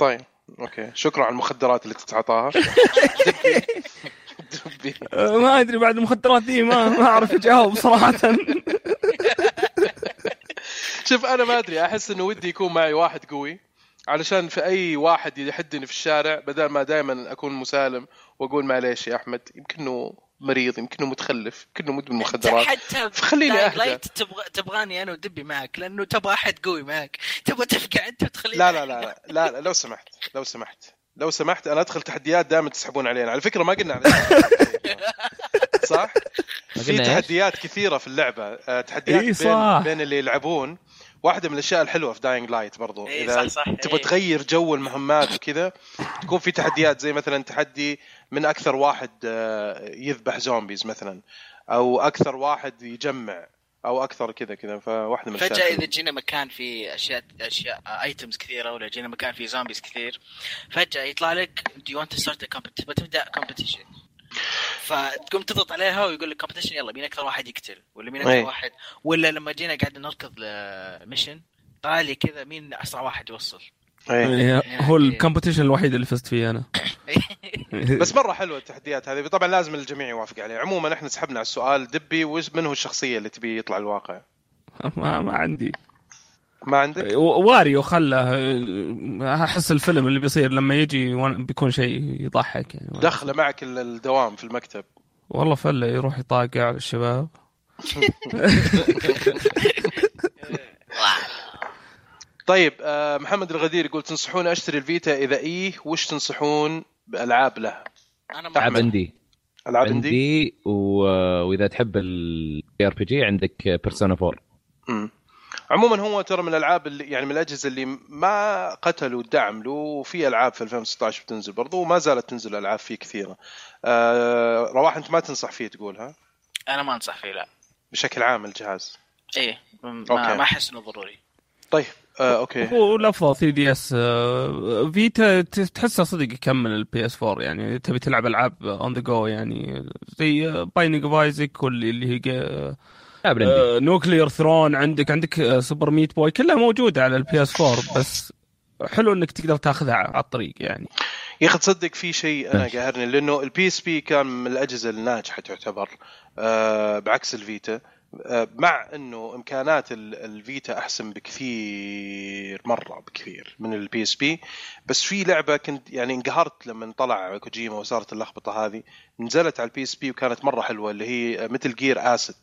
S1: طيب اوكي شكرا على المخدرات اللي تتعاطاها دبي دبي
S3: أه، ما ادري بعد المخدرات دي ما ما اعرف اجاوب صراحه
S1: شوف انا ما ادري احس انه ودي يكون معي واحد قوي علشان في اي واحد يحدني في الشارع بدل ما دائما اكون مسالم واقول معليش يا احمد يمكن انه مريض يمكن انه متخلف يمكن انه مدمن مخدرات
S4: حتى
S1: فخليني
S4: دايم
S1: أهدى.
S4: لايت تبغى تبغاني انا ودبي معك لانه تبغى احد قوي معك تبغى تفقع انت وتخليني
S1: لا لا لا لا لا, لا لو سمحت لو سمحت لو سمحت انا ادخل تحديات دائما تسحبون علينا على فكره ما قلنا على صح؟
S2: ما
S1: في
S2: قلنا إيش؟
S1: تحديات كثيره في اللعبه آه، تحديات
S3: إي
S1: بين,
S3: صح.
S1: بين اللي يلعبون واحده من الاشياء الحلوه في داينج لايت برضو
S4: إي
S1: اذا
S4: صح إيه، صح،
S1: تبغى
S4: إي.
S1: تغير جو المهمات وكذا تكون في تحديات زي مثلا تحدي من اكثر واحد آه، يذبح زومبيز مثلا او اكثر واحد يجمع او اكثر كذا كذا فواحده من
S4: فجاه
S1: الاشياء
S4: اذا جينا مكان فيه اشياء اشياء ايتمز كثيره آه، ولا جينا مكان فيه زومبيز كثير فجاه يطلع لك do you want to start a competition بتبدا competition فتقوم تضغط عليها ويقول لك competition يلا مين اكثر واحد يقتل ولا مين
S1: أي.
S4: اكثر واحد ولا لما جينا قاعد نركض لميشن طلع لي كذا مين اسرع واحد يوصل
S1: إيه.
S3: هو الكومبتيشن الوحيد اللي فزت فيه انا
S1: بس مره حلوه التحديات هذه طبعا لازم الجميع يوافق عليها عموما احنا سحبنا على السؤال دبي وش من هو الشخصيه اللي تبي يطلع الواقع
S3: ما, ما عندي
S1: ما عندك
S3: و- واريو خله أه، احس الفيلم اللي بيصير لما يجي وأنا- بيكون شيء يضحك يعني
S1: دخله معك ال- الدوام في المكتب
S3: والله فله يروح يطاقع على الشباب
S1: طيب آه، محمد الغدير يقول تنصحون اشتري الفيتا اذا ايه وش تنصحون بالعاب له
S4: انا ما
S2: العاب اندي
S1: العاب عندي
S2: عندي و... واذا تحب الار بي جي عندك بيرسونا 4
S1: مم. عموما هو ترى من الالعاب اللي يعني من الاجهزه اللي ما قتلوا الدعم له وفي العاب في 2016 بتنزل برضه وما زالت تنزل العاب فيه كثيره. آه رواح انت ما تنصح فيه تقول ها
S6: انا ما انصح فيه لا
S1: بشكل عام الجهاز.
S6: ايه م-
S1: أوكي.
S6: ما ما احس انه ضروري
S1: طيب آه اوكي
S3: هو الافضل 3 دي اس فيتا آه، ت- تحسها صدق يكمل البي اس 4 يعني تبي تلعب العاب اون ذا جو يعني زي بايننج اوف ايزك واللي اللي هي جا-
S2: لا
S6: أه.
S2: برندي
S3: آه، نوكلير ثرون عندك عندك آه، سوبر ميت بوي كلها موجوده على البي اس 4 بس حلو انك تقدر تاخذها على الطريق يعني
S1: يا اخي تصدق في شيء انا قاهرني لانه البي اس بي كان من الاجهزه الناجحه تعتبر آه بعكس الفيتا آه مع انه امكانات ال- الفيتا احسن بكثير مره بكثير من البي اس بي بس في لعبه كنت يعني انقهرت لما طلع كوجيما وصارت اللخبطه هذه نزلت على البي اس بي وكانت مره حلوه اللي هي مثل جير اسد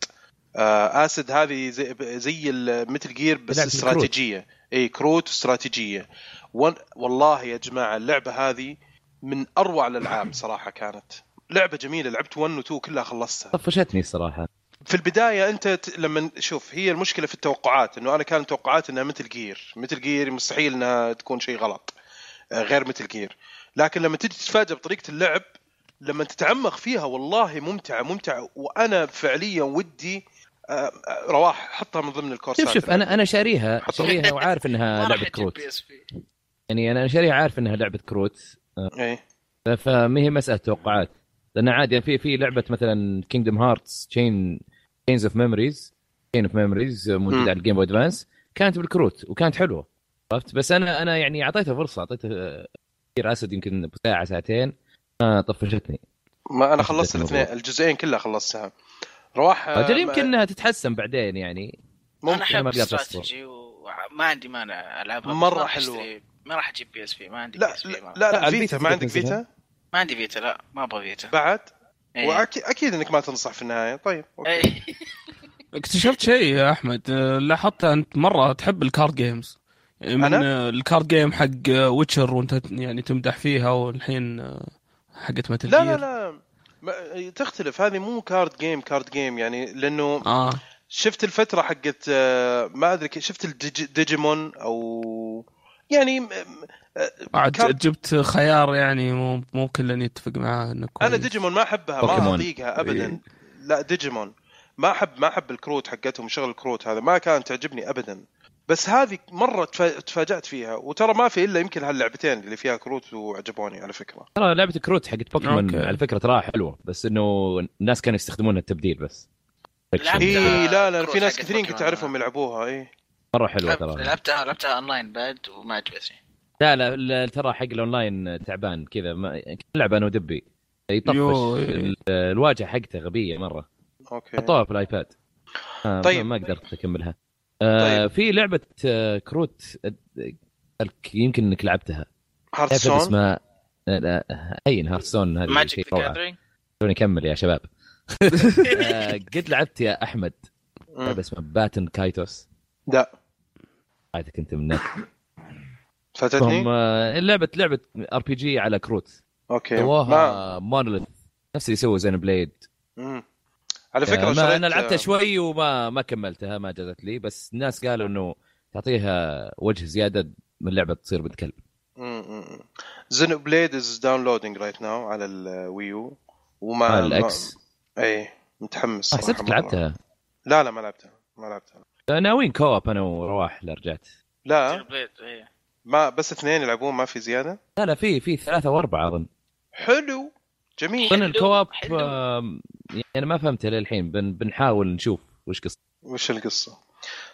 S1: آه اسد هذه زي, زي مثل جير بس
S2: لعبة
S1: استراتيجيه اي كروت استراتيجيه ون... والله يا جماعه اللعبه هذه من اروع الالعاب صراحه كانت لعبه جميله لعبت 1 و 2 كلها خلصتها
S2: طفشتني الصراحه
S1: في البدايه انت ت... لما شوف هي المشكله في التوقعات انه انا كان توقعات انها مثل جير مثل جير مستحيل انها تكون شيء غلط آه، غير مثل جير لكن لما تجي تتفاجأ بطريقه اللعب لما تتعمق فيها والله ممتعه ممتعه وانا فعليا ودي آه، آه، رواح حطها من ضمن الكورسات
S2: شوف شوف انا انا شاريها شاريها وعارف انها
S6: ما راح
S2: لعبه
S6: يجيب
S2: آه، كروت
S6: بي اس بي
S2: يعني انا شاريها عارف انها لعبه كروت
S1: إيه.
S2: فما هي مساله توقعات لان عادي في في لعبه مثلا كينجدم هارتس تشين تشينز اوف ميموريز تشين اوف ميموريز
S1: مم.
S2: موجوده على الجيم بوي ادفانس كانت بالكروت وكانت حلوه عرفت بس انا انا يعني اعطيتها فرصه اعطيتها آه، كثير اسد يمكن ساعه ساعتين ما طفشتني
S1: ما انا
S2: أخذت
S1: خلصت الاثنين
S2: الموضوع.
S1: الجزئين كلها خلصتها رواح آه،
S2: اجل
S1: ما-
S2: يمكن انها تتحسن بعدين يعني
S6: انا
S2: ممكن
S6: احب
S2: ما أقدر أصبر.
S6: استراتيجي وما عندي مانع العبها بس
S1: مرة
S6: ما راح
S1: حلوة.
S6: أشتري- ما راح اجيب بي اس بي ما عندي
S1: لا
S6: بي اس بي
S1: لا
S6: ما,
S1: لا,
S2: لا،
S1: لا
S2: الفيتا
S1: فيتا ما عندك
S2: تنزلها.
S1: فيتا
S6: ما عندي فيتا لا ما ابغى فيتا
S1: بعد
S6: إيه.
S1: واكيد اكيد انك ما تنصح في النهايه طيب أوكي.
S6: إيه.
S3: اكتشفت شيء يا احمد آه، لاحظت انت مره تحب الكارد جيمز يعني من
S1: أنا؟
S3: آه، الكارد جيم حق آه، ويتشر وانت ت- يعني تمدح فيها والحين آه، حقت متل
S1: لا لا لا ما- تختلف هذه مو كارد جيم كارد جيم يعني لانه
S3: اه
S1: شفت الفتره حقت آه، ما ادري كيف- شفت الديجيمون او يعني م- م-
S3: بعد
S1: كارد-
S3: جبت خيار يعني مو مو كلنا يتفق معاه انه كويس
S1: انا ديجيمون ما احبها ما
S2: بوكيمون. إيه.
S1: اطيقها ابدا لا ديجيمون ما احب ما احب الكروت حقتهم شغل الكروت هذا ما كانت تعجبني ابدا بس هذه مره تفا- تفاجات فيها وترى ما في الا يمكن هاللعبتين اللي فيها كروت وعجبوني على فكره
S2: ترى لعبه كروت حقت بوكيمون
S3: أوكي.
S2: على فكره ترى حلوه بس انه الناس كانوا يستخدمونها التبديل بس
S6: لعبة-
S1: اي لا لا في
S6: كروت
S1: ناس
S6: حقت
S1: كثيرين كنت
S6: بوكيمون.
S1: اعرفهم يلعبوها اي
S2: مره حلوه ترى
S6: لعبتها لعبتها اونلاين بعد وما عجبتني
S2: لا لا, لا ترى حق الاونلاين تعبان كذا ما لعبه انا ودبي يطفش
S3: يو.
S2: ال- الواجهه حقته غبيه مره
S1: اوكي
S2: حطوها في الايباد آه
S1: إيه. طيب.
S2: طيب ما قدرت اكملها آه
S1: طيب.
S2: في لعبه آه كروت آه، يمكن انك لعبتها لعبه
S1: هارتسون
S2: اسمها آه، لا، هين هارتسون هذه شيء
S6: ماجيك ذا
S2: روعه
S6: جاذرينج
S2: خلوني اكمل يا شباب آه قد لعبت يا احمد لعبه اسمها باتن كايتوس
S1: لا
S2: عادك انت من
S1: إيه.
S2: النت هم
S1: فاتتني
S2: آه، لعبه لعبه ار بي جي على كروت
S1: اوكي ما.
S2: سواها مونوليث نفس اللي سووا زين بليد
S1: مم. على فكره
S2: آه، ما
S1: شريت-
S2: انا لعبتها شوي وما ما كملتها ما جازت لي بس الناس قالوا انه تعطيها وجه زياده من اللعبه تصير بنت كلب
S1: مم، مم. زينو بليد از داونلودينج رايت ناو على الويو وما
S2: على الاكس
S1: ما... اي متحمس
S2: آه،
S1: صراحة
S2: حسبتك
S1: مرة.
S2: لعبتها
S1: لا لا ما لعبتها ما لعبتها
S2: آه، ناويين كواب انا ورواح اذا رجعت
S1: لا
S6: إيه.
S1: ما بس اثنين يلعبون ما في زياده
S2: لا لا في في ثلاثه واربعه اظن
S1: حلو جميل
S2: اظن
S6: حلو،
S2: الكواب
S6: حلو.
S2: آم، يعني انا ما فهمتها للحين بن بنحاول نشوف وش قصة
S1: وش القصه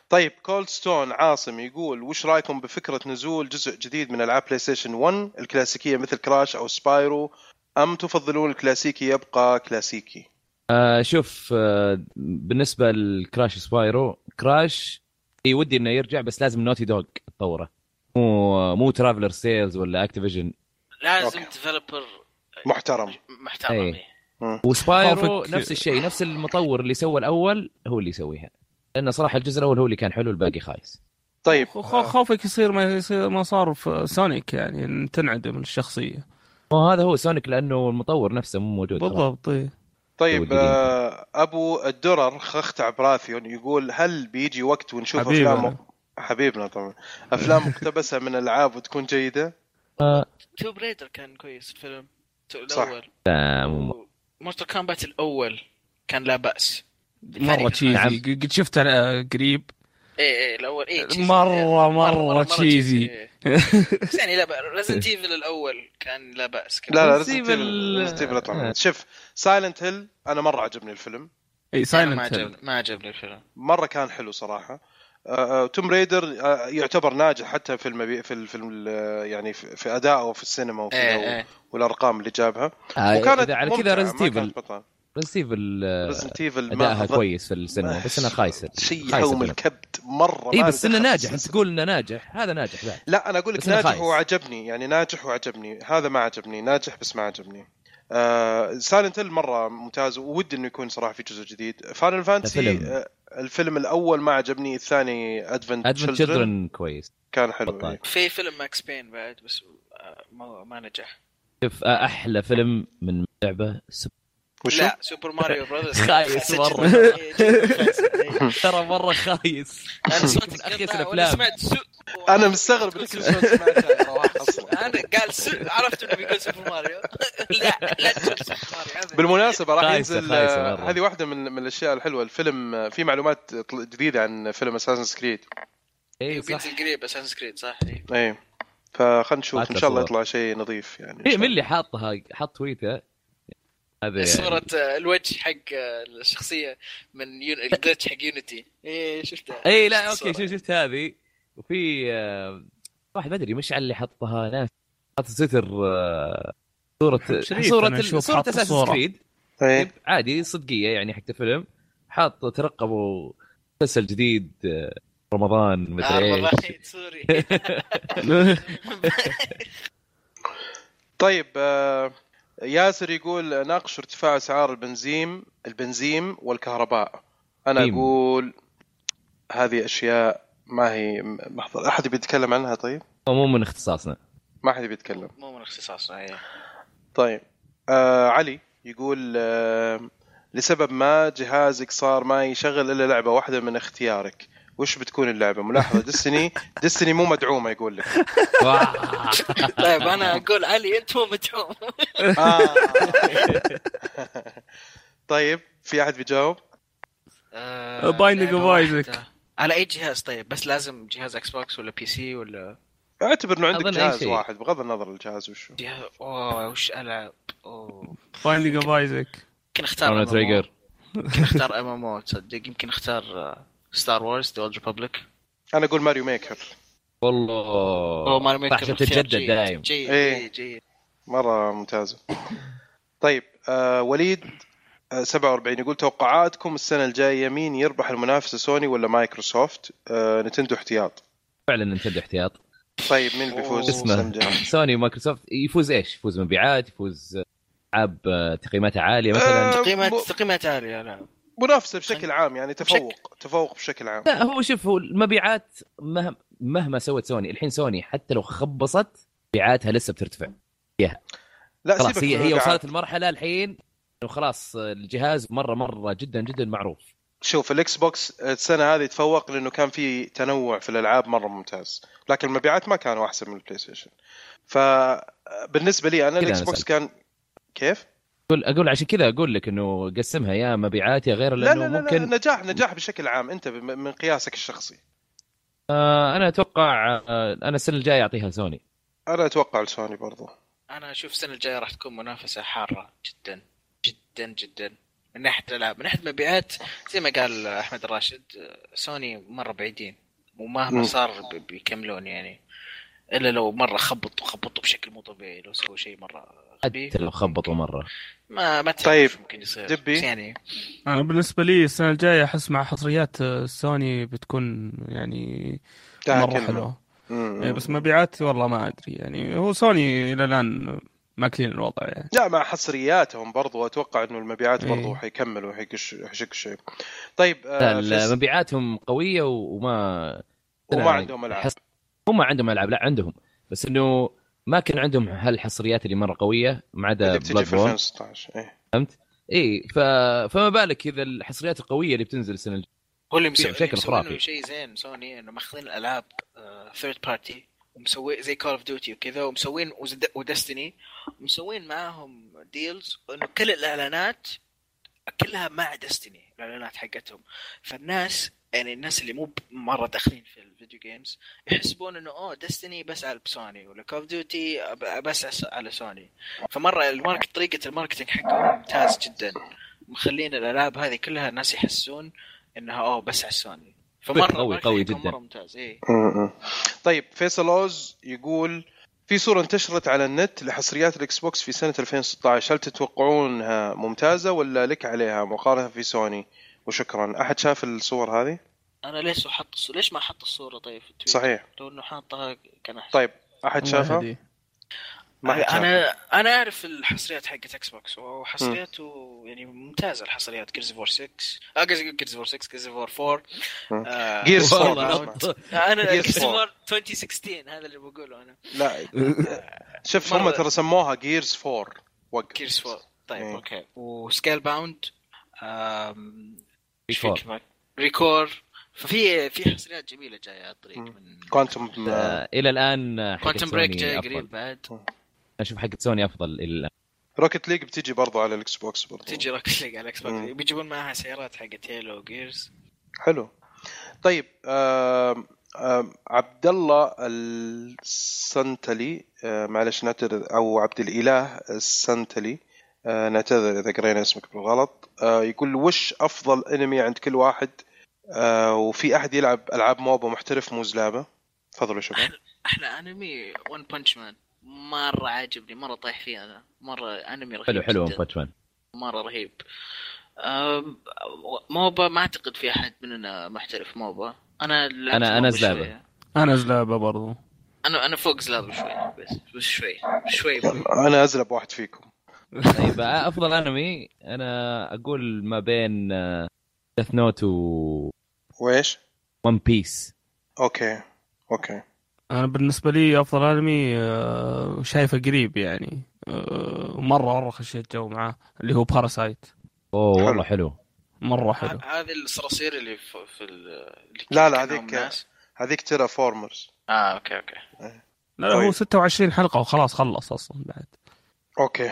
S1: طيب كولد ستون عاصم يقول وش رايكم بفكره نزول جزء جديد من العاب بلاي ستيشن 1 الكلاسيكيه مثل كراش او سبايرو ام تفضلون الكلاسيكي يبقى كلاسيكي
S2: آه، شوف آه، بالنسبه لكراش سبايرو كراش اي ودي انه يرجع بس لازم نوتي دوغ تطوره مو مو ترافلر سيلز ولا اكتيفيجن
S6: لازم
S1: أوكي.
S6: ديفلوبر
S1: محترم
S6: محترم
S2: إيه.
S6: إيه.
S2: وسبايرو
S3: خوفك-
S2: نفس الشيء نفس المطور اللي سوى الاول هو اللي يسويها لان صراحه الجزء الاول هو اللي كان حلو الباقي خايس
S1: طيب
S3: خو- خو- خوفك يصير ما يصير ما صار في سونيك يعني إن تنعدم الشخصيه
S2: وهذا هو سونيك لانه المطور نفسه مو موجود
S3: بالضبط إيه.
S2: أبو
S1: طيب
S2: الدين.
S1: آه، ابو الدرر خختع براثيون يقول هل بيجي وقت ونشوف
S3: حبيبنا.
S1: افلام حبيبنا طبعا افلام مقتبسه من العاب وتكون جيده
S4: توب ريدر كان كويس الفيلم
S1: صح.
S4: الاول
S2: لا، مو-
S4: مورتال كومبات الاول كان لا باس
S3: مره تشيزي قد شفته نعم. أنا قريب
S4: ايه ايه الاول ايه cheesy.
S3: مرة- مرة
S4: cheesy.
S3: cheesy.
S4: إيه. بس يعني لا باس ريزنت ايفل الاول كان لا باس كان
S1: لا لا
S2: Resident
S1: ريزنت
S2: Evil-
S1: ايفل شوف سايلنت هيل انا مره عجبني الفيلم
S3: اي
S4: أنا ما
S3: سايلنت هيل
S4: عجبني ما عجبني الفيلم
S1: مره كان حلو صراحه توم ريدر آه، يعتبر ناجح حتى في المبي... في الفيلم يعني في في ادائه في السينما وفي
S4: ايه ايه
S1: والارقام اللي جابها
S2: آه،
S1: وكانت
S2: إذا على كذا ريزنت ايفل ريزنت ايفل آه،
S1: ريزنت ايفل
S2: ادائها كويس في السينما بس انها خايسه
S1: شيء
S2: خايسة
S1: يحوم
S2: بالنسبة.
S1: الكبد مره
S2: اي
S1: ما
S2: بس انه
S1: دخل في
S2: ناجح انت
S1: السلسلة.
S2: تقول انه ناجح هذا ناجح بعد
S1: لا انا اقول لك
S2: بس إنه
S1: ناجح
S2: خايس.
S1: وعجبني يعني ناجح وعجبني هذا ما عجبني ناجح بس ما عجبني آه سايلنت هيل مره ممتاز وودي انه يكون صراحه في جزء جديد فاينل فانتسي
S2: فيلم.
S1: آه الفيلم الاول ما عجبني الثاني ادفنت
S2: ادفنت
S1: تشيلدرن
S2: تشلدرن كويس
S1: كان حلو
S2: بطال.
S1: إيه.
S4: في فيلم ماكس بين بعد بس آه، ما ما نجح
S2: شوف آه، احلى فيلم من لعبه سب-
S1: وشو؟
S4: لا سوبر ماريو براذرز
S2: خايس مرة.
S4: إيه،
S2: ترى مره خايس
S4: انا
S2: من
S4: إيه،
S2: أخيس
S4: سمعت أخيس
S2: الأفلام.
S4: الافلام سمعت سو...
S1: انا مستغرب انك كل شوي سمعتها يا رواح اصلا
S4: انا قال سو... عرفت انه بيقول سوبر ماريو لا لا تقول سوبر ماريو هذا-
S1: بالمناسبة راح
S2: خايسة-
S1: ينزل
S2: خايسة
S1: آه،
S2: مرة.
S1: هذه واحدة من من الأشياء الحلوة الفيلم آه، في معلومات طل- جديدة عن فيلم أساسن سكريد
S2: اي إيه، صح
S4: بينزل قريب اساسن كريد صح إيه.
S1: إيه فخلنا نشوف
S2: بعت
S1: إن
S2: له
S1: شاء الله
S2: صور.
S1: يطلع شيء نظيف يعني إن
S2: إيه،
S1: شاء
S2: من اللي حاطها حط تويته هذا يعني
S4: صورة آه، الوجه حق آه، الشخصية من يون... الجلتش حق يونيتي ايه شفتها
S2: اي إيه، لا
S4: شفت
S2: اوكي شفت
S4: الصورة.
S2: شفت هذه وفي آه، واحد ما ادري مشعل اللي حطها ناس حط ستر آه، صورة
S3: شريف،
S2: صورة
S3: أنا
S2: ال-
S3: أشوف
S2: صورة
S3: حط
S2: اساس
S3: صورة.
S2: سكريد
S1: الله. إيه.
S2: عادي صدقية يعني حق الفيلم حاط ترقبوا مسلسل جديد آه، رمضان
S4: آه،
S2: مدري إيه،
S4: والله
S2: ايش
S4: سوري
S1: طيب آه، ياسر يقول ناقش ارتفاع اسعار البنزين البنزين والكهرباء انا
S2: بيم.
S1: اقول هذه اشياء ما هي لحظه احد بيتكلم عنها طيب
S2: مو من اختصاصنا
S1: ما حد بيتكلم
S4: مو من اختصاصنا إيه.
S1: طيب آه علي يقول آه لسبب ما جهازك صار ما يشغل الا لعبه واحده من اختيارك وش بتكون اللعبه ملاحظه دستني دستني مو مدعومه يقول لك
S2: واو.
S4: طيب انا اقول علي انت مو مدعوم
S1: آه. طيب في احد بيجاوب
S4: آه،
S3: Binding
S4: لعبة
S3: of
S4: واحدة.
S3: Isaac.
S4: على اي جهاز طيب بس لازم جهاز اكس بوكس ولا بي سي ولا
S1: اعتبر انه عندك
S2: أظن أي
S1: جهاز
S2: شيء.
S1: واحد بغض النظر الجهاز وشو
S4: جهاز اوه وش العب اوه
S3: فايندينج اوف ايزك
S4: يمكن اختار
S2: Chrono
S4: MMO.
S2: Trigger.
S4: يمكن اختار ام ام او تصدق يمكن آه، اختار ستار وورز ذا اولد ريببليك
S1: انا اقول ماريو ميكر
S2: والله عشان تتجدد دايم
S4: جيد
S1: إيه.
S4: إيه، جيد
S1: مره ممتازه طيب آه وليد آه 47 يقول توقعاتكم السنه الجايه مين يربح المنافسه سوني ولا مايكروسوفت آه نتندو احتياط
S2: فعلا نتندو احتياط
S1: طيب مين اللي بيفوز
S4: أوه.
S1: السنه الجايه
S2: اسمه سوني ومايكروسوفت يفوز ايش؟ يفوز مبيعات يفوز العاب آه، تقييماتها عاليه مثلا
S1: آه،
S4: تقييمات
S1: مو-
S4: تقييمات عاليه لا
S1: منافسه بشكل عام يعني تفوق تفوق بشكل عام
S2: لا هو شوف هو المبيعات مهما مهما سوت سوني الحين سوني حتى لو خبصت مبيعاتها لسه بترتفع
S1: لا
S2: خلاص
S1: سيبك
S2: هي
S1: من
S2: هي
S1: الإبعاد.
S2: وصلت المرحله الحين انه خلاص الجهاز مره مره جدا جدا معروف
S1: شوف الاكس بوكس السنه هذه تفوق لانه كان في تنوع في الالعاب مره ممتاز لكن المبيعات ما كانوا احسن من البلاي ستيشن فبالنسبه لي انا
S2: كذا
S1: الاكس
S2: أنا
S1: بوكس
S2: سألت.
S1: كان كيف
S2: اقول اقول عشان كذا اقول لك انه قسمها يا مبيعات يا غير
S1: لا
S2: لانه
S1: لا لا,
S2: ممكن
S1: لا نجاح نجاح بشكل عام انت بم- من قياسك الشخصي
S2: آه انا اتوقع آه انا السنه الجايه اعطيها سوني
S1: انا اتوقع لسوني برضو
S4: انا اشوف السنه الجايه راح تكون منافسه حاره جدا جدا جدا من ناحيه الالعاب من ناحيه المبيعات زي ما قال احمد الراشد سوني مره بعيدين ومهما
S1: مم.
S4: صار بي- بيكملون يعني الا لو مره خبطوا خبطوا بشكل مو طبيعي لو سووا شيء مره خبيث
S2: حتى لو خبطوا مره
S4: ما ما تعرف
S1: طيب.
S4: ممكن يصير
S1: دبي.
S4: بس يعني
S3: انا بالنسبه لي السنه الجايه احس مع حصريات آه، سوني بتكون يعني
S1: ده
S3: مره
S1: كلمة.
S3: حلوه
S1: مم.
S3: إيه، بس مبيعات والله ما ادري يعني هو سوني الى الان ماكلين الوضع يعني
S1: لا مع حصرياتهم برضو اتوقع انه المبيعات برضو
S3: إيه.
S1: حيكملوا حيك حيشك شيء طيب آه،
S2: لا
S1: فيصل.
S2: لا، مبيعاتهم قويه وما
S1: وما
S3: يعني
S1: عندهم العاب.
S2: حس- هم ما عندهم العاب لا عندهم بس انه ما كان عندهم هالحصريات اللي مره قويه ما عدا
S1: اللي بتجي
S2: بلاد
S1: في
S2: بورن
S1: 2016 ايه
S2: اي ف... فما بالك اذا الحصريات القويه اللي بتنزل السنه الجايه
S4: هو اللي
S2: بشكل
S4: مسوي مسوي
S2: خرافي.
S4: شيء زين سوني انه ماخذين الالعاب ثيرد بارتي ومسوي زي كول اوف ديوتي وكذا ومسوين ودستني مسوين معاهم ديلز انه كل الاعلانات كلها مع دستني الاعلانات حقتهم فالناس يعني الناس اللي مو ب- مره داخلين في الفيديو جيمز يحسبون انه اوه دستني بس على سوني ولا كول اوف ديوتي بس على- على سوني فمره الماركت طريقه الماركتينج حقهم ممتاز جدا مخلين الالعاب هذه كلها الناس يحسون انها اوه بس على سوني فمره
S2: قوي-
S4: marketing
S2: قوي
S4: كان
S2: جداً.
S4: مره ممتاز إيه. اي
S1: م-م. طيب فيصل اوز يقول في صورة انتشرت على النت لحصريات الاكس بوكس في سنة 2016 هل تتوقعونها ممتازة ولا لك عليها مقارنة في سوني وشكرا احد شاف الصور هذه
S4: انا ليش حط الصورة- ليش ما حط الصوره طيب في تويتر؟
S1: صحيح
S4: لو انه حاطها كان احسن
S1: طيب احد شافها
S3: هذه.
S1: ما حد شافها
S4: انا انا اعرف الحصريات حقت اكس بوكس وحصرياته يعني ممتازه الحصريات جيرز فور 6 اه جيرز فور 6 جيرز فور 4
S1: مم.
S4: آه،
S1: Gears of War.
S4: والله، انا
S1: Gears of
S4: جيرز
S1: War.
S4: فور 2016 هذا اللي بقوله انا
S1: لا شوف هم
S4: مرة.
S1: ترى سموها جيرز 4 وقف
S4: جيرز فور طيب
S1: إيه.
S4: اوكي وسكيل باوند
S2: Record.
S4: ريكور ففي في حصريات جميله جايه على الطريق
S1: مم.
S4: من
S1: كوانتم
S2: آه، الى الان آه، حقت
S4: كوانتم بريك
S2: سوني
S4: جاي
S2: أفضل.
S4: قريب بعد
S2: اشوف حقت سوني افضل الى الان
S1: روكت ليج بتجي برضو على الاكس بوكس برضو
S4: تجي روكت ليج على الاكس بوكس
S1: مم.
S4: بيجيبون معها سيارات حقت هيلو وجيرز
S1: حلو طيب آم، آم، عبد الله السنتلي آه، معلش نعتذر او عبد الاله السنتلي آه، نعتذر اذا قرينا اسمك بالغلط آه، يقول وش افضل انمي عند كل واحد آه، وفي احد يلعب العاب موبا محترف مو زلابه تفضلوا يا شباب
S4: احلى انمي ون بانش مان مره عاجبني مره طايح فيه انا مره انمي رهيب
S2: حلو حلو
S4: جداً.
S2: باتش مان
S4: مره رهيب أم، موبا ما اعتقد في احد مننا محترف موبا انا لعبت
S2: أنا- أنا
S4: موبا
S2: زلابة.
S4: شوية.
S3: انا زلابه برضو
S4: انا انا فوق زلابه شوي بس بس شوي شوي
S1: انا ازلب واحد فيكم
S2: طيب آه، افضل انمي انا اقول ما بين آه، ديث نوت وون
S1: وايش؟
S2: بيس
S1: اوكي اوكي
S3: انا بالنسبه لي افضل انمي آه، شايفه قريب يعني آه، مره مره خشيت جو معاه اللي هو باراسايت
S2: اوه والله حلو
S3: مره حلو
S4: ه- هذه الصراصير اللي في, في ال- اللي
S1: لا، لا،
S4: كانوا
S1: هذيك-
S4: ناس.
S1: هذيك ترى فورمرز
S4: اه اوكي اوكي
S3: لا لا هو
S1: طيب.
S3: 26 حلقه وخلاص خلص اصلا بعد
S1: اوكي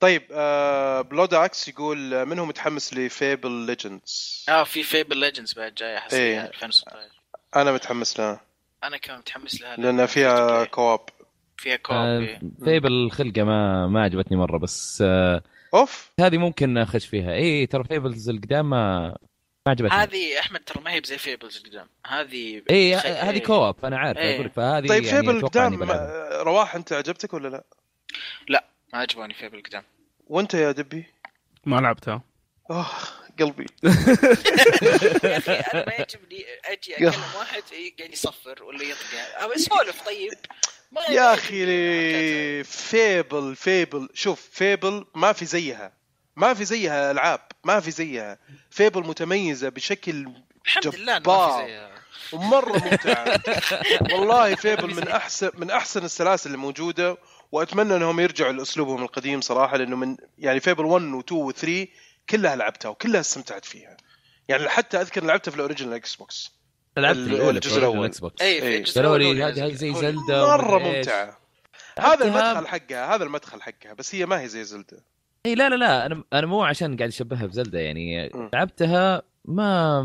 S1: طيب آه بلوداكس يقول آه، من هو متحمس لفيبل ليجندز؟
S4: اه في فيبل ليجندز بعد جايه حصريه
S1: إيه.
S4: 2016
S1: انا متحمس لها
S4: انا كان متحمس لها
S1: لان فيها
S4: لأنها
S1: كواب
S4: فيها كوب
S2: آه، فيبل الخلقه ما ما عجبتني مره بس آه،
S1: اوف
S2: هذه ممكن اخش فيها اي ترى فيبلز القدام ما ما عجبتني
S4: هذه احمد ترى ما هي بزي فيبلز قدام هذه
S2: اي
S4: خ-
S2: إيه، هذه كواب انا عارف
S4: إيه.
S2: اقول لك فهذه
S1: طيب
S2: يعني
S1: فيبل
S2: أتوقع إني
S1: قدام
S2: بلعبها.
S1: ما- رواح انت عجبتك ولا لا؟
S4: ما عجبوني فيبل قدام
S1: وانت يا دبي؟
S3: ما لعبتها
S1: اخ قلبي
S4: يا اخي انا ما يعجبني اجي اكلم واحد إيه، قاعد يصفر ولا يطقع أو سولف طيب ما
S1: يا
S4: يعجبني.
S1: اخي فيبل فيبل شوف فيبل ما في زيها ما في زيها العاب ما في زيها فيبل متميزه بشكل
S4: الحمد لله إنه ما
S1: جبار.
S4: في زيها
S1: ومره ممتعه والله فيبل من احسن من احسن السلاسل الموجوده واتمنى انهم يرجعوا لاسلوبهم القديم صراحه لانه من يعني فيبل 1 و 2 و 3 كلها لعبتها وكلها استمتعت فيها يعني حتى اذكر لعبتها في الاوريجنال اكس بوكس
S2: لعبت
S1: ال-
S2: الأولى
S1: الجزء
S2: في
S1: الأول.
S2: الأكس بوكس.
S4: اي
S1: إيه.
S4: في الجزء
S2: قالوا
S4: الأول
S2: لي هذه هذه زي
S4: هو-
S2: زلدا
S1: مره
S2: ومدري إيش.
S1: ممتعه هذا
S2: لعبتها-
S1: المدخل حقها هذا المدخل حقها بس هي ما هي زي زلدة
S2: اي لا لا لا انا انا مو عشان قاعد اشبهها بزلدة يعني
S1: مم.
S2: لعبتها ما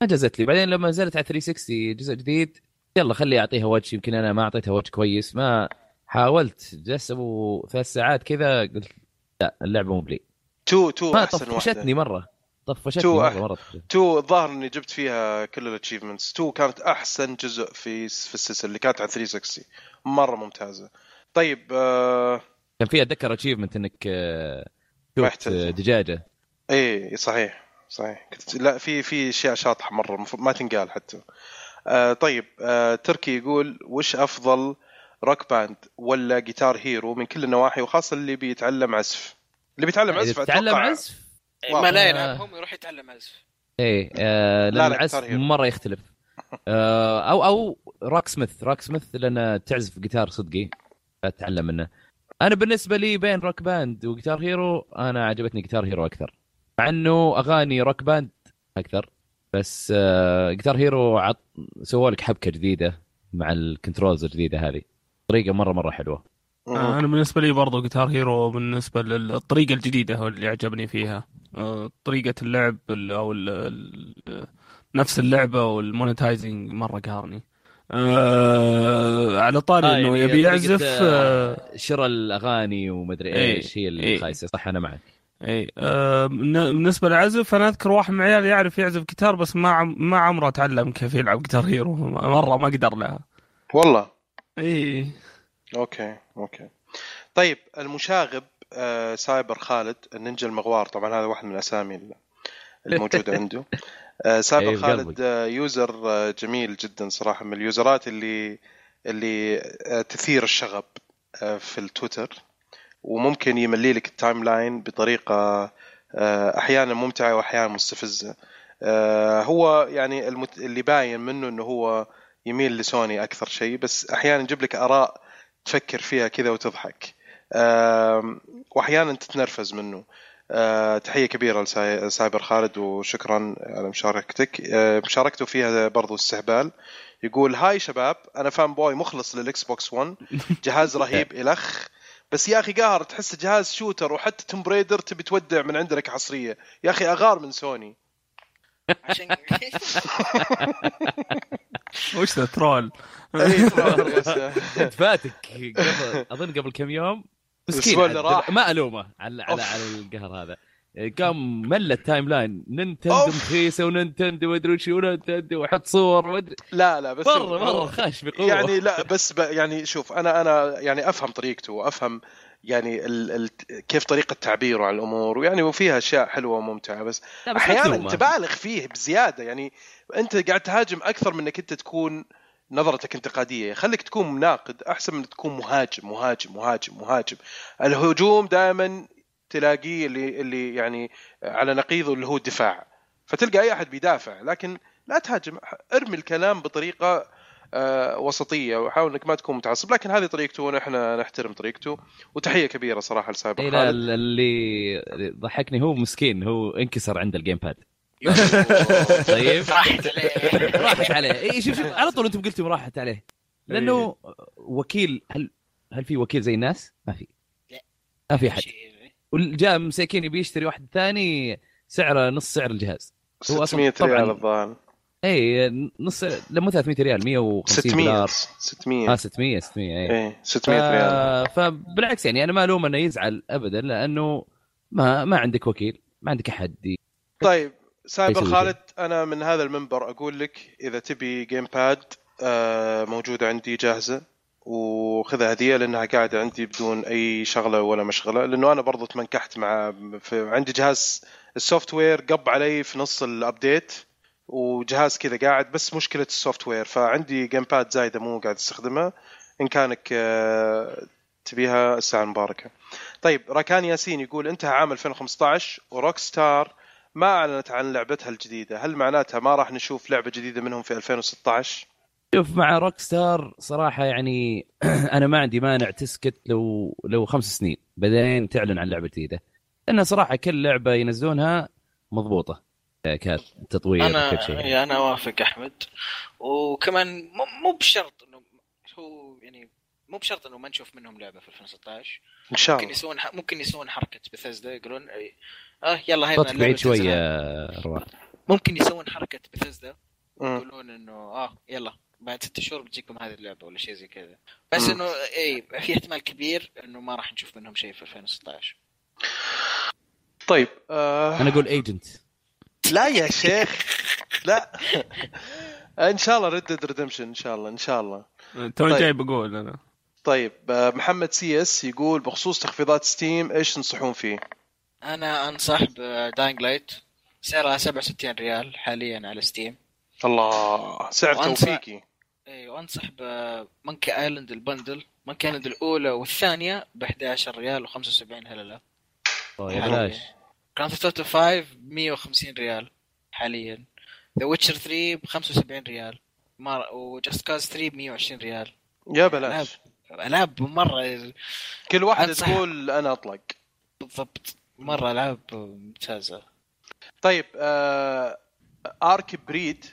S2: ما جازت لي بعدين لما نزلت على 360 جزء جديد يلا خلي اعطيها وجه يمكن انا ما اعطيتها وجه كويس ما حاولت جلست ابو ثلاث ساعات كذا قلت لا اللعبه مو بلي
S1: 2 2
S2: ما
S1: احسن واحده
S2: طفشتني مره طفشتني
S1: تو
S2: مره
S1: أح-
S2: مره طفشتني.
S1: 2 الظاهر اني جبت فيها كل الاتشيفمنتس 2 كانت احسن جزء في في السلسله اللي كانت على 360 مره ممتازه طيب آه...
S2: كان في اتذكر اتشيفمنت انك آه، شفت
S1: محتاج.
S2: آه، دجاجه
S1: ايه صحيح صحيح كنت لا في في اشياء شاطحه مره المفروض ما تنقال حتى آه طيب آه تركي يقول وش افضل روك باند ولا جيتار هيرو من كل النواحي وخاصه اللي بيتعلم عزف اللي بيتعلم عزف
S2: إذا تتعلم
S1: أتوقع-
S2: عزف
S4: ما لا
S2: آه.
S4: يلعبهم يروح يتعلم عزف
S2: ايه آه
S1: لا،
S2: لان
S1: لا،
S2: العزف
S1: Guitar Hero.
S2: مره يختلف آه او او روك سميث روك سميث لان تعزف جيتار صدقي فتعلم منه انا بالنسبه لي بين روك باند وجيتار هيرو انا عجبتني جيتار هيرو اكثر مع انه اغاني روك باند اكثر بس آه، جيتار هيرو عط سووا لك حبكه جديده مع الكنترولز الجديده هذه طريقه مره مره حلوه
S3: آه، انا بالنسبه لي برضو جيتار هيرو بالنسبه للطريقه الجديده هو اللي عجبني فيها آه، طريقه اللعب ال- او ال ال نفس اللعبه والمونتايزنج مره قهرني آه، على طاري
S2: آه،
S3: انه
S2: يعني
S3: يبي
S2: طريقة،
S3: يعزف
S2: آه،
S3: آه،
S2: شراء الاغاني ومدري
S3: إيه،
S2: ايش هي
S3: إيه.
S2: اللي خايسه صح انا معك
S3: اي آه، بالن- بالنسبه للعزف انا اذكر واحد من عيالي يعرف يعزف جيتار بس ما عم- ما عمره تعلم كيف يلعب جيتار هيرو مره ما قدر لها
S1: والله
S3: اي
S1: اوكي اوكي طيب المشاغب آه سايبر خالد النينجا المغوار طبعا هذا واحد من الاسامي ال- الموجوده عنده آه سايبر
S2: أيوة،
S1: خالد
S2: قلبك.
S1: آه يوزر آه جميل جدا صراحه من اليوزرات اللي اللي آه تثير الشغب آه في التويتر وممكن يملي لك التايم لاين بطريقه آه احيانا ممتعه واحيانا مستفزه آه هو يعني المت... اللي باين منه انه هو يميل لسوني اكثر شيء بس احيانا يجيب لك اراء تفكر فيها كذا وتضحك آم، واحيانا تتنرفز منه آه، تحيه كبيره لسايبر خالد وشكرا على مشاركتك آه، مشاركته فيها برضو استهبال يقول هاي شباب انا فان بوي مخلص للاكس بوكس 1 جهاز رهيب الخ بس يا اخي قاهر تحس جهاز شوتر وحتى توم بريدر تبي تودع من عندك حصريه يا اخي اغار من سوني
S6: عشان
S3: وش ذا ترول
S2: كنت فاتك قبل اظن قبل كم يوم مسكين
S1: الأسبوع اللي
S2: عاد،
S1: راح.
S2: ما الومه على على,
S1: أوف.
S2: على القهر هذا قام مل التايم لاين نينتندو
S1: أوف.
S2: مخيسه ونينتندو مدري وش ونينتندو وحط صور مدري
S1: لا لا بس
S2: مره مره خاش بقوه
S1: يعني لا بس ب يعني شوف انا انا يعني افهم طريقته وافهم يعني ال ال كيف طريقه تعبيره عن الامور ويعني وفيها اشياء حلوه وممتعه بس
S2: لا، بس ما
S1: احيانا
S2: تلومه.
S1: تبالغ فيه بزياده يعني انت قاعد تهاجم اكثر من انك انت تكون نظرتك انتقاديه خليك تكون مناقد احسن من تكون مهاجم مهاجم مهاجم مهاجم الهجوم دائما تلاقيه اللي اللي يعني على نقيضه اللي هو الدفاع فتلقى اي احد بيدافع لكن لا تهاجم ارمي الكلام بطريقه آه، وسطيه وحاول انك ما تكون متعصب لكن هذه طريقته ونحن نحترم طريقته وتحيه كبيره صراحه لسايبر
S2: إيه، لا، ال- اللي اللي ضحكني هو مسكين هو انكسر عند الجيم باد طيب
S6: راحت عليه
S2: راحت عليه اي شوف شوف على طول انتم قلتم راحت عليه لانه
S1: إيه.
S2: وكيل هل هل في وكيل زي الناس؟ ما في
S6: لا.
S2: ما في احد وجاء مساكين يبي يشتري واحد ثاني سعره نص سعر الجهاز هو أصلاً
S1: 600
S2: طبعاً
S1: ريال الظاهر
S2: اي نص لا مو 300 ريال 150
S1: 600
S2: دولار
S1: 600
S2: اه 600 600 اي
S1: ايه 600 ريال
S2: ف- فبالعكس يعني انا ما الوم انه يزعل ابدا لانه ما ما عندك وكيل ما عندك احد ي-
S1: طيب سايبر
S2: يسوي شيء.
S1: خالد انا من هذا المنبر اقول لك اذا تبي جيم باد آه، موجوده عندي جاهزه وخذها هديه لانها قاعده عندي بدون اي شغله ولا مشغله لانه انا برضو تمنكحت مع في عندي جهاز السوفت وير قب علي في نص الابديت وجهاز كذا قاعد بس مشكله السوفت وير فعندي جيم باد زايده مو قاعد استخدمها ان كانك آه، تبيها الساعه المباركه طيب راكان ياسين يقول انتهى عام 2015 وروك ستار ما اعلنت عن لعبتها الجديده هل معناتها ما راح نشوف لعبه جديده منهم في 2016
S2: شوف مع روك ستار صراحه يعني انا ما عندي مانع تسكت لو لو خمس سنين بعدين تعلن عن لعبه جديده لان صراحه كل لعبه ينزلونها مضبوطه آه، كتطوير وكل
S6: انا
S2: شيء
S4: يعني
S6: إيه، انا اوافق احمد وكمان مو- مو بشرط انه هو يعني مو بشرط انه ما نشوف منهم لعبه في 2016
S1: ان شاء
S6: ممكن
S1: الله
S6: يسوون ح- ممكن يسوون حركه بثزدا يقولون إيه، اه يلا هاي
S2: صوتك بعيد
S6: اللعبة
S2: شويه
S6: بتنزل.
S2: آه، روان
S6: ممكن يسوون حركه بثزدا
S1: مم.
S6: يقولون انه اه يلا بعد ست شهور بتجيكم هذه اللعبه ولا شيء زي كذا بس
S1: مم.
S6: انه اي في احتمال كبير انه ما راح نشوف منهم شيء في 2016
S1: طيب آه...
S2: انا اقول ايجنت
S1: لا يا شيخ لا ان شاء الله ريد ديد ريدمشن ان شاء الله ان شاء الله
S3: توني
S1: طيب.
S3: جاي بقول انا
S1: طيب آه، محمد سي اس يقول بخصوص تخفيضات ستيم ايش تنصحون فيه؟
S6: انا انصح بداينج لايت سعرها 67 ريال حاليا على ستيم
S1: الله سعر
S6: وأنصح-
S1: توفيقي
S6: اي وانصح بمونكي ايلاند البندل مونكي ايلاند الاولى والثانيه ب 11 ريال و75 هلله
S2: أوه،
S1: طيب، يعني
S6: حلو.
S2: يا طيب، بلاش
S6: جراند ثيفت اوتو 5 150 ريال حاليا ذا ويتشر 3 ب 75 ريال وجاست كاز 3 ب 120 ريال
S1: يا بلاش
S6: العاب مره
S1: كل واحده
S6: أنصح.
S1: تقول انا اطلق
S6: بالضبط مره العاب ممتازه
S1: طيب آه ارك بريد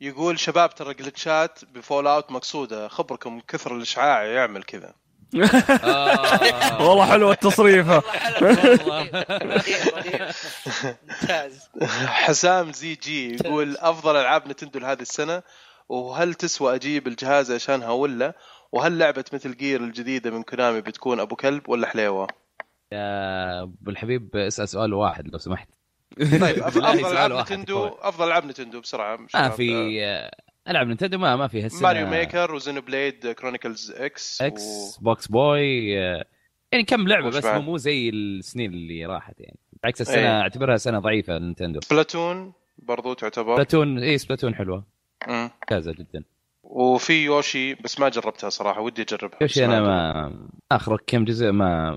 S1: يقول شباب ترى جلتشات بفول اوت مقصوده خبركم كثر الاشعاع يعمل كذا
S2: آه،
S3: والله حلوه التصريفه
S6: ممتاز
S1: حسام زي جي يقول افضل العاب نتندو لهذه السنه وهل تسوى اجيب الجهاز عشانها ولا وهل لعبه مثل جير الجديده من كونامي بتكون ابو كلب ولا حليوه؟
S2: يا ابو آه، الحبيب اسال سؤال واحد لو سمحت
S1: طيب أف-
S2: والله
S1: افضل
S2: سؤال
S1: العاب
S2: واحد
S1: نتندو
S2: كفاية.
S1: افضل العاب نتندو بسرعه
S2: ما
S1: شباب.
S2: في العاب نينتندو ما ما في
S1: آه،
S2: هالسنه
S1: ماريو ميكر وزينو بليد كرونيكلز اكس
S2: اكس بوكس بوي آه، يعني كم لعبه
S1: وش
S2: بس
S1: بعد؟
S2: مو مو زي السنين اللي راحت يعني بالعكس السنه
S1: إيه.
S2: اعتبرها سنه ضعيفه لنينتندو إيه،
S1: وسبلاتون برضو تعتبر
S2: سبلاتون اي سبلاتون حلوه
S1: مم.
S2: ممتازه جدا
S1: وفي يوشي بس ما جربتها صراحه ودي اجربها
S2: يوشي
S1: بس
S2: انا ما اخرك كم جزء ما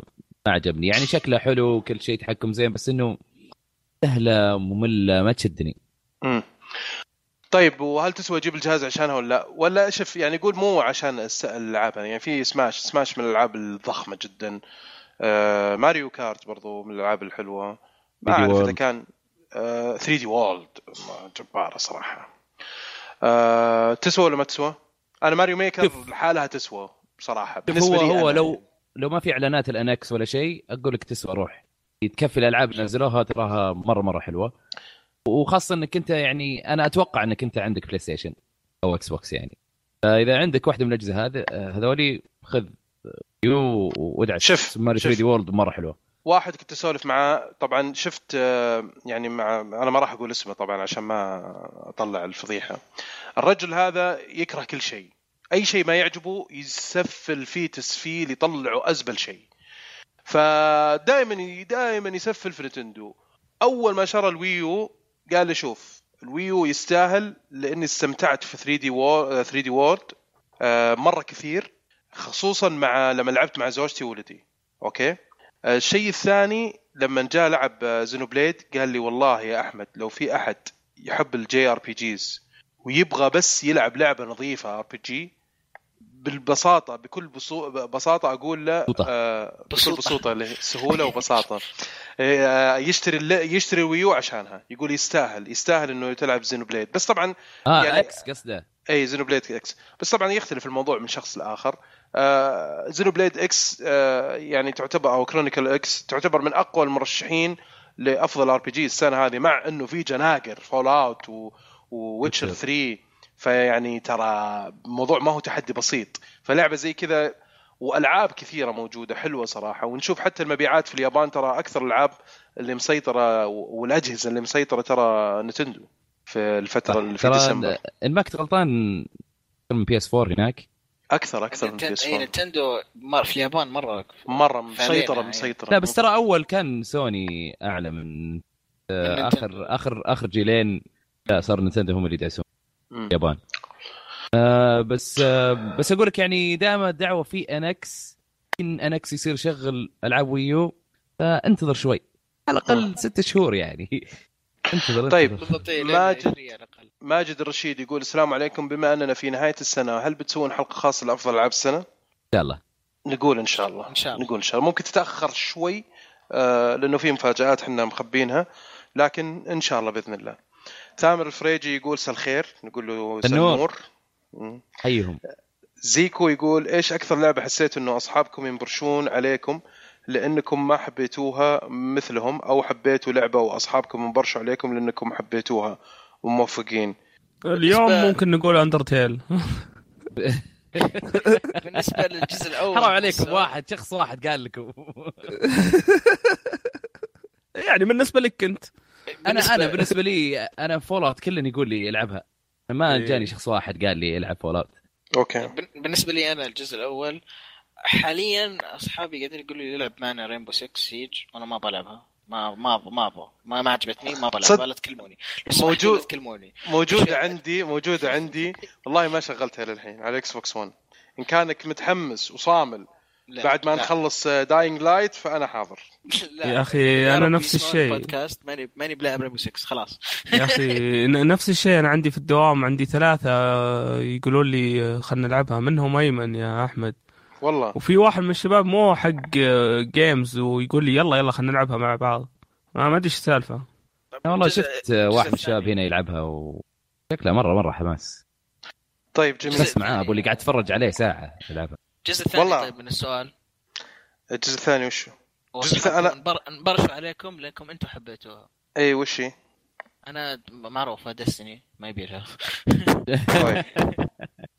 S2: ما عجبني يعني شكله حلو وكل شيء تحكم زين بس انه سهله ممله ما تشدني
S1: مم. طيب وهل تسوى اجيب الجهاز عشانها ولا لا؟ ولا شوف يعني يقول مو عشان الس- الالعاب يعني في سماش سماش من الالعاب الضخمه جدا آه ماريو كارت برضو من الالعاب الحلوه ما
S2: 3D
S1: اعرف اذا
S2: World.
S1: كان 3 دي وولد جباره صراحه آه تسوى ولا ما تسوى؟ انا ماريو ميكر
S2: شوف.
S1: لحالها تسوى بصراحه
S2: هو
S1: بالنسبه لي
S2: هو
S1: أنا. يعني.
S2: لو لو ما في اعلانات الانكس ولا شيء اقول لك تسوى روح تكفي الالعاب اللي نزلوها تراها مره مره حلوه وخاصه انك انت يعني انا اتوقع انك انت عندك بلاي ستيشن او اكس بوكس يعني فاذا عندك واحده من الاجهزه هذا هذولي خذ آه، يو وادعس
S1: شوف-
S2: ماريو
S1: شوف.
S2: 3 دي وورلد مره حلوه
S1: واحد كنت اسولف معاه طبعا شفت آه، يعني مع انا ما راح اقول اسمه طبعا عشان ما اطلع الفضيحه الرجل هذا يكره كل شيء اي شيء ما يعجبه يسفل فيه تسفيل يطلعه ازبل شيء فدائما دائما يسفل في نتندو اول ما شرى الويو قال لي شوف الويو يستاهل لاني استمتعت في 3 دي 3 دي وورد مره كثير خصوصا مع لما لعبت مع زوجتي وولدي اوكي آه، الشيء الثاني لما جاء لعب آه، زينوبليد قال لي والله يا احمد لو في احد يحب الجي ار بي جيز ويبغى بس يلعب لعبه نظيفه ار بي جي بالبساطه بكل بسو... بساطه اقول له
S2: بسوطة.
S1: آه بكل
S6: بسوطة.
S1: بسوطه اللي هي سهوله وبساطه آه يشتري الل- يشتري الويو عشانها يقول يستاهل يستاهل انه تلعب زينوبليد بس طبعا
S2: اه
S1: يعني-
S2: يعني اكس قصده
S1: اي زينوبليد اكس بس طبعا يختلف الموضوع من شخص لاخر آه زينوبليد اكس آه يعني تعتبر او كرونيكل اكس تعتبر من اقوى المرشحين لافضل ار بي جي السنه هذه مع انه في جناقر فول اوت و... وويتشر
S2: Witcher.
S1: 3 فيعني ترى موضوع ما هو تحدي بسيط فلعبه زي كذا والعاب كثيره موجوده حلوه صراحه ونشوف حتى المبيعات في اليابان ترى اكثر الالعاب اللي مسيطره و- والاجهزه اللي مسيطره ترى نتندو في الفتره في ديسمبر
S2: ترى ان ما كنت غلطان أكثر من بي اس 4 هناك
S1: اكثر اكثر من
S6: نتن-
S1: بيس
S6: إيه، نتندو مر- في اليابان
S1: آه،
S6: مره
S1: مره
S6: فعلينا،
S1: مسيطره
S6: إيه.
S1: مسيطره
S2: لا بس ترى اول كان سوني اعلى من آه،
S6: نينتندو.
S2: اخر اخر اخر جيلين لا صار نينتندو هم اللي يدعسون
S1: مم.
S2: اليابان آه بس آه بس اقول لك يعني دائما دعوه في انكس ان انكس يصير يشغل العاب ويو فانتظر شوي على الاقل ست شهور يعني انتظر
S1: طيب.
S2: انتظر.
S6: بالضبط إيه، لين
S1: ماجد.
S6: يجري على الاقل
S1: ماجد الرشيد يقول السلام عليكم بما اننا في نهايه السنه هل بتسوون حلقه خاصه لافضل العاب السنه؟
S2: ان شاء الله
S1: نقول ان شاء الله
S6: إن
S2: نعم.
S6: شاء الله.
S1: نقول ان شاء الله ممكن تتاخر شوي آه لانه في مفاجات احنا مخبينها لكن ان شاء الله باذن الله ثامر الفريجي يقول سل خير نقول له سل
S2: النور.
S1: نور. مم.
S2: حيهم
S1: زيكو يقول ايش اكثر لعبه حسيت انه اصحابكم ينبرشون عليكم لانكم ما حبيتوها مثلهم او حبيتوا لعبه واصحابكم انبرشوا عليكم لانكم حبيتوها وموفقين
S3: اليوم
S6: بالنسبة-
S3: ممكن نقول اندرتيل
S6: بالنسبه للجزء الاول
S2: حرام عليكم واحد شخص واحد قال لكم
S3: يعني بالنسبه لك انت
S2: انا انا بالنسبه لي انا فول اوت كلن يقول لي العبها ما
S3: إيه.
S2: جاني شخص واحد قال لي العب فول اوت
S1: اوكي
S6: بن- بالنسبه لي انا الجزء الاول حاليا اصحابي قاعدين يقولوا لي العب معنا رينبو 6 سيج وانا ما بلعبها ما ما ما ابغى ما ما عجبتني ما
S1: صد-
S6: بلعبها لا تكلموني لو سمحتوا
S1: موجود.
S6: لا تكلموني
S1: موجوده عندي موجوده عندي والله ما شغلتها للحين على اكس بوكس 1 ان كانك متحمس وصامل
S6: لا،
S1: بعد ما
S6: لا.
S1: نخلص آه، داينج لايت فانا حاضر
S6: لا.
S3: يا أخي،
S6: يا
S3: أنا
S6: رب
S3: نفس
S6: يسمعون
S3: الشيء.
S6: البودكاست ماني ماني بلاعب رينبو 6 خلاص
S3: يا اخي ن- نفس الشيء انا عندي في الدوام عندي ثلاثه يقولون لي خلينا نلعبها منهم ايمن يا احمد
S1: والله
S3: وفي واحد من الشباب مو حق آه، جيمز ويقول لي يلا يلا خلينا نلعبها مع بعض ما ما ادري ايش السالفه
S2: أنا والله
S4: الجزء-
S2: شفت آه، واحد من
S4: الجزء
S2: الشباب
S4: الثاني.
S2: هنا يلعبها وشكلها مره مره حماس
S1: طيب جميل
S2: بس معاه ابو اللي قاعد اتفرج عليه ساعه يلعبها
S4: الجزء الثاني
S1: والله.
S4: طيب من السؤال
S1: الجزء الثاني وشو؟ الجزء
S4: وصراحة
S1: الثاني- أنا-
S4: انبر- انبرشوا عليكم لانكم انتم حبيتوها
S1: اي إيه، وش هي؟
S4: انا معروفه دستني ما يبيلها
S1: طيب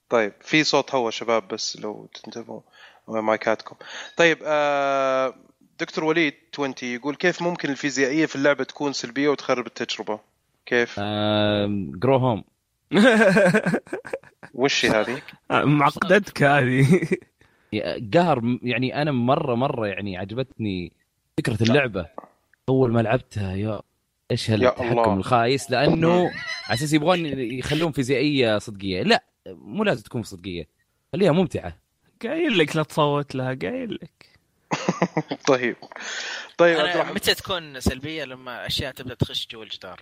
S1: طيب في صوت هوا شباب بس لو تنتبهوا مايكاتكم طيب آه دكتور وليد 20 يقول كيف ممكن الفيزيائيه في اللعبه تكون سلبيه وتخرب التجربه؟ كيف؟
S2: آه. جرو هوم
S1: وش هي هذه؟
S3: آه، معقدتك هذه
S2: قهر م- يعني انا مره مره يعني عجبتني فكره اللعبه اول ما لعبتها يا ايش
S1: يا الله.
S2: هالتحكم الخايس لانه على اساس يبغون يخلون فيزيائيه صدقيه لا مو لازم تكون صدقيه خليها ممتعه
S3: قايل لك لا تصوت لها قايل لك
S1: طيب طيب عبد
S4: انا
S1: الرحمن
S4: متى تكون سلبيه لما اشياء تبدا تخش جوا الجدار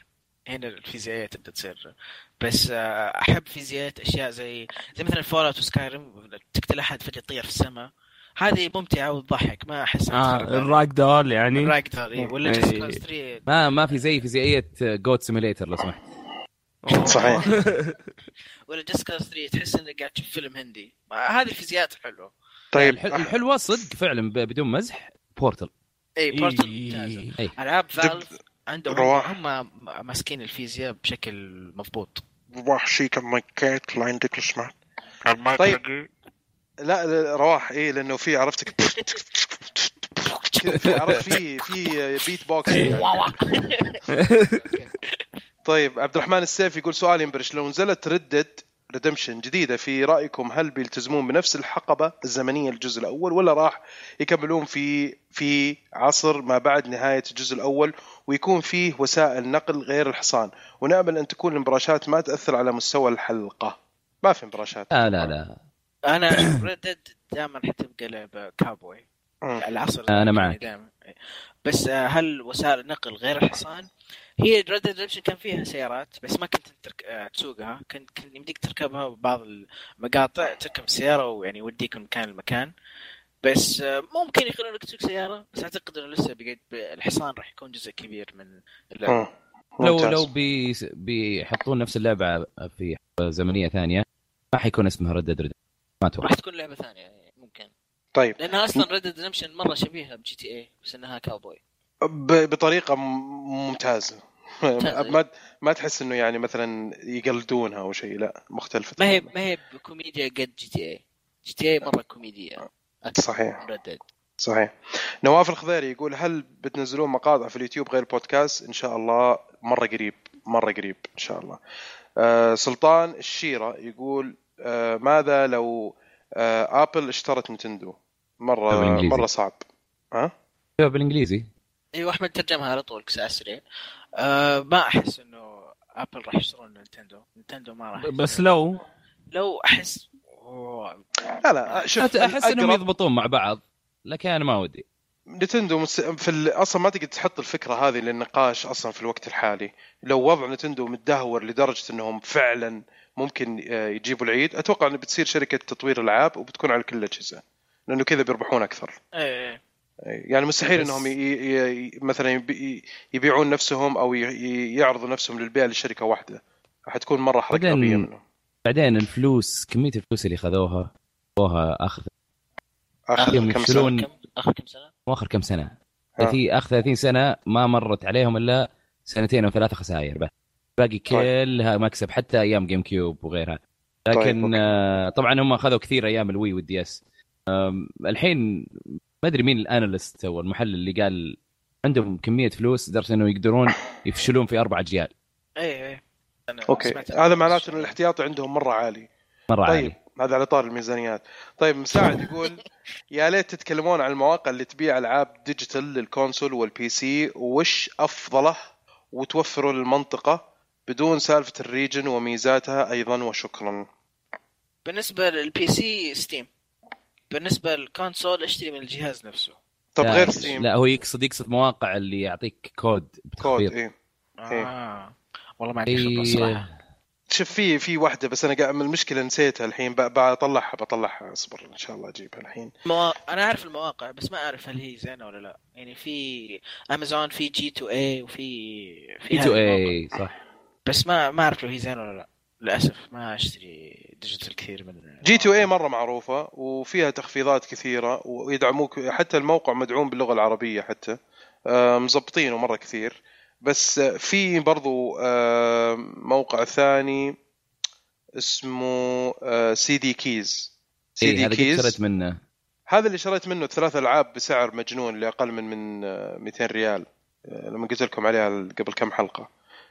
S4: هنا الفيزيائيه تبدا تصير بس آه، احب فيزيائيه اشياء زي زي مثلا فول اوت وسكايرم تقتل احد فجاه تطير في السماء هذه ممتعه وتضحك ما احس
S3: اه الراك دول يعني
S4: الراك إيه. ولا
S3: إيه.
S4: جيسي كلاس 3
S2: ما ما في زي فيزيائيه جود سيميليتر لو سمحت
S1: صحيح
S4: ولا جيسي كلاس 3 تحس انك قاعد تشوف فيلم هندي ما- هذه الفيزيائيات حلوه
S2: يعني
S1: طيب
S2: الح- الحلوه صدق فعلا ب- بدون مزح بورتل
S4: اي بورتل ممتازه
S3: إيه.
S4: العاب
S1: دب-
S4: فالف عندهم
S1: رواح.
S4: هم ماسكين الفيزياء بشكل مضبوط
S7: وحشي كان مايكات لا عندك لو سمحت المايك
S1: طيب.
S7: حقي.
S1: لا لا، رواح ايه لانه في عرفتك كذا، عرفت في في بيت بوكس طيب عبد الرحمن السيف يقول سؤال ينبرش لو نزلت ردد ريدمشن جديده في رايكم هل بيلتزمون بنفس الحقبه الزمنيه للجزء الاول ولا راح يكملون في في عصر ما بعد نهايه الجزء الاول ويكون فيه وسائل نقل غير الحصان ونامل ان تكون المبارشات ما تاثر على مستوى الحلقه ما في مبارشات
S2: لا لا لا
S4: انا ردد دائما حتبقى لعبه كابوي
S1: مم.
S4: العصر
S2: أنا
S4: الأمريكي
S2: معك.
S4: دائما بس آه، هل وسائل النقل غير الحصان هي ريد ريدمشن كان فيها سيارات بس ما كنت ترك... آه، تسوقها كنت كان يمديك تركبها بعض المقاطع تركب السياره ويعني يوديك من مكان لمكان بس آه، ممكن يخلونك تسوق سياره بس اعتقد انه لسه بقيت ب- الحصان راح يكون جزء كبير من اللعبه
S1: مم.
S2: نعم. لو
S1: ممتاز.
S2: لو بي بيحطون نفس اللعبه في حقبة زمنيه ثانيه ما حيكون اسمها ردد ريد ما اتوقع
S4: راح تكون لعبه ثانيه يعني ممكن
S1: طيب
S4: لانها اصلا ريد ريدمشن مره شبيهه بجي تي اي بس انها كاوبوي
S1: ب- بطريقه م- ممتازه ما ما تحس انه يعني مثلا يقلدونها او شيء لا مختلفه
S4: ما هي ما هي بكوميديا قد جي تي اي جي تي اي مره كوميديا أكثر
S1: آه. صحيح.
S4: من Red Dead.
S1: صحيح نواف الخضيري يقول هل بتنزلون مقاطع في اليوتيوب غير البودكاست ان شاء الله مره قريب مره قريب ان شاء الله آه سلطان الشيره يقول آه ماذا لو آه ابل اشترت نتندو
S2: طب
S1: مره
S2: بالإنجليزي.
S1: مره صعب ها
S2: شوف بالانجليزي
S4: ايوه احمد ترجمها على طول على السريع أه ما احس انه ابل راح يشترون نينتندو نينتندو ما راح
S3: بس
S4: يشترون.
S3: لو
S4: لو احس أوه.
S1: لا لا شوف
S2: أت- احس انهم
S1: الأقرب-
S2: يضبطون مع بعض لكن انا ما ودي
S1: نتندو مس... في ال... اصلا ما تقدر تحط الفكره هذه للنقاش اصلا في الوقت الحالي لو وضع نتندو متدهور لدرجه انهم فعلا ممكن آه، يجيبوا العيد اتوقع انه بتصير شركه تطوير العاب وبتكون على كل الاجهزه لانه كذا بيربحون اكثر
S4: إيه، إيه.
S1: يعني مستحيل
S3: بس-
S1: انهم ي... ي... ي- مثلا يبي... يبيعون نفسهم او ي... ي- يعرضوا نفسهم للبيع لشركه واحده حتكون مره حركه
S2: بعدين-
S1: غبيه منهم
S2: بعدين الفلوس كميه الفلوس اللي خذوها خذوها اخر
S1: اخر
S2: يوم
S1: كم سنه
S2: يفشلون.
S4: آخر كم اخر كم سنه
S2: مو اخر كم سنه
S1: آه.
S2: ثلاثين اخر 30 سنه ما مرت عليهم الا سنتين او ثلاثه خسائر بس باقي
S1: طيب.
S2: كلها مكسب حتى ايام جيم كيوب وغيرها لكن
S1: أوكي.
S2: طيب. آه طبعا هم اخذوا كثير ايام الوي والدي اس الحين ما ادري مين الاناليست او المحلل اللي قال عندهم كميه فلوس لدرجه انه يقدرون يفشلون في اربع اجيال
S4: اي اي إيه، أنا
S1: اوكي
S4: سمعت
S1: هذا معناته ان الاحتياطي عندهم مره عالي
S2: مره
S1: طيب
S2: طيب.
S1: هذا على طار الميزانيات طيب مساعد يقول يا ليت تتكلمون عن المواقع اللي تبيع العاب ديجيتال للكونسول والبي سي وش افضله وتوفره للمنطقه بدون سالفه الريجن وميزاتها ايضا وشكرا
S4: بالنسبه للبي سي ستيم بالنسبه للكونسول اشتري من الجهاز نفسه
S1: طب
S2: لا،
S1: غير ستيم
S2: لا هو يقصد يقصد مواقع اللي يعطيك كود
S1: كود
S2: بتخفيض
S1: إيه.
S4: اه آه. والله ما عندي خبره
S2: اي
S4: صراحه
S1: شوف في في واحده بس انا قاعد المشكله نسيتها الحين ب- بطلعها بطلعها اصبر ان شاء الله اجيبها الحين
S4: موا... انا اعرف المواقع بس ما اعرف هل هي زينه ولا لا يعني في امازون في جي 2 اي وفي في
S2: اي
S4: هذه
S2: تو
S4: المواقع.
S2: اي صح
S4: بس ما ما اعرف لو هي زينه ولا لا للاسف ما اشتري ديجيتال كثير من
S1: جي 2 اي مره معروفه وفيها تخفيضات كثيره ويدعموك حتى الموقع مدعوم باللغه العربيه حتى آه، مزبطينه مره كثير بس آه، في برضو آه، موقع ثاني اسمه آه، سي دي كيز سي
S2: اي
S1: دي
S2: إيه، هذا قد شريت
S1: كيز
S2: منه
S1: هذا اللي شريت منه ثلاث العاب بسعر مجنون لاقل من من آه، 200 ريال آه، لما قلت لكم عليها قبل كم حلقه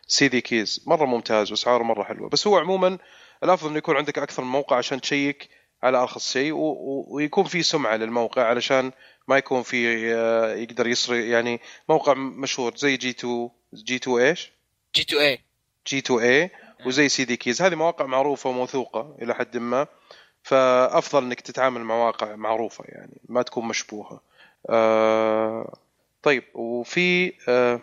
S1: سي دي كيز مره ممتاز واسعاره مره حلوه بس هو عموما الافضل انه يكون عندك اكثر من موقع عشان تشيك على ارخص شيء و- و- ويكون في سمعه للموقع علشان ما يكون في آه، يقدر يسرق يعني موقع مشهور زي جي 2 جي 2 ايش؟
S6: جي 2 اي
S1: جي 2 اي وزي سي دي كيز هذه مواقع معروفه وموثوقه الى حد ما فافضل انك تتعامل مع مواقع معروفه يعني ما تكون مشبوهه آه طيب وفي آه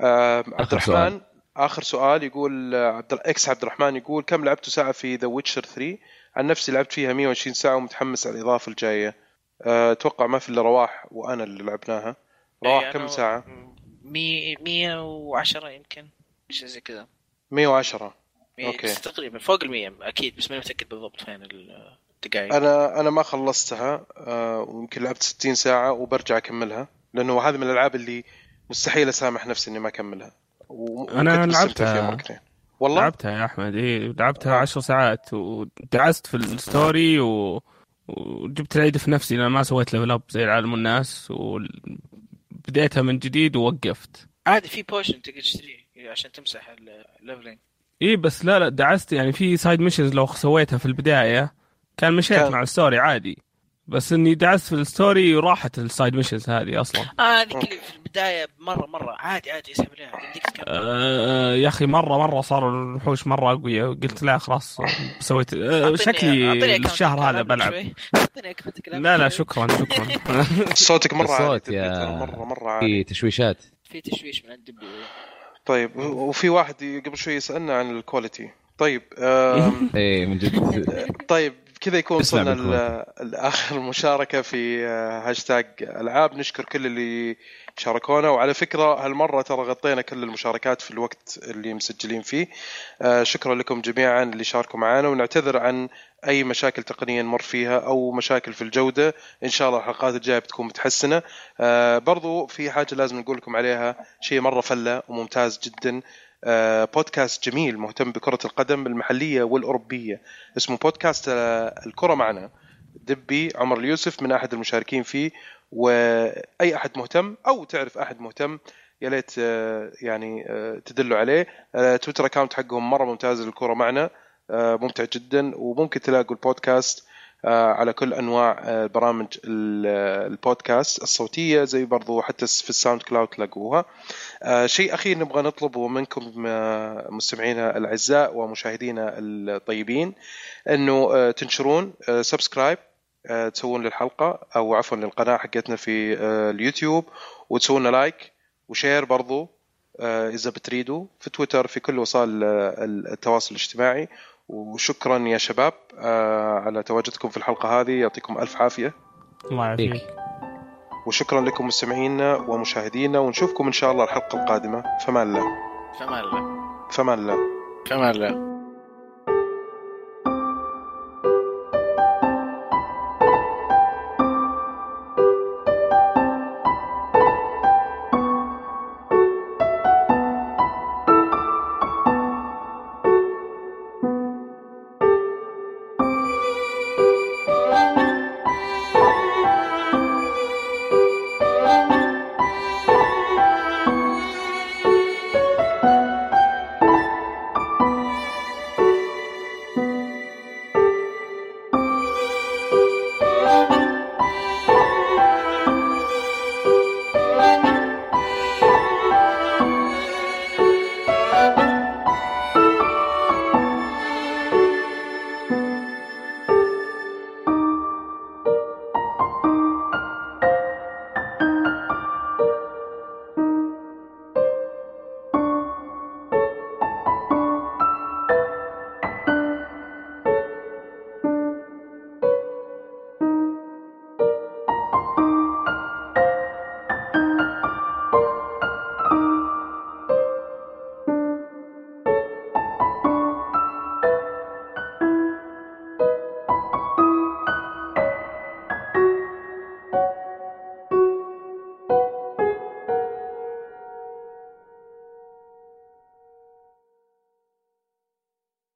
S1: آه عبد
S2: آخر
S1: الرحمن
S2: سؤال.
S1: اخر سؤال يقول آه، عبد اكس عبد الرحمن يقول كم لعبتوا ساعه في ذا ويتشر 3 عن نفسي لعبت فيها 120 ساعه ومتحمس على الاضافه الجايه آه، اتوقع ما في الا رواح وانا اللي لعبناها
S4: إيه، يعني
S1: رواح كم ساعه
S6: 110 يمكن شيء زي كذا
S1: 110
S6: مية-
S1: أوكي.
S6: بس تقريبا فوق ال 100 اكيد بس ماني متاكد بالضبط فين
S4: إيه.
S6: الدقائق
S1: انا انا ما خلصتها آه، ويمكن لعبت 60 ساعه وبرجع اكملها لانه هذه من الالعاب اللي مستحيل اسامح نفسي اني ما اكملها و-
S3: أنا
S1: وكنت مستمتع
S3: لعبتها.
S1: فيها مرتين. والله
S3: لعبتها يا احمد اي لعبتها عشر ساعات ودعست في الستوري و... وجبت العيد في نفسي لان ما سويت ليفل اب زي العالم والناس وبديتها من جديد ووقفت
S6: عادي في بوشن تقدر تشتريه عشان تمسح الليفلينج
S3: اي إيه، بس لا لا دعست يعني في سايد ميشنز لو سويتها في البدايه كان مشيت
S1: كان-
S3: مع الستوري عادي بس اني دعست في الستوري راحت السايد ميشنز هذه اصلا
S4: آه،
S6: اه هذيك اللي في البدايه مره مره عادي عادي اسحب عليها يمديك تكمل
S3: آه يا اخي مره مره صاروا الوحوش مره اقوياء قلت لا خلاص سويت آه
S6: أعطيني- أعطيني
S3: شكلي
S6: account
S3: الشهر هذا
S6: ألعب
S3: بلعب
S6: شوي. أعطيني account ألعب
S3: لا لا
S6: شوي.
S3: شكرا شكرا
S1: صوتك مره عالي
S2: الصوت يا- إيه.
S1: ترى مره مره عالي
S2: في تشويشات
S6: في تشويش من الدبليو
S1: طيب و- وفي واحد قبل شوي سالنا عن الكواليتي طيب
S3: إيه.
S1: آم،
S2: اي إيه، من جد
S1: طيب كذا يكون
S2: اسمع
S1: وصلنا
S2: منكم.
S1: ل- لاخر مشاركه في آه، هاشتاج العاب نشكر كل اللي شاركونا وعلى فكره هالمره ترى غطينا كل المشاركات في الوقت اللي مسجلين فيه آه، شكرا لكم جميعا اللي شاركوا معنا ونعتذر عن اي مشاكل تقنيه نمر فيها او مشاكل في الجوده ان شاء الله الحلقات الجايه بتكون متحسنه آه، برضو في حاجه لازم نقول لكم عليها شيء مره فله وممتاز جدا آه، بودكاست جميل مهتم بكره القدم المحليه والاوروبيه اسمه بودكاست آه، الكره معنا دبي عمر اليوسف من احد المشاركين فيه واي احد مهتم او تعرف احد مهتم يا ليت آه، يعني آه، تدلوا عليه آه، تويتر اكاونت حقهم مره ممتاز للكره معنا آه، ممتع جدا وممكن تلاقوا البودكاست آه، على كل انواع آه، برامج ال- آه، البودكاست الصوتيه زي برضو حتى في الساوند كلاود تلاقوها آه، شيء اخير نبغى نطلبه منكم آه، مستمعينا الاعزاء ومشاهدينا الطيبين انه آه، تنشرون سبسكرايب تسوون للحلقه او عفوا للقناه حقتنا في آه، اليوتيوب وتسوون لايك وشير برضو آه، اذا بتريدوا في تويتر في كل وسائل آه، التواصل الاجتماعي وشكرا يا شباب آه، على تواجدكم في الحلقه هذه يعطيكم الف عافيه
S3: الله يعافيك
S2: فيك
S1: وشكرا لكم مستمعينا ومشاهدينا ونشوفكم ان شاء الله الحلقه القادمه فمان الله
S6: فما لا
S1: فمان الله
S6: فما لا